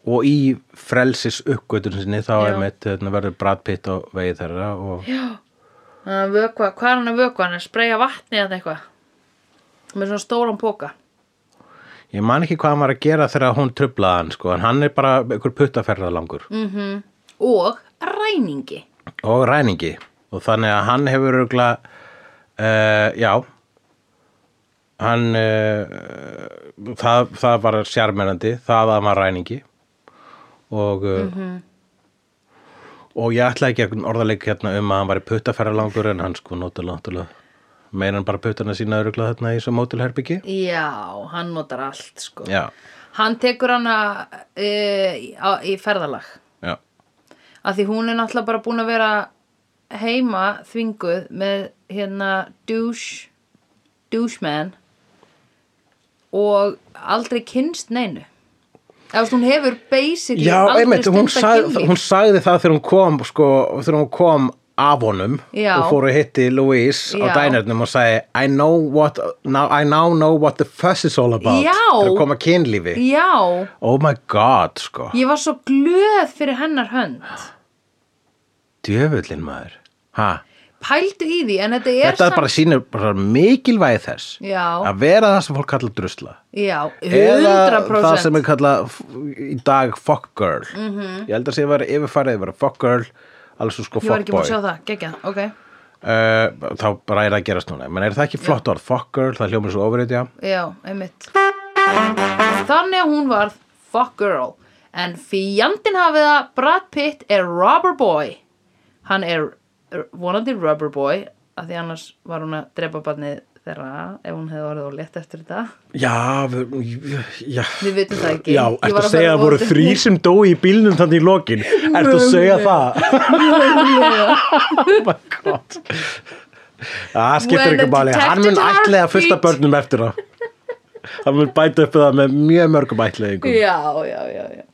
[SPEAKER 3] og í frelsis uppgötun sinni þá
[SPEAKER 2] Já.
[SPEAKER 3] er mitt verður Brad Pitt og vegið þeirra og
[SPEAKER 2] hann að vökva, hvað er hann að vökva? Hann er að spreja vatni eða eitthvað Með svona stóran póka
[SPEAKER 3] ég man ekki hvað hann var að gera þegar hún trublaði hann sko, en hann er bara ykkur puttaferðalangur
[SPEAKER 2] Og ræningi
[SPEAKER 3] og ræningi og þannig að hann hefur örgla uh, já hann uh, það, það var sjarmerandi það að hann var ræningi og uh, og ég ætlaði ekki að orðaleik hérna um að hann var í puttaferralangur en hann sko náttúrulega meina hann bara puttana sína örgla þarna í þessu mótilherbyggi
[SPEAKER 2] Já, hann notar allt sko
[SPEAKER 3] já,
[SPEAKER 2] Hann tekur hana e, á, í ferðalag
[SPEAKER 3] já,
[SPEAKER 2] Af því hún er náttúrulega bara búin að vera heima þvinguð með hérna douche doucheman og aldrei kynst neinu eða þú veist, hún hefur basically
[SPEAKER 3] já
[SPEAKER 2] aldrei
[SPEAKER 3] einmitt, hún,
[SPEAKER 2] stundað
[SPEAKER 3] sag,
[SPEAKER 2] kynlíf.
[SPEAKER 3] hún sagði það þegar hún kom sko, þegar hún kom af honum
[SPEAKER 2] Já.
[SPEAKER 3] og fór að hitti Louise á
[SPEAKER 2] Já.
[SPEAKER 3] dænernum og sagði I know what, now, I now know what the fuss is all about
[SPEAKER 2] Já.
[SPEAKER 3] þegar kom að kynlífi
[SPEAKER 2] Já,
[SPEAKER 3] oh my god sko,
[SPEAKER 2] ég var svo glöð fyrir hennar hönd
[SPEAKER 3] djöfullin maður ha
[SPEAKER 2] Pældu í því, en þetta er
[SPEAKER 3] Þetta er bara sýnir bara mikilvægi þess
[SPEAKER 2] Já.
[SPEAKER 3] að vera það sem fólk kallar drusla
[SPEAKER 2] Já,
[SPEAKER 3] eða
[SPEAKER 2] 100%
[SPEAKER 3] það sem er kallað f- í dag fuck girl -hmm. ég held að sé að vera yfirfærið að vera fuck girl alveg svo sko
[SPEAKER 2] Mhm. Ég var
[SPEAKER 3] fuck
[SPEAKER 2] ekki búin að
[SPEAKER 3] boy
[SPEAKER 2] sjá það, geggja, ok
[SPEAKER 3] Uh, þá bara er það að gerast núna menn er það ekki flott orð, fuck girl, það hljómar svo ofrið já,
[SPEAKER 2] Já, einmitt Þannig að hún varð fuck girl En fjandinn hafið að Brad Pitt er rubber boy Hann er er vonandi rubber boy af því annars var hún að drepa barnið þeirra ef hún hefði orðið og létt eftir þetta
[SPEAKER 3] já, við- já
[SPEAKER 2] Við vitum það ekki
[SPEAKER 3] já,
[SPEAKER 2] Ég
[SPEAKER 3] ertu
[SPEAKER 2] var
[SPEAKER 3] að segja að það voru
[SPEAKER 2] fara-
[SPEAKER 3] þrý sem dói í bílnum þannig í lokin, ertu að segja það oh my god það Ah, skiptir
[SPEAKER 2] When
[SPEAKER 3] ekki
[SPEAKER 2] a
[SPEAKER 3] máli hann mun
[SPEAKER 2] detective
[SPEAKER 3] ætlaði að fullta
[SPEAKER 2] heartbeat.
[SPEAKER 3] börnum eftir það hann mun bæta upp það með mjög mörgum ætlaðingum
[SPEAKER 2] Já, já, já, já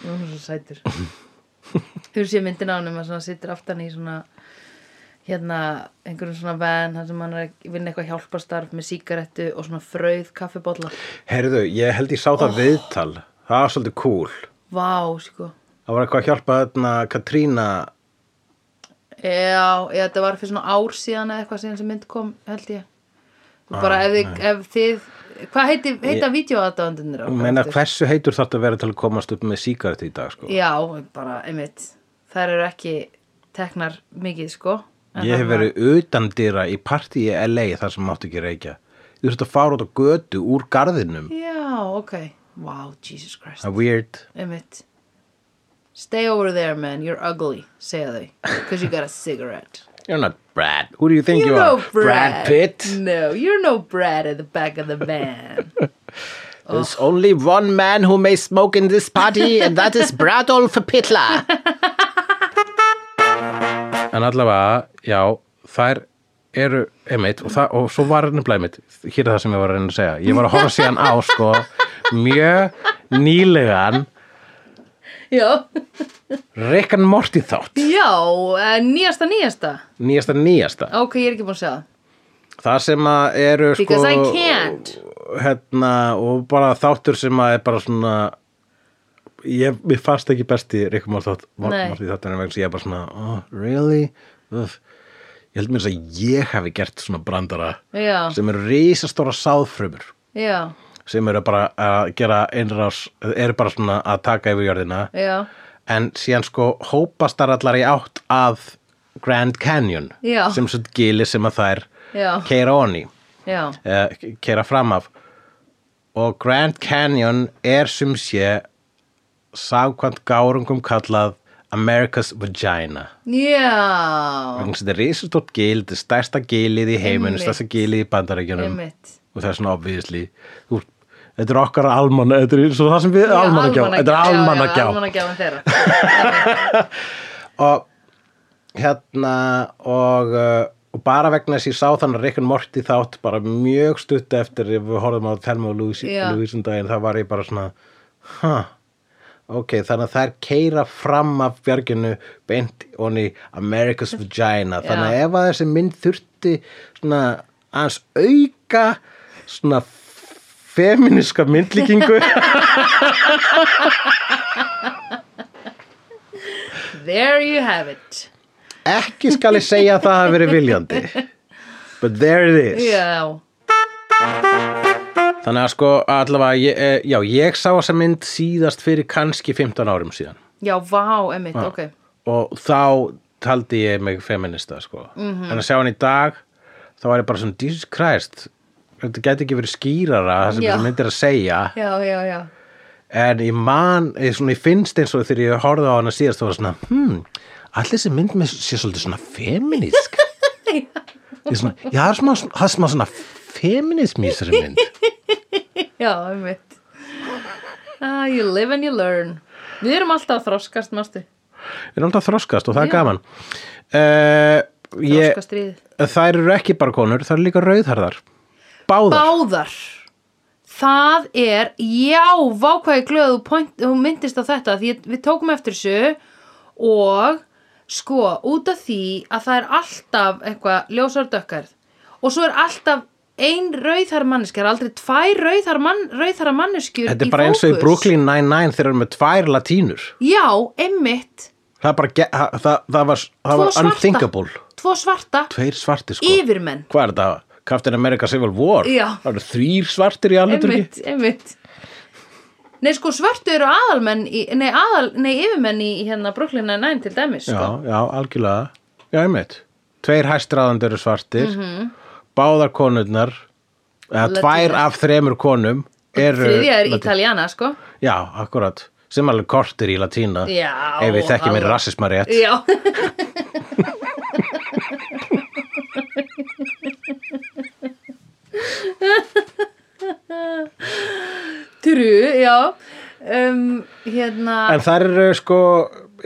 [SPEAKER 2] Nú er hún svo sætur Þú sé myndin á hann um að svona sittur aftan í svona hérna einhverjum svona venn þar sem hann er að vinna eitthvað hjálparstarf með sígarettu og svona frauð kaffibólla
[SPEAKER 3] heyrðu, ég held ég sá
[SPEAKER 2] Oh.
[SPEAKER 3] það viðtal það var svolítið cool
[SPEAKER 2] Vá, sko
[SPEAKER 3] það var eitthvað að hjálpa þarna Katrína
[SPEAKER 2] Já, já, þetta var fyrir svona ár síðan eða eitthvað síðan sem mynd kom, held ég Og
[SPEAKER 3] Ah,
[SPEAKER 2] bara ef, þið, ef þið hvað heiti, heita vídeoaðdáðundunir
[SPEAKER 3] Ég meina hversu heitur þarf þetta að vera til að komast upp með sígarettu í dag sko?
[SPEAKER 2] Já, bara, einmitt þær eru ekki teknar mikið, sko En
[SPEAKER 3] Ég hef
[SPEAKER 2] þarna-
[SPEAKER 3] verið utan dýra í partí í LA þar sem mátti ekki reykja. Þú þurft að fara út á götu úr garðinum.
[SPEAKER 2] Já, ok. Wow, Jesus Christ.
[SPEAKER 3] Það er weird.
[SPEAKER 2] Einmitt. Stay over there, man. You're ugly, segja þau. Because you got a cigarette.
[SPEAKER 3] You're not Brad. Who do you think you,
[SPEAKER 2] You're
[SPEAKER 3] are?
[SPEAKER 2] no Brad.
[SPEAKER 3] Pitt.
[SPEAKER 2] No, you're no Brad at the back of the van.
[SPEAKER 3] There's only one man who may smoke in this party and that is Bradolf Pittla. en allavega, já, þær eru einmitt og, það, og svo var nefnilega einmitt hér er það sem ég var að reyna að segja ég var að horfa síðan á sko mjög nýlegan
[SPEAKER 2] Já,
[SPEAKER 3] Rick and Morty þátt
[SPEAKER 2] já, eh, nýjasta, nýjasta.
[SPEAKER 3] nýjasta nýjasta
[SPEAKER 2] Ok, ég er ekki búin að segja það.
[SPEAKER 3] það sem að eru sko
[SPEAKER 2] Because I can't.
[SPEAKER 3] hérna og bara þáttur sem að er bara svona ég, mér fannst ekki besti Rick and Morty þátt
[SPEAKER 2] Nei.
[SPEAKER 3] Morty þáttunum vegna sem ég er bara svona oh, really? Uff. ég held mér þess að ég hafi gert svona brandara
[SPEAKER 2] Já.
[SPEAKER 3] sem eru risastóra sáðfrumur
[SPEAKER 2] Já,
[SPEAKER 3] sem eru bara að gera einrás eru bara svona að taka yfir jörðina
[SPEAKER 2] já,
[SPEAKER 3] en síðan sko hópast þar allar í átt að Grand Canyon
[SPEAKER 2] Já.
[SPEAKER 3] sem svo gili sem að þær
[SPEAKER 2] Já.
[SPEAKER 3] keira onni
[SPEAKER 2] já,
[SPEAKER 3] uh, keira fram af og Grand Canyon er sem sé sagkvæmt gárungum kallað America's Vagina
[SPEAKER 2] já,
[SPEAKER 3] vegna þess að þetta er risastórt gil, þetta er stærsta gilið í heiminu,
[SPEAKER 2] Einmitt.
[SPEAKER 3] stærsta gilið í bandarækjunum
[SPEAKER 2] einmitt.
[SPEAKER 3] og það er svona obvíðisli þetta er okkar almanna þetta er svo það sem við
[SPEAKER 2] Já,
[SPEAKER 3] almannagjá þetta er
[SPEAKER 2] já, já,
[SPEAKER 3] almannagjá
[SPEAKER 2] almannagjá þeirra.
[SPEAKER 3] og hérna og, uh, og bara vegna þess að ég sá þannig að Rickon Morty þátt bara mjög stutt eftir ef við horfðum á Thelma og Louise
[SPEAKER 2] Já.
[SPEAKER 3] Louise um daginn þá var ég bara svona ha Ok, þannig að þær keira fram af bjarginu beint onni America's Vagina. Þannig að
[SPEAKER 2] Já.
[SPEAKER 3] ef að þessi mynd þurfti svona aðeins auka svona feminiska myndlíkingu
[SPEAKER 2] There you have it
[SPEAKER 3] ekki skal ég segja að það hafi verið viljandi but there it is
[SPEAKER 2] Já,
[SPEAKER 3] þannig að sko allavega ég, eh, já, ég sá þessa mynd síðast fyrir kannski 15 árum síðan
[SPEAKER 2] já, vá, einmitt,
[SPEAKER 3] Ah.
[SPEAKER 2] ok
[SPEAKER 3] og þá taldi ég mig feminista sko. en að sjá hann í dag þá var ég bara svona Jesus Christ þetta gæti ekki verið skýrara það sem
[SPEAKER 2] Já.
[SPEAKER 3] þessi mynd er að segja
[SPEAKER 2] Já, já, já
[SPEAKER 3] en ég man, ég, svona, ég finnst eins og þegar ég horfði á hana síðast þá var svona hmm, allir þessi mynd með sé svolítið svona feminísk ég er svona, já, það er smá, það er smá svona feminismi í þessari mynd
[SPEAKER 2] Já, einmitt ah, You live and you learn Við erum alltaf að þroskast, mástu
[SPEAKER 3] við erum alltaf að þroskast og það er gaman uh, ég,
[SPEAKER 2] Þroskast ríð
[SPEAKER 3] þær eru ekki bara konur þær eru líka rauðharðar báðar,
[SPEAKER 2] Báðar Það er, já, vákvæði glöð þú, point, þú myndist á þetta því ég- við tókum eftir þessu og sko, út af því að það er alltaf eitthvað ljósar dökkar og svo er alltaf ein rauðar manneskjar, aldrei tvær rauðar, mann, rauðar manneskjur
[SPEAKER 3] þetta er bara eins og í
[SPEAKER 2] fókus.
[SPEAKER 3] Brooklyn Nine-Nine þeir eru með tvær latínur
[SPEAKER 2] Já, einmitt
[SPEAKER 3] það, er bara, ge- það, það, það var, það
[SPEAKER 2] Tvo
[SPEAKER 3] var
[SPEAKER 2] svarta.
[SPEAKER 3] unthinkable
[SPEAKER 2] Tvo svarta,
[SPEAKER 3] tveir svartir sko
[SPEAKER 2] yfirmenn
[SPEAKER 3] hvað er þetta? Captain America Civil War?
[SPEAKER 2] Já.
[SPEAKER 3] Það eru þrýr svartir í alveg
[SPEAKER 2] einmitt, einmitt Nei, sko, svörtu eru aðalmenn í, nei, aðal, nei, yfirmenn í í hérna Brooklyn Nine-Nine til dæmis,
[SPEAKER 3] Já,
[SPEAKER 2] sko
[SPEAKER 3] já, algjörlega. Já, einmitt. Tveir hæstræðandi eru svartir,
[SPEAKER 2] Mhm.
[SPEAKER 3] báðar konurnar, eða
[SPEAKER 2] Latínas.
[SPEAKER 3] tvær af þremur konum eru...
[SPEAKER 2] Þriðja er
[SPEAKER 3] latín-
[SPEAKER 2] italiana, sko
[SPEAKER 3] Já, akkurat. Sem alveg kortir í latína.
[SPEAKER 2] Já,
[SPEAKER 3] Ef við þekkjum minn
[SPEAKER 2] alveg.
[SPEAKER 3] rasisma rétt.
[SPEAKER 2] Já Trú, já um, Hérna
[SPEAKER 3] En þær eru sko,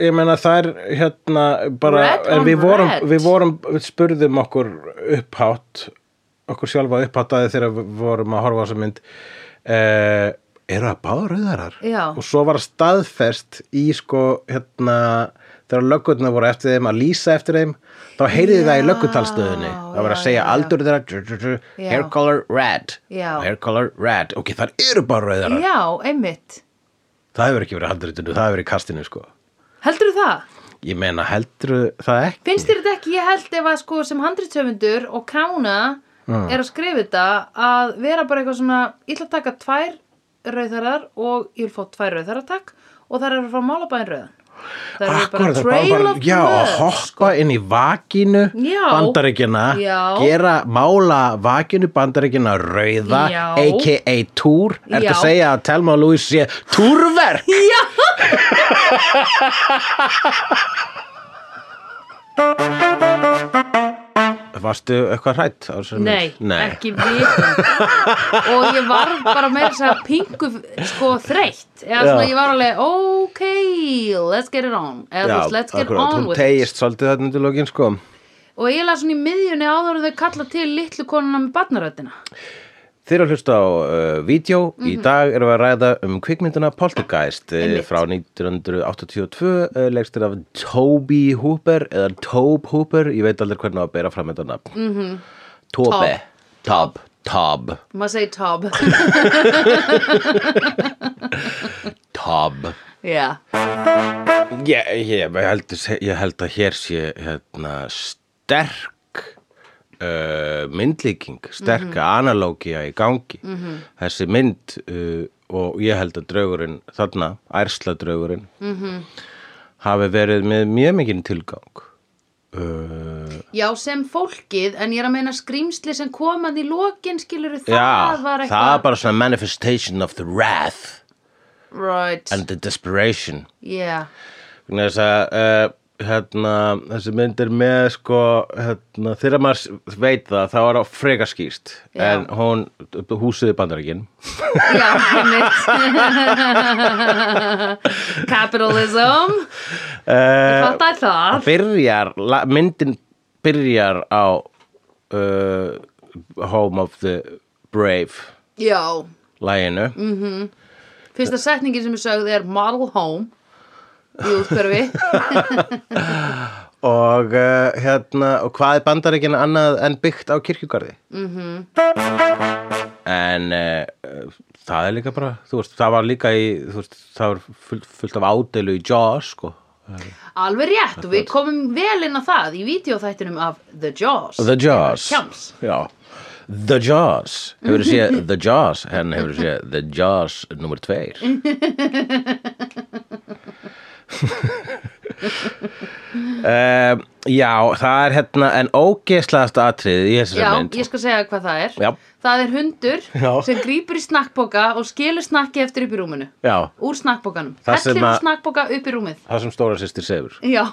[SPEAKER 3] ég meina þær hérna bara,
[SPEAKER 2] Red
[SPEAKER 3] en
[SPEAKER 2] on
[SPEAKER 3] við vorum,
[SPEAKER 2] red.
[SPEAKER 3] við vorum, við spurðum okkur upphátt, okkur sjálfa uppháttaði þegar við vorum að horfa á þessa mynd, eh, eru það báður auðarar?
[SPEAKER 2] Já.
[SPEAKER 3] Og svo var staðfest í sko, hérna, þegar löggutna voru eftir þeim að lýsa eftir þeim, þá heyrði það í
[SPEAKER 2] Já,
[SPEAKER 3] löggutalstöðinni, það var að
[SPEAKER 2] já,
[SPEAKER 3] segja
[SPEAKER 2] já, já.
[SPEAKER 3] aldur þeirra, dr- dr- dr-
[SPEAKER 2] Já.
[SPEAKER 3] hair color red,
[SPEAKER 2] Já.
[SPEAKER 3] hair color red, ok, þar eru báður auðarar,
[SPEAKER 2] Já, einmitt
[SPEAKER 3] það hefur ekki verið handritinu, það hefur verið í kastinu sko.
[SPEAKER 2] Heldurðu það?
[SPEAKER 3] Ég meina, heldur það ekki?
[SPEAKER 2] Finnst þér þetta ekki, ég held ef að sko sem handritsöfundur og kána er að skrifa þetta að vera bara eitthvað svona, ég ætla að taka tvær rauðarar og ég vil fá tvær rauðarar takk og þar er að fá málabæðin rauðan. Það er bara
[SPEAKER 3] Akkurat, það
[SPEAKER 2] trail
[SPEAKER 3] bara-
[SPEAKER 2] of
[SPEAKER 3] já, að
[SPEAKER 2] blood,
[SPEAKER 3] hoppa
[SPEAKER 2] sko.
[SPEAKER 3] inn í vakinu
[SPEAKER 2] Já.
[SPEAKER 3] bandaríkjana,
[SPEAKER 2] Já.
[SPEAKER 3] gera mála vakinu bandaríkjana rauða,
[SPEAKER 2] Já.
[SPEAKER 3] a.k.a. túr, ertu
[SPEAKER 2] Já.
[SPEAKER 3] að segja að Telma og Lúís sé túrverk?
[SPEAKER 2] Já,
[SPEAKER 3] Varstu eitthvað hrætt? á þessari
[SPEAKER 2] nei,
[SPEAKER 3] mynd? Nei.
[SPEAKER 2] ekki vikund og ég var bara meira þess að pingu sko þreytt eða svona
[SPEAKER 3] Já.
[SPEAKER 2] ég var alveg, ok let's get it on, eða þú
[SPEAKER 3] Já,
[SPEAKER 2] veist, let's get
[SPEAKER 3] akkurat,
[SPEAKER 2] on
[SPEAKER 3] hún
[SPEAKER 2] with it
[SPEAKER 3] tegist svolítið þarna undir lokin sko.
[SPEAKER 2] og eiginlega svona í miðjunni áður en þau kalla til litlu konuna með barnaröddina
[SPEAKER 3] Þeir eru að hlusta á uh, vídeo, í dag erum við að ræða um kvikmyndina Poltergeist
[SPEAKER 2] Einmitt.
[SPEAKER 3] Einmitt. frá 1982, uh, leikstir af Toby Hooper eða Tobe Hooper, ég veit aldrei hvernig á að bera fram þetta nafn. Mm -hmm. Tobe, Tob, Tob,
[SPEAKER 2] maður segi Tob
[SPEAKER 3] Tob.
[SPEAKER 2] já,
[SPEAKER 3] Ég, ég, ég, held, ég held að hér sé hérna, sterk uh, myndlíking, sterka
[SPEAKER 2] Mhm.
[SPEAKER 3] mm analógia í gangi. Þessi
[SPEAKER 2] Mhm.
[SPEAKER 3] mynd uh, og ég held að draugurinn þarna, ærsla draugurinn, hafi verið með mjög mikinn tilgang uh,
[SPEAKER 2] Já, sem fólkið, en ég er að meina skrýmsli sem komað í lokin, skilur það
[SPEAKER 3] Já,
[SPEAKER 2] var eitthvað
[SPEAKER 3] það er bara svona manifestation of the wrath
[SPEAKER 2] Right,
[SPEAKER 3] and the desperation
[SPEAKER 2] yeah
[SPEAKER 3] Vegna þess að uh, hérna, þessi mynd er með sko, hérna, þegar maður s- veit það þá er það freka skýrst
[SPEAKER 2] Já.
[SPEAKER 3] en hún, húsið í bandaríkin
[SPEAKER 2] Já, einmitt Capitalism
[SPEAKER 3] uh,
[SPEAKER 2] Þetta er það
[SPEAKER 3] byrjar, la, myndin byrjar á uh, Home of the Brave
[SPEAKER 2] Já,
[SPEAKER 3] læginu
[SPEAKER 2] fyrsta setningin sem ég sögði er Model Home Í útkverfi
[SPEAKER 3] og uh, hérna og hvað er bandaríkina annað en byggt á kirkjugarði mm -hmm. en uh, það er líka bara þú veist, það var líka í þú veist, það var fullt, fullt af ádeilu í Jaws sko.
[SPEAKER 2] Alveg rétt, og við komum vel inn á það í vídeoþættinum af The Jaws Mhm.
[SPEAKER 3] The Jaws
[SPEAKER 2] Kjáms.
[SPEAKER 3] Já. The Jaws, hefur þú séð The Jaws, henn hefur þú séð The Jaws nummer tveir um, Já, það er hérna en ógeslaðast atriðið í þessari
[SPEAKER 2] Já,
[SPEAKER 3] mynd
[SPEAKER 2] ég skal segja hvað það er
[SPEAKER 3] Já.
[SPEAKER 2] Það er hundur
[SPEAKER 3] Já.
[SPEAKER 2] sem grýpur í snakkboka og skilur snakki eftir upp í rúminu
[SPEAKER 3] Já,
[SPEAKER 2] Úr snakkbokanum
[SPEAKER 3] Það
[SPEAKER 2] Hellir
[SPEAKER 3] sem
[SPEAKER 2] úr
[SPEAKER 3] að-
[SPEAKER 2] snakkboka upp í rúmið
[SPEAKER 3] það sem stóra sýstir sefur
[SPEAKER 2] Já,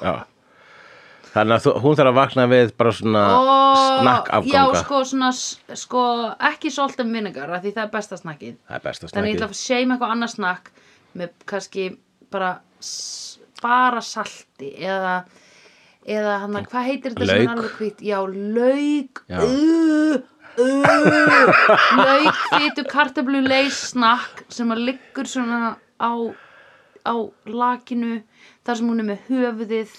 [SPEAKER 3] Þannig að þú, hún þarf að vakna við bara svona
[SPEAKER 2] Og-
[SPEAKER 3] snakkafganga
[SPEAKER 2] Já, sko, svona, s- sko, ekki salt and vinegar af því það er besta snakkið
[SPEAKER 3] Það er besta
[SPEAKER 2] Þannig ég
[SPEAKER 3] snakkið
[SPEAKER 2] ætla að seima eitthvað annað snakk með kannski bara s- bara salti eða eða hann hvað heitir þetta sem er
[SPEAKER 3] Lauk.
[SPEAKER 2] alveg hvít já, lauk
[SPEAKER 3] Já.
[SPEAKER 2] Uh, uh, lauk, fytu, kartablu, leis snakk sem að liggur svona á, á lakinu þar sem hún er með höfuðið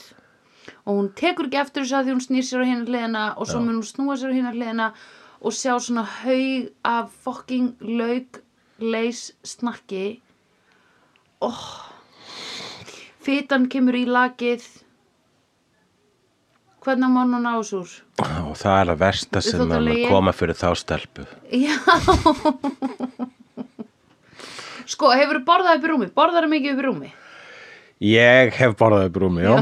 [SPEAKER 2] og hún tekur ekki eftir þessu að því hún snýr sér á hérna hliðina og svo mun hún snúa sér á hérna hliðina og sjá svona haug af fucking lauk leis snakki oh. fitan kemur í lakið hvernig má hún ná þessu úr?
[SPEAKER 3] Og það er að versta sem
[SPEAKER 2] þótt
[SPEAKER 3] er að
[SPEAKER 2] alveg ég-
[SPEAKER 3] koma fyrir þá stelpu
[SPEAKER 2] já sko, hefur þú borðað upp í rúmi? borðar mikið upp í rúmi?
[SPEAKER 3] Ég hef borðað upp rúmi, já,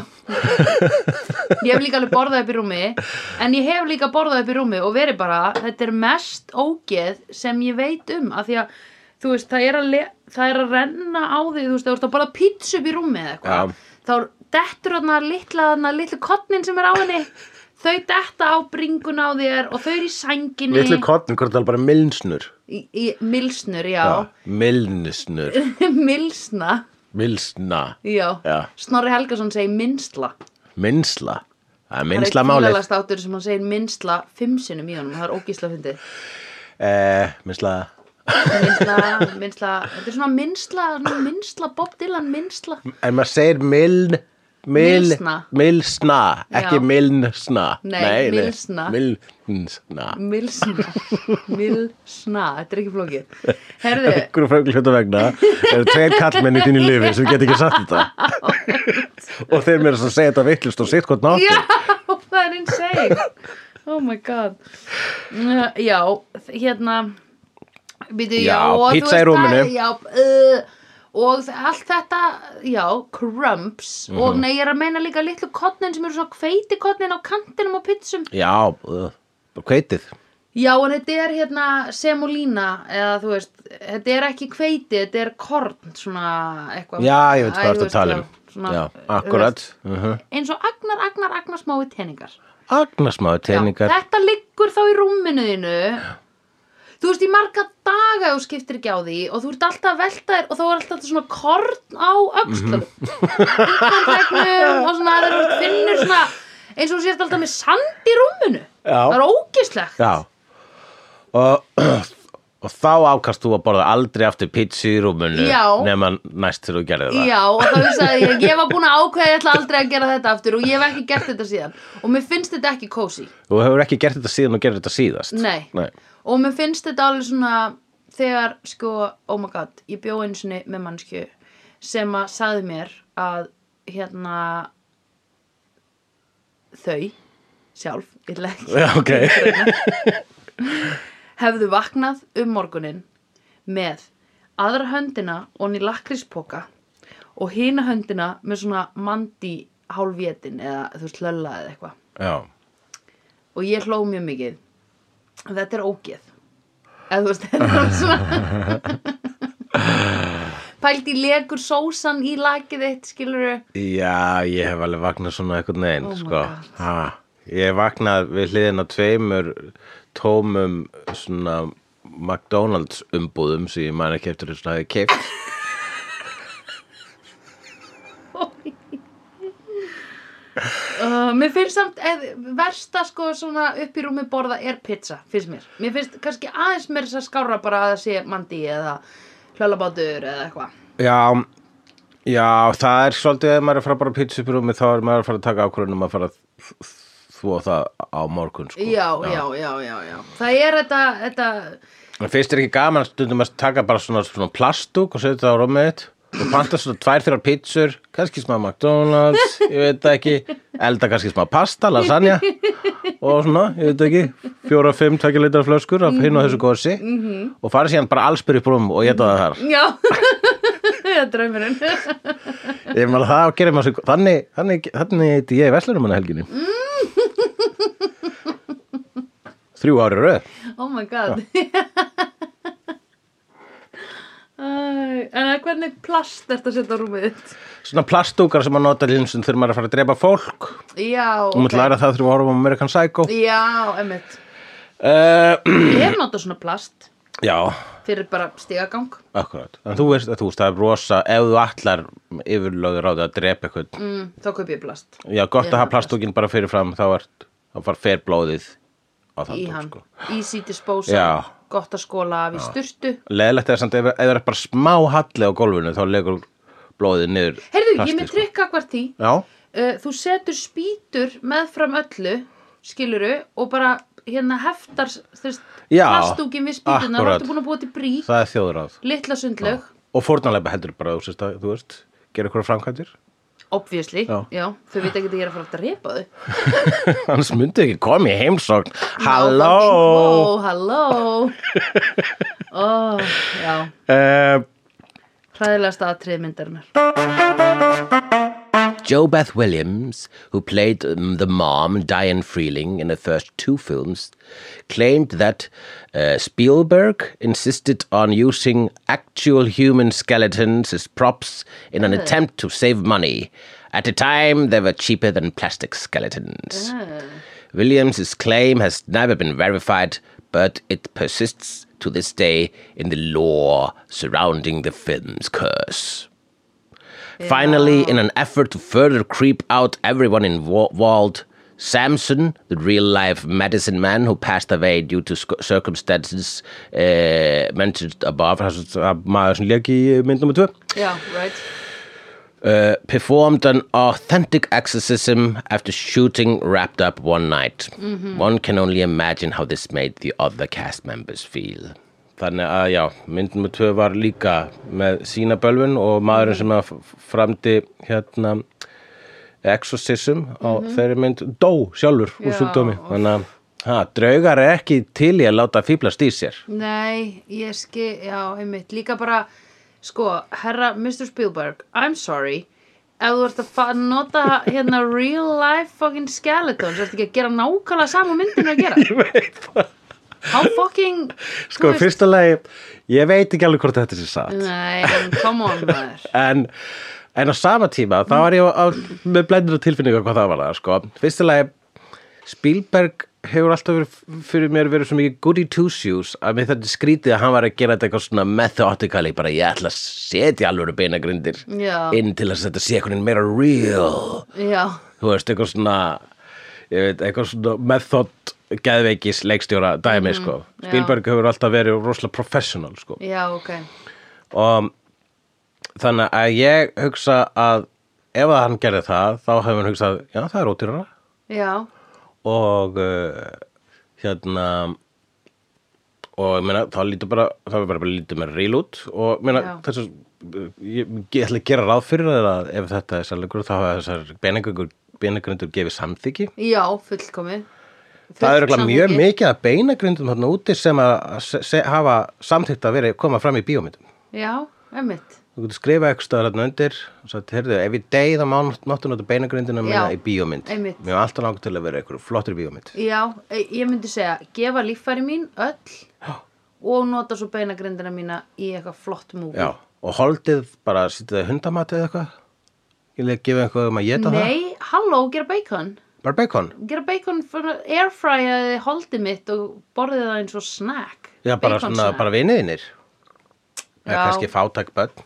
[SPEAKER 2] Ég hef líka alveg borðað upp í rúmi En ég hef líka borðað upp í rúmi Og verið bara, þetta er mest ógeð Sem ég veit um Af því að, þú veist, það er að, le- það er að renna á því Þú veist, þú veist að borða pítsu upp í rúmi eða
[SPEAKER 3] Já.
[SPEAKER 2] eitthvað Þá dettur þarna litla þarna Litlu kottnin sem er á henni Þau detta á bringuna á þér Og þau eru í sænginni
[SPEAKER 3] Litlu kottn, hvort það er bara milsnur
[SPEAKER 2] í, í, Milsnur, já,
[SPEAKER 3] Milsnur,
[SPEAKER 2] Milsna,
[SPEAKER 3] milsna
[SPEAKER 2] já.
[SPEAKER 3] Já.
[SPEAKER 2] Snorri Helgason segir minsla
[SPEAKER 3] Minsla, það er
[SPEAKER 2] Það
[SPEAKER 3] minsla
[SPEAKER 2] er
[SPEAKER 3] málið
[SPEAKER 2] fílalast áttur sem hann segir minnsla fimm sinnum í honum, það er ógísla fyndið.
[SPEAKER 3] eh, Minsla,
[SPEAKER 2] Minnsla, minnsla, þetta er svona minnsla, svona minnsla, Bob Dylan minnsla.
[SPEAKER 3] en maður segir miln Mil,
[SPEAKER 2] Milsna.
[SPEAKER 3] milsna, ekki
[SPEAKER 2] Já.
[SPEAKER 3] milnsna
[SPEAKER 2] Nei, milsna.
[SPEAKER 3] Milnsna
[SPEAKER 2] Milsna, milsna, þetta er ekki flókið. Herðu,
[SPEAKER 3] einhverju frönglu hluta vegna eru tveir kallmenn í þínu lifi sem get ekki sagt þetta
[SPEAKER 2] Oh
[SPEAKER 3] og þeir mér að segja þetta vittlust og sitt hvort nátti
[SPEAKER 2] já, það er insane. Oh my god. Uh, Já, hérna, býtu, já,
[SPEAKER 3] Já,
[SPEAKER 2] og þú
[SPEAKER 3] pizza
[SPEAKER 2] veist
[SPEAKER 3] í rúminu.
[SPEAKER 2] það- Já, uh, og þ- allt þetta, já, crumbs, og
[SPEAKER 3] Mhm.
[SPEAKER 2] nei, ég er að meina líka litlu kottnin sem eru svona hveitikotnin á kantinum á pizzum.
[SPEAKER 3] já, uh, kveitið
[SPEAKER 2] Já, en þetta er hérna semolína eða þú veist, þetta er ekki hveiti, þetta er korn, svona eitthvað.
[SPEAKER 3] já, ég veit
[SPEAKER 2] Æ, þú
[SPEAKER 3] hvað ertu að
[SPEAKER 2] veist,
[SPEAKER 3] tala
[SPEAKER 2] já, svona,
[SPEAKER 3] um já,
[SPEAKER 2] þú
[SPEAKER 3] akkurat
[SPEAKER 2] veist,
[SPEAKER 3] uh -huh.
[SPEAKER 2] Eins og agnar, agnar, agnar smái teningar.
[SPEAKER 3] agnarsmáðu teiningar
[SPEAKER 2] Já, þetta liggur þá í rúminu þínu. Þú veist, í marga daga þú skiptir ekki á því og þú ert alltaf að velta þér og þá er alltaf svona korn á öxlunum. Mm og svona, það er finnur svona, eins og þú sért alltaf með sand í rúminu.
[SPEAKER 3] Já.
[SPEAKER 2] Það er ógislegt.
[SPEAKER 3] já og, og þá ákast þú að borða aldrei aftur pizza í rúmunu
[SPEAKER 2] Já.
[SPEAKER 3] nema næst til þú gerði það
[SPEAKER 2] Já, og þá hugsaði ég, ég var búin að ákveða ég ætla aldrei að gera þetta aftur og ég hef ekki gert þetta síðan og mér finnst þetta ekki kósi
[SPEAKER 3] þú hefur ekki gert þetta síðan og gerði þetta síðast
[SPEAKER 2] Nei.
[SPEAKER 3] Nei.
[SPEAKER 2] og mér finnst þetta alveg svona þegar sko, oh my god ég bjó einu sinni með mannsku sem að sagði mér að hérna þau sjálf, ég ætla ekki
[SPEAKER 3] Já, ok.
[SPEAKER 2] greina, hefðu vaknað um morgunin með aðra höndina onni lakríspoka og hina höndina með svona mandi hálfétin eða þú veist lölla eða eitthvað
[SPEAKER 3] já,
[SPEAKER 2] og ég hló mjög mikið þetta er ógeð eða þú veist þetta er svona pælt í legur sósan í lakið þitt skilur
[SPEAKER 3] já, ég hef alveg vaknað svona eitthvað neginn,
[SPEAKER 2] Oh my
[SPEAKER 3] sko
[SPEAKER 2] God.
[SPEAKER 3] ha, ég hef vaknað við hliðin á tveimur tómum svona McDonalds umbúðum sem ég man ekki eftir þess að ég keipt
[SPEAKER 2] Uh, mér finnst samt eð, versta sko svona upp í rúmi borða er pizza, finnst mér. Mér finnst kannski aðeins mér þess að skára bara að það sé mandi eða hlölabátur eða eitthvað.
[SPEAKER 3] Já, já, það er svolítið ef maður er að fara bara á pítsupirúmi þá er maður að fara að taka ákvörðunum að fara að þvó það á morgun sko.
[SPEAKER 2] Já, já, já, já, já. Það er þetta, þetta,
[SPEAKER 3] En Fyrst er ekki gaman stundum að taka bara svona, svona plastúk og setja það á rúmið þitt og panta svona tvær þrjár pítsur, kannski smá McDonalds, ég veit það ekki, elda kannski smá pasta, lasagna og svona, ég veit það ekki, fjóra, fimm, tvekja litar flöskur af hinn og þessu gósi og fara síðan bara allspyr upp rúm og geta það þar.
[SPEAKER 2] já, það er draumurinn.
[SPEAKER 3] Ég meðal það gerir maður svo, þannig, þannig, þannig heiti ég Veslunumanna helginni. Mm. Þrjú ári röð.
[SPEAKER 2] oh my god. Æ, en að hvernig plast er þetta að setja á rúmið þitt?
[SPEAKER 3] Svona plastúkar sem maður nota linsum þegar maður er að fara að drepa fólk.
[SPEAKER 2] Já,
[SPEAKER 3] Þú mátt læra það þrjú árum á American Psycho.
[SPEAKER 2] Já, emmitt.
[SPEAKER 3] Uh,
[SPEAKER 2] Ég hef notað svona plast
[SPEAKER 3] já,
[SPEAKER 2] fyrir bara stigagang.
[SPEAKER 3] akkurat. En þú veist, þú veist, það er rosa, ef þú allar yfirlóður á það að drepa eitthvað.
[SPEAKER 2] Mm, þá kaup ég plast.
[SPEAKER 3] Já,
[SPEAKER 2] Ég
[SPEAKER 3] gott að
[SPEAKER 2] er
[SPEAKER 3] hafa plastúkin bara fyrir fram, þá er, þá fara fer blóðið á það.
[SPEAKER 2] í
[SPEAKER 3] dót,
[SPEAKER 2] hann,
[SPEAKER 3] sko.
[SPEAKER 2] easy disposal
[SPEAKER 3] Já.
[SPEAKER 2] gott að skóla af í sturtu
[SPEAKER 3] Leðilegt er samt, ef ef það er bara smá halli á gólfinu, þá legur blóðið niður.
[SPEAKER 2] heyrðu, ég er
[SPEAKER 3] plastið,
[SPEAKER 2] með
[SPEAKER 3] sko.
[SPEAKER 2] trikka hvert því
[SPEAKER 3] Já,
[SPEAKER 2] uh, þú setur spýtur meðfram öllu skiluru og bara hérna heftar þess,
[SPEAKER 3] Já,
[SPEAKER 2] plastúkin við spýtuna þá
[SPEAKER 3] akkurat.
[SPEAKER 2] ertu búin að búa til brík,
[SPEAKER 3] það er þjóðráð
[SPEAKER 2] litla sundlög
[SPEAKER 3] og fórnarlega heldur bara þú, sérst, að, þú veist, gera eitthvað framkvæmdir
[SPEAKER 2] obviously,
[SPEAKER 3] Já.
[SPEAKER 2] þau veit ekki að ég er að fara að repa þau
[SPEAKER 3] annars myndi ekki koma í heimsókn
[SPEAKER 2] Ó,
[SPEAKER 3] halló
[SPEAKER 2] halló ó, já,
[SPEAKER 3] uh,
[SPEAKER 2] hræðilegasta atrið myndarinnar
[SPEAKER 4] Joe Beth Williams, who played um, the mom, Diane Freeling, in the first two films, claimed that uh, Spielberg insisted on using actual human skeletons as props in an attempt to save money. At the time, they were cheaper than plastic skeletons. Williams' claim has never been verified, but it persists to this day in the lore surrounding the film's curse. Finally, in an effort to further creep out everyone involved, Samson, the real life medicine man who passed away due to sc- circumstances uh, mentioned above,
[SPEAKER 3] það er svo- að maður sem leik í myndum og tvö
[SPEAKER 2] já, right
[SPEAKER 4] uh, performed an authentic exorcism after shooting wrapped up one night.
[SPEAKER 2] Mm-hmm.
[SPEAKER 4] One can only imagine how this made the other cast members feel.
[SPEAKER 3] þannig að já, myndum og tvö var líka með sína bölvun og maðurinn sem að f- framdi hérna exorcism á þeirri mynd dó sjálfur úr
[SPEAKER 2] Mm-hmm. Já,
[SPEAKER 3] sjúkdómi
[SPEAKER 2] óff.
[SPEAKER 3] þannig að ha, draugar er ekki til í að láta fýblast í sér
[SPEAKER 2] Nei, ég skil, já, einmitt, líka bara, sko, herra Mr. Spielberg, I'm sorry, ef þú ert að fa- nota hérna real life fucking skeletons, ertu ekki að gera nákvæmlega sama og myndin er að gera? Ég veit það. How fucking,
[SPEAKER 3] sko,
[SPEAKER 2] þú
[SPEAKER 3] fyrsta lagi, ég veit ekki alveg hvort þetta sé satt
[SPEAKER 2] Nei, en come on, maður.
[SPEAKER 3] en, en á sama tíma þá var ég á, með blendur tilfinningu hvað það var það sko. fyrstilega Spielberg hefur alltaf verið fyrir mér verið svo mikið goody two shoes að mér þetta skrítið að hann var að gera þetta eitthvað svona methodically bara ég ætla að setja alvöru beinagrindir
[SPEAKER 2] Já.
[SPEAKER 3] inn til þess að þetta sé einhvern veginn meira real
[SPEAKER 2] Já,
[SPEAKER 3] þú veist eitthvað svona ég veit, eitthvað svona method geðveikis leikstjóra dæmi sko
[SPEAKER 2] Mhm. já.
[SPEAKER 3] Spielberg hefur alltaf verið rosalega professional sko
[SPEAKER 2] já, ok.
[SPEAKER 3] og þannig að ég hugsa að ef að hann gerði það þá hefur hann hugsað, já það er ódýrara
[SPEAKER 2] Já,
[SPEAKER 3] og uh, hérna og ég meina þá lítur bara þá er bara, bara lítur með reil út og meina
[SPEAKER 2] Já.
[SPEAKER 3] þessu ég, ég ætla að gera ráð fyrir það að ef þetta er sannleikur þá hafa þessar beinagöngur beinagröndur gefið samþyggi
[SPEAKER 2] já, fullkomið.
[SPEAKER 3] Það
[SPEAKER 2] Fullt
[SPEAKER 3] er örugglega mjög
[SPEAKER 2] samhengi.
[SPEAKER 3] mikið að beinagrindum þarna úti sem að se, se, hafa samþýtt að vera koma fram í bíómyndum.
[SPEAKER 2] Já, emmitt.
[SPEAKER 3] þú getur skrifað eitthvað stöðar hérna undir og sagt, heyrðu, ef ég deyð á máttu nota beinagrindina minna
[SPEAKER 2] Já,
[SPEAKER 3] í bíómynd
[SPEAKER 2] einmitt.
[SPEAKER 3] mér var alltaf langt til að vera eitthvað flottir bíómynd
[SPEAKER 2] Já, e- ég myndi segja, gefa líffæri mín öll og nota svo beinagrindina mína í eitthvað flott múfi.
[SPEAKER 3] já, og holdið bara sitja það hundamat eða eitthvað ég leik gefa eitthvað um að geta það
[SPEAKER 2] Nei, halló, gera bacon.
[SPEAKER 3] bara bacon,
[SPEAKER 2] Gera bacon, fyrir- airfryaði holdið mitt og borðið það eins og snack.
[SPEAKER 3] já, bara,
[SPEAKER 2] Bacon
[SPEAKER 3] svona,
[SPEAKER 2] snack.
[SPEAKER 3] bara viniðinir eða
[SPEAKER 2] Já.
[SPEAKER 3] kannski fátæk börn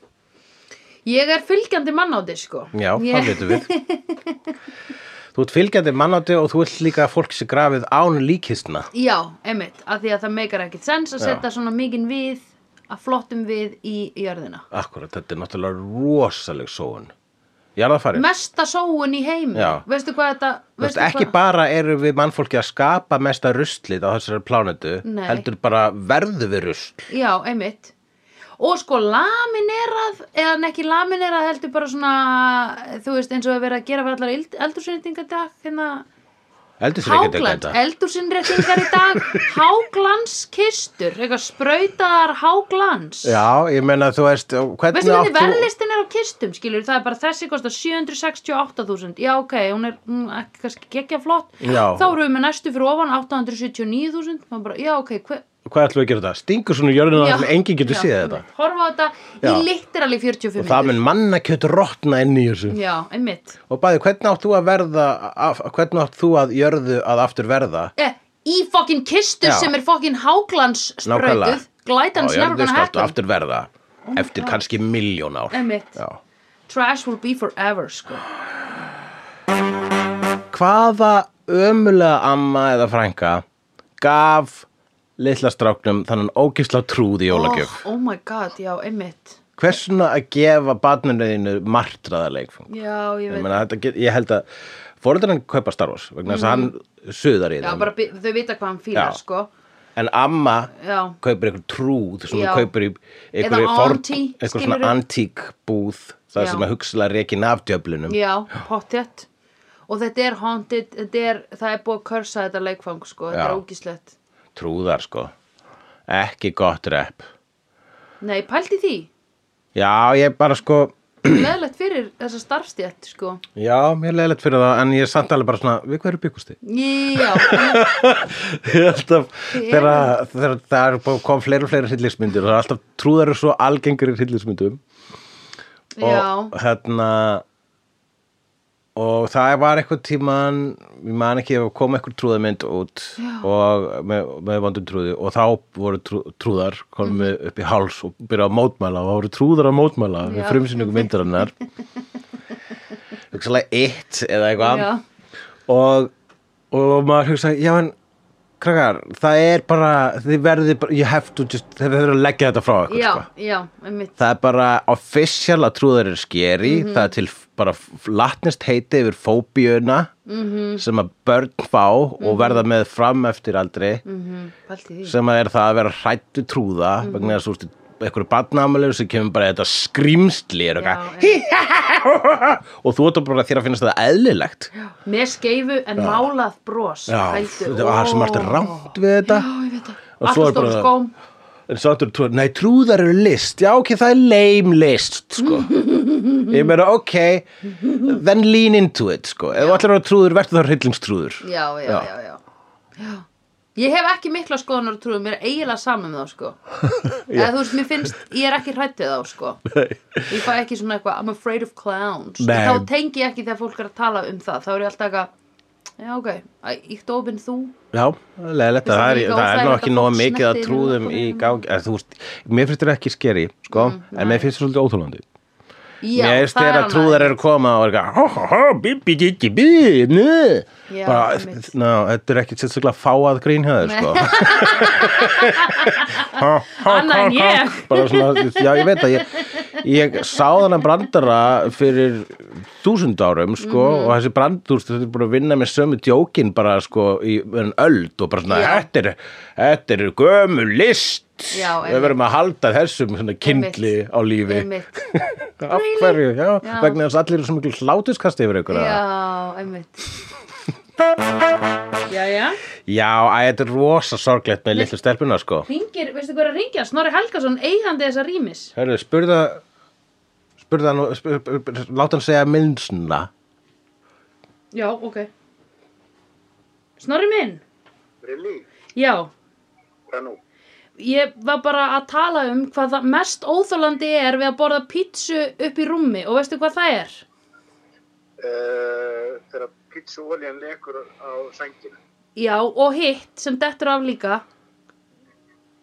[SPEAKER 2] Ég er fylgjandi mann á disko.
[SPEAKER 3] Já,
[SPEAKER 2] ég...
[SPEAKER 3] það veitum við. þú ert fylgjandi mannátti og þú ert líka að fólk sem grafið án líkistna.
[SPEAKER 2] Já, einmitt, af því að það meikar ekkit sens að
[SPEAKER 3] Já.
[SPEAKER 2] setja svona mikinn við, að flottum við í jörðina.
[SPEAKER 3] Akkurat, þetta er náttúrulega rosaleg sóun. Jarðafarir.
[SPEAKER 2] Mesta sóun í heimi.
[SPEAKER 3] Já.
[SPEAKER 2] Veistu hvað þetta...
[SPEAKER 3] Þú veist, ekki bara eru við mannfólki að skapa mesta ruslið á þessari plánetu,
[SPEAKER 2] Nei.
[SPEAKER 3] heldur bara verðu við rusl.
[SPEAKER 2] Já, einmitt. Og sko laminerað, eða en ekki laminerað heldur bara svona, þú veist, eins og að vera að gera fyrir allar eldursynningar í dag, hérna,
[SPEAKER 3] Heldur þér ekki að
[SPEAKER 2] háglans,
[SPEAKER 3] geta.
[SPEAKER 2] eldursynningar í dag, háglanskistur, eitthvað sprautaðar háglans.
[SPEAKER 3] Já, ég meina þú veist, hvernig
[SPEAKER 2] Veistu hvernig verðlistin er á kistum, skilur, það er bara þessi kostar 768.000, já ok, hún er hún, er kannski gekkja flott,
[SPEAKER 3] Já.
[SPEAKER 2] þá erum við með næstu fyrir ofan 879.000, maður bara, já ok, hver,
[SPEAKER 3] Hvað ætlum við að gera þetta? Stingur svona í jörðina
[SPEAKER 2] Já.
[SPEAKER 3] þar sem enginn getur
[SPEAKER 2] Já,
[SPEAKER 3] séð
[SPEAKER 2] einmitt.
[SPEAKER 3] þetta.
[SPEAKER 2] Horfa á þetta
[SPEAKER 3] Já.
[SPEAKER 2] í literally 45
[SPEAKER 3] Og það mun mannakjöt rotna inn í þessu.
[SPEAKER 2] Já, einmitt
[SPEAKER 3] Og bæði, hvernig átt þú að verða, af, hvernig átt þú að jörðu að aftur verða?
[SPEAKER 2] eh, Í fokkin kistu
[SPEAKER 3] Já.
[SPEAKER 2] sem er fokkin háglanssprautuð Glætans
[SPEAKER 3] Já,
[SPEAKER 2] never gonna
[SPEAKER 3] jörðu skalt
[SPEAKER 2] happen
[SPEAKER 3] aftur verða eftir kannski miljón
[SPEAKER 2] Oh
[SPEAKER 3] ár.
[SPEAKER 2] Einmitt.
[SPEAKER 3] Já.
[SPEAKER 2] Trash will be forever, sko
[SPEAKER 3] Hvaða ömulega amma eða frænka gaf litla stráknum þannig ógisla trúð í jólagjöf?
[SPEAKER 2] oh, oh my god, já, einmitt
[SPEAKER 3] Hversuna að gefa barninu þínu martraða leikfang?
[SPEAKER 2] Já, ég
[SPEAKER 3] Ég,
[SPEAKER 2] veit
[SPEAKER 3] meina, þetta get, ég held að fóreldrarinn kaupa Star Wars vegna þess að hann suðar í
[SPEAKER 2] Já,
[SPEAKER 3] þeim.
[SPEAKER 2] bara, bi- þau vita hvað hann fílar,
[SPEAKER 3] Já.
[SPEAKER 2] sko
[SPEAKER 3] En amma
[SPEAKER 2] Já.
[SPEAKER 3] kaupir eitthvað trúð sem
[SPEAKER 2] Já.
[SPEAKER 3] hún kaupir í
[SPEAKER 2] Eða
[SPEAKER 3] einhverju forn-
[SPEAKER 2] auntie,
[SPEAKER 3] eitthvað svona
[SPEAKER 2] skilurðu?
[SPEAKER 3] antík búð það
[SPEAKER 2] Já.
[SPEAKER 3] sem að hugsalega reikin af djöflunum.
[SPEAKER 2] Já, pottjött Og þetta er haunted, þetta er, það er búið að körsa þetta leikfang, sko, þetta
[SPEAKER 3] Já.
[SPEAKER 2] er ógíslegt.
[SPEAKER 3] trúðar sko ekki gott rep
[SPEAKER 2] Nei, pældi því,
[SPEAKER 3] já ég bara sko
[SPEAKER 2] leðlegt fyrir þessa starfstjætt, sko.
[SPEAKER 3] já mér er leiðilegt fyrir það en ég er samt alveg bara svona við hverju byggust þið
[SPEAKER 2] Já,
[SPEAKER 3] Ég held að þegar
[SPEAKER 2] Já.
[SPEAKER 3] þegar það er búið- kom fleiri og fleiri hryllismyndir og það er alltaf trúðar er svo algengur í hryllismyndum
[SPEAKER 2] já.
[SPEAKER 3] og hérna og það var eitthvað tíman ég man ekki ef kom eitthvað trúðarmynd út og með, með vandum trúði og þá voru trú, trúðar komum
[SPEAKER 2] Mhm.
[SPEAKER 3] við upp í háls og byrjaði að mótmæla og það voru trúðar að mótmæla
[SPEAKER 2] Já.
[SPEAKER 3] við frumsynningu myndarinnar hugsalega eitt eða eitthvað
[SPEAKER 2] Já.
[SPEAKER 3] og, og maður hugsaði já en krakkar það er bara þið verðið bara you have to just þið verður að leggja þetta frá eitthvað sko.
[SPEAKER 2] já, já, einmitt
[SPEAKER 3] það er bara official að trúðar er skeri
[SPEAKER 2] Mhm.
[SPEAKER 3] það er til f- bara f- latnest heiti yfir fóbíuna
[SPEAKER 2] Mhm.
[SPEAKER 3] -hmm. sem að börn fá og verða með fram eftir aldrei
[SPEAKER 2] Mhm. Pælti því
[SPEAKER 3] sem að er það að vera hrættu trúða
[SPEAKER 2] Mhm.
[SPEAKER 3] vegna þess að eitthvað barnaamalegur sem kemur bara þetta skrýmsli
[SPEAKER 2] Já,
[SPEAKER 3] er okkar og þú ert bara þér að finnast það eðlilegt já,
[SPEAKER 2] Með skeifu en málað bros Pældu,
[SPEAKER 3] þetta var
[SPEAKER 2] ó.
[SPEAKER 3] svo margt rámt við þetta
[SPEAKER 2] Já, ég veit það
[SPEAKER 3] Og svo
[SPEAKER 2] Alltaf
[SPEAKER 3] er bara-
[SPEAKER 2] stóru skóm
[SPEAKER 3] En svo áttur trúðar, nei trúðar eru list, já ok, það er lame list, sko. Ég meina, ok, then lean into it, sko. Ef þú ætlar að vera trúður, verður það hryllingstrúður.
[SPEAKER 2] já, já, já,
[SPEAKER 3] Já.
[SPEAKER 2] já, já Ég hef ekki mikla skoðunar og trúið Mér er eiginlega saman með þá, sko Eða þú veist, mér finnst, ég er ekki hrætt við þá, sko Ég fæ ekki svona eitthvað I'm afraid of clowns
[SPEAKER 3] Nei.
[SPEAKER 2] Þá tengi ég ekki þegar fólk er að tala um það Þá er ég alltaf eitthvað Já, ok, íkt ofinn þú
[SPEAKER 3] Já, leðilegt,
[SPEAKER 2] Veist,
[SPEAKER 3] það er,
[SPEAKER 2] líka
[SPEAKER 3] það er nú
[SPEAKER 2] óþægilegt
[SPEAKER 3] ekki
[SPEAKER 2] að
[SPEAKER 3] nóg
[SPEAKER 2] fólk
[SPEAKER 3] mikið að
[SPEAKER 2] snerti
[SPEAKER 3] trúðum
[SPEAKER 2] þig
[SPEAKER 3] í
[SPEAKER 2] með
[SPEAKER 3] gangi. eða Þú veist, mér finnst þetta ekki skeri, sko,
[SPEAKER 2] Mm,
[SPEAKER 3] en mér finnst þetta svolítið óþólandi.
[SPEAKER 2] Já,
[SPEAKER 3] mér finnst
[SPEAKER 2] það er
[SPEAKER 3] þeirra
[SPEAKER 2] annað.
[SPEAKER 3] trúðar eru að koma og er eitthvað, hó, hó, hó, bí, bí, bí, bí, bí, nö.
[SPEAKER 2] Já,
[SPEAKER 3] Bara,
[SPEAKER 2] einmitt.
[SPEAKER 3] ná, þetta er ekki sérstaklega fáað grín hjá þér,
[SPEAKER 2] Nei.
[SPEAKER 3] sko. Ha, ha,
[SPEAKER 2] Annað
[SPEAKER 3] ha,
[SPEAKER 2] en
[SPEAKER 3] ha.
[SPEAKER 2] ég.
[SPEAKER 3] bara svona, já ég veit að ég, ég sá þennan brandara fyrir þúsund árum sko
[SPEAKER 2] Mhm.
[SPEAKER 3] og þessi brandur þetta er búin að vinna með sömu djókin bara sko í en öld og bara svona
[SPEAKER 2] Já.
[SPEAKER 3] þetta er, þetta er gömul list
[SPEAKER 2] Já, einmitt.
[SPEAKER 3] við verðum að halda þessum svona kindli á lífi
[SPEAKER 2] Einmitt
[SPEAKER 3] af hverju, já,
[SPEAKER 2] Já.
[SPEAKER 3] vegna þess að allir eru svo mikil hlátuskast yfir ykkur já,
[SPEAKER 2] Já, einmitt Já, já
[SPEAKER 3] já æ, þetta er rosa sorglegt með litlu stelpuna sko
[SPEAKER 2] Ringir, veistu hvað er að ringja? Snorri Helgason, eigandi þessa rýmis
[SPEAKER 3] Hörru, spurða spurði hann og spur, spur, spur, láta hann segja minnsna
[SPEAKER 2] Já, ok. Snorri minn?
[SPEAKER 6] Lillý,
[SPEAKER 2] Já,
[SPEAKER 6] hvað nú?
[SPEAKER 2] ég var bara að tala um hvað það mest óþólandi er við að borða pítsu upp í rúmi og veistu hvað það er?
[SPEAKER 6] Uh, þegar pítsuoljan lekur á sængina,
[SPEAKER 2] Já, og hitt sem dettur af líka.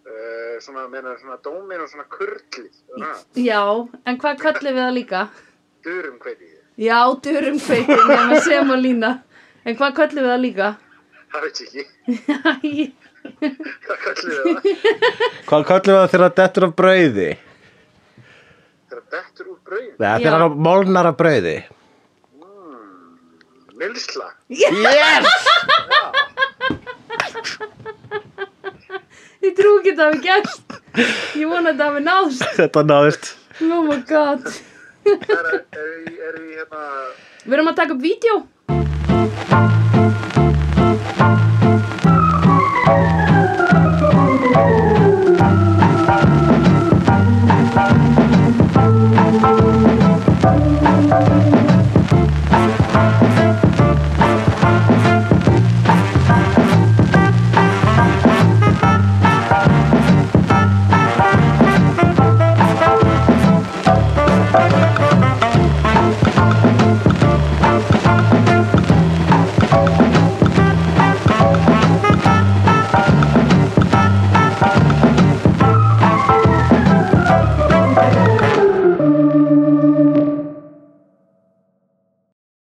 [SPEAKER 6] uh, svona, meina, svona dómin og svona kurli, svona,
[SPEAKER 2] Já, en hvað kallum við það líka?
[SPEAKER 6] durum hvernig ég,
[SPEAKER 2] Já, durum feitin, nema sem að lína. En hvað kallum við það líka?
[SPEAKER 6] það veit ég ekki,
[SPEAKER 2] Æ,
[SPEAKER 6] hvað kallið það?
[SPEAKER 3] Hvað kallum við það þegar það dettur af brauði?
[SPEAKER 6] Þegar dettur úr brauðin,
[SPEAKER 3] Nei,
[SPEAKER 2] Já.
[SPEAKER 3] þegar það molnar af brauði
[SPEAKER 6] milsla,
[SPEAKER 3] Yes!
[SPEAKER 2] ég trú ekki að það hafi gerst. Ég vona að það hafi náðst.
[SPEAKER 3] Þetta náðist
[SPEAKER 2] Oh my god.
[SPEAKER 6] það er, er, er í hérna,
[SPEAKER 2] Við erum að taka upp vídeo.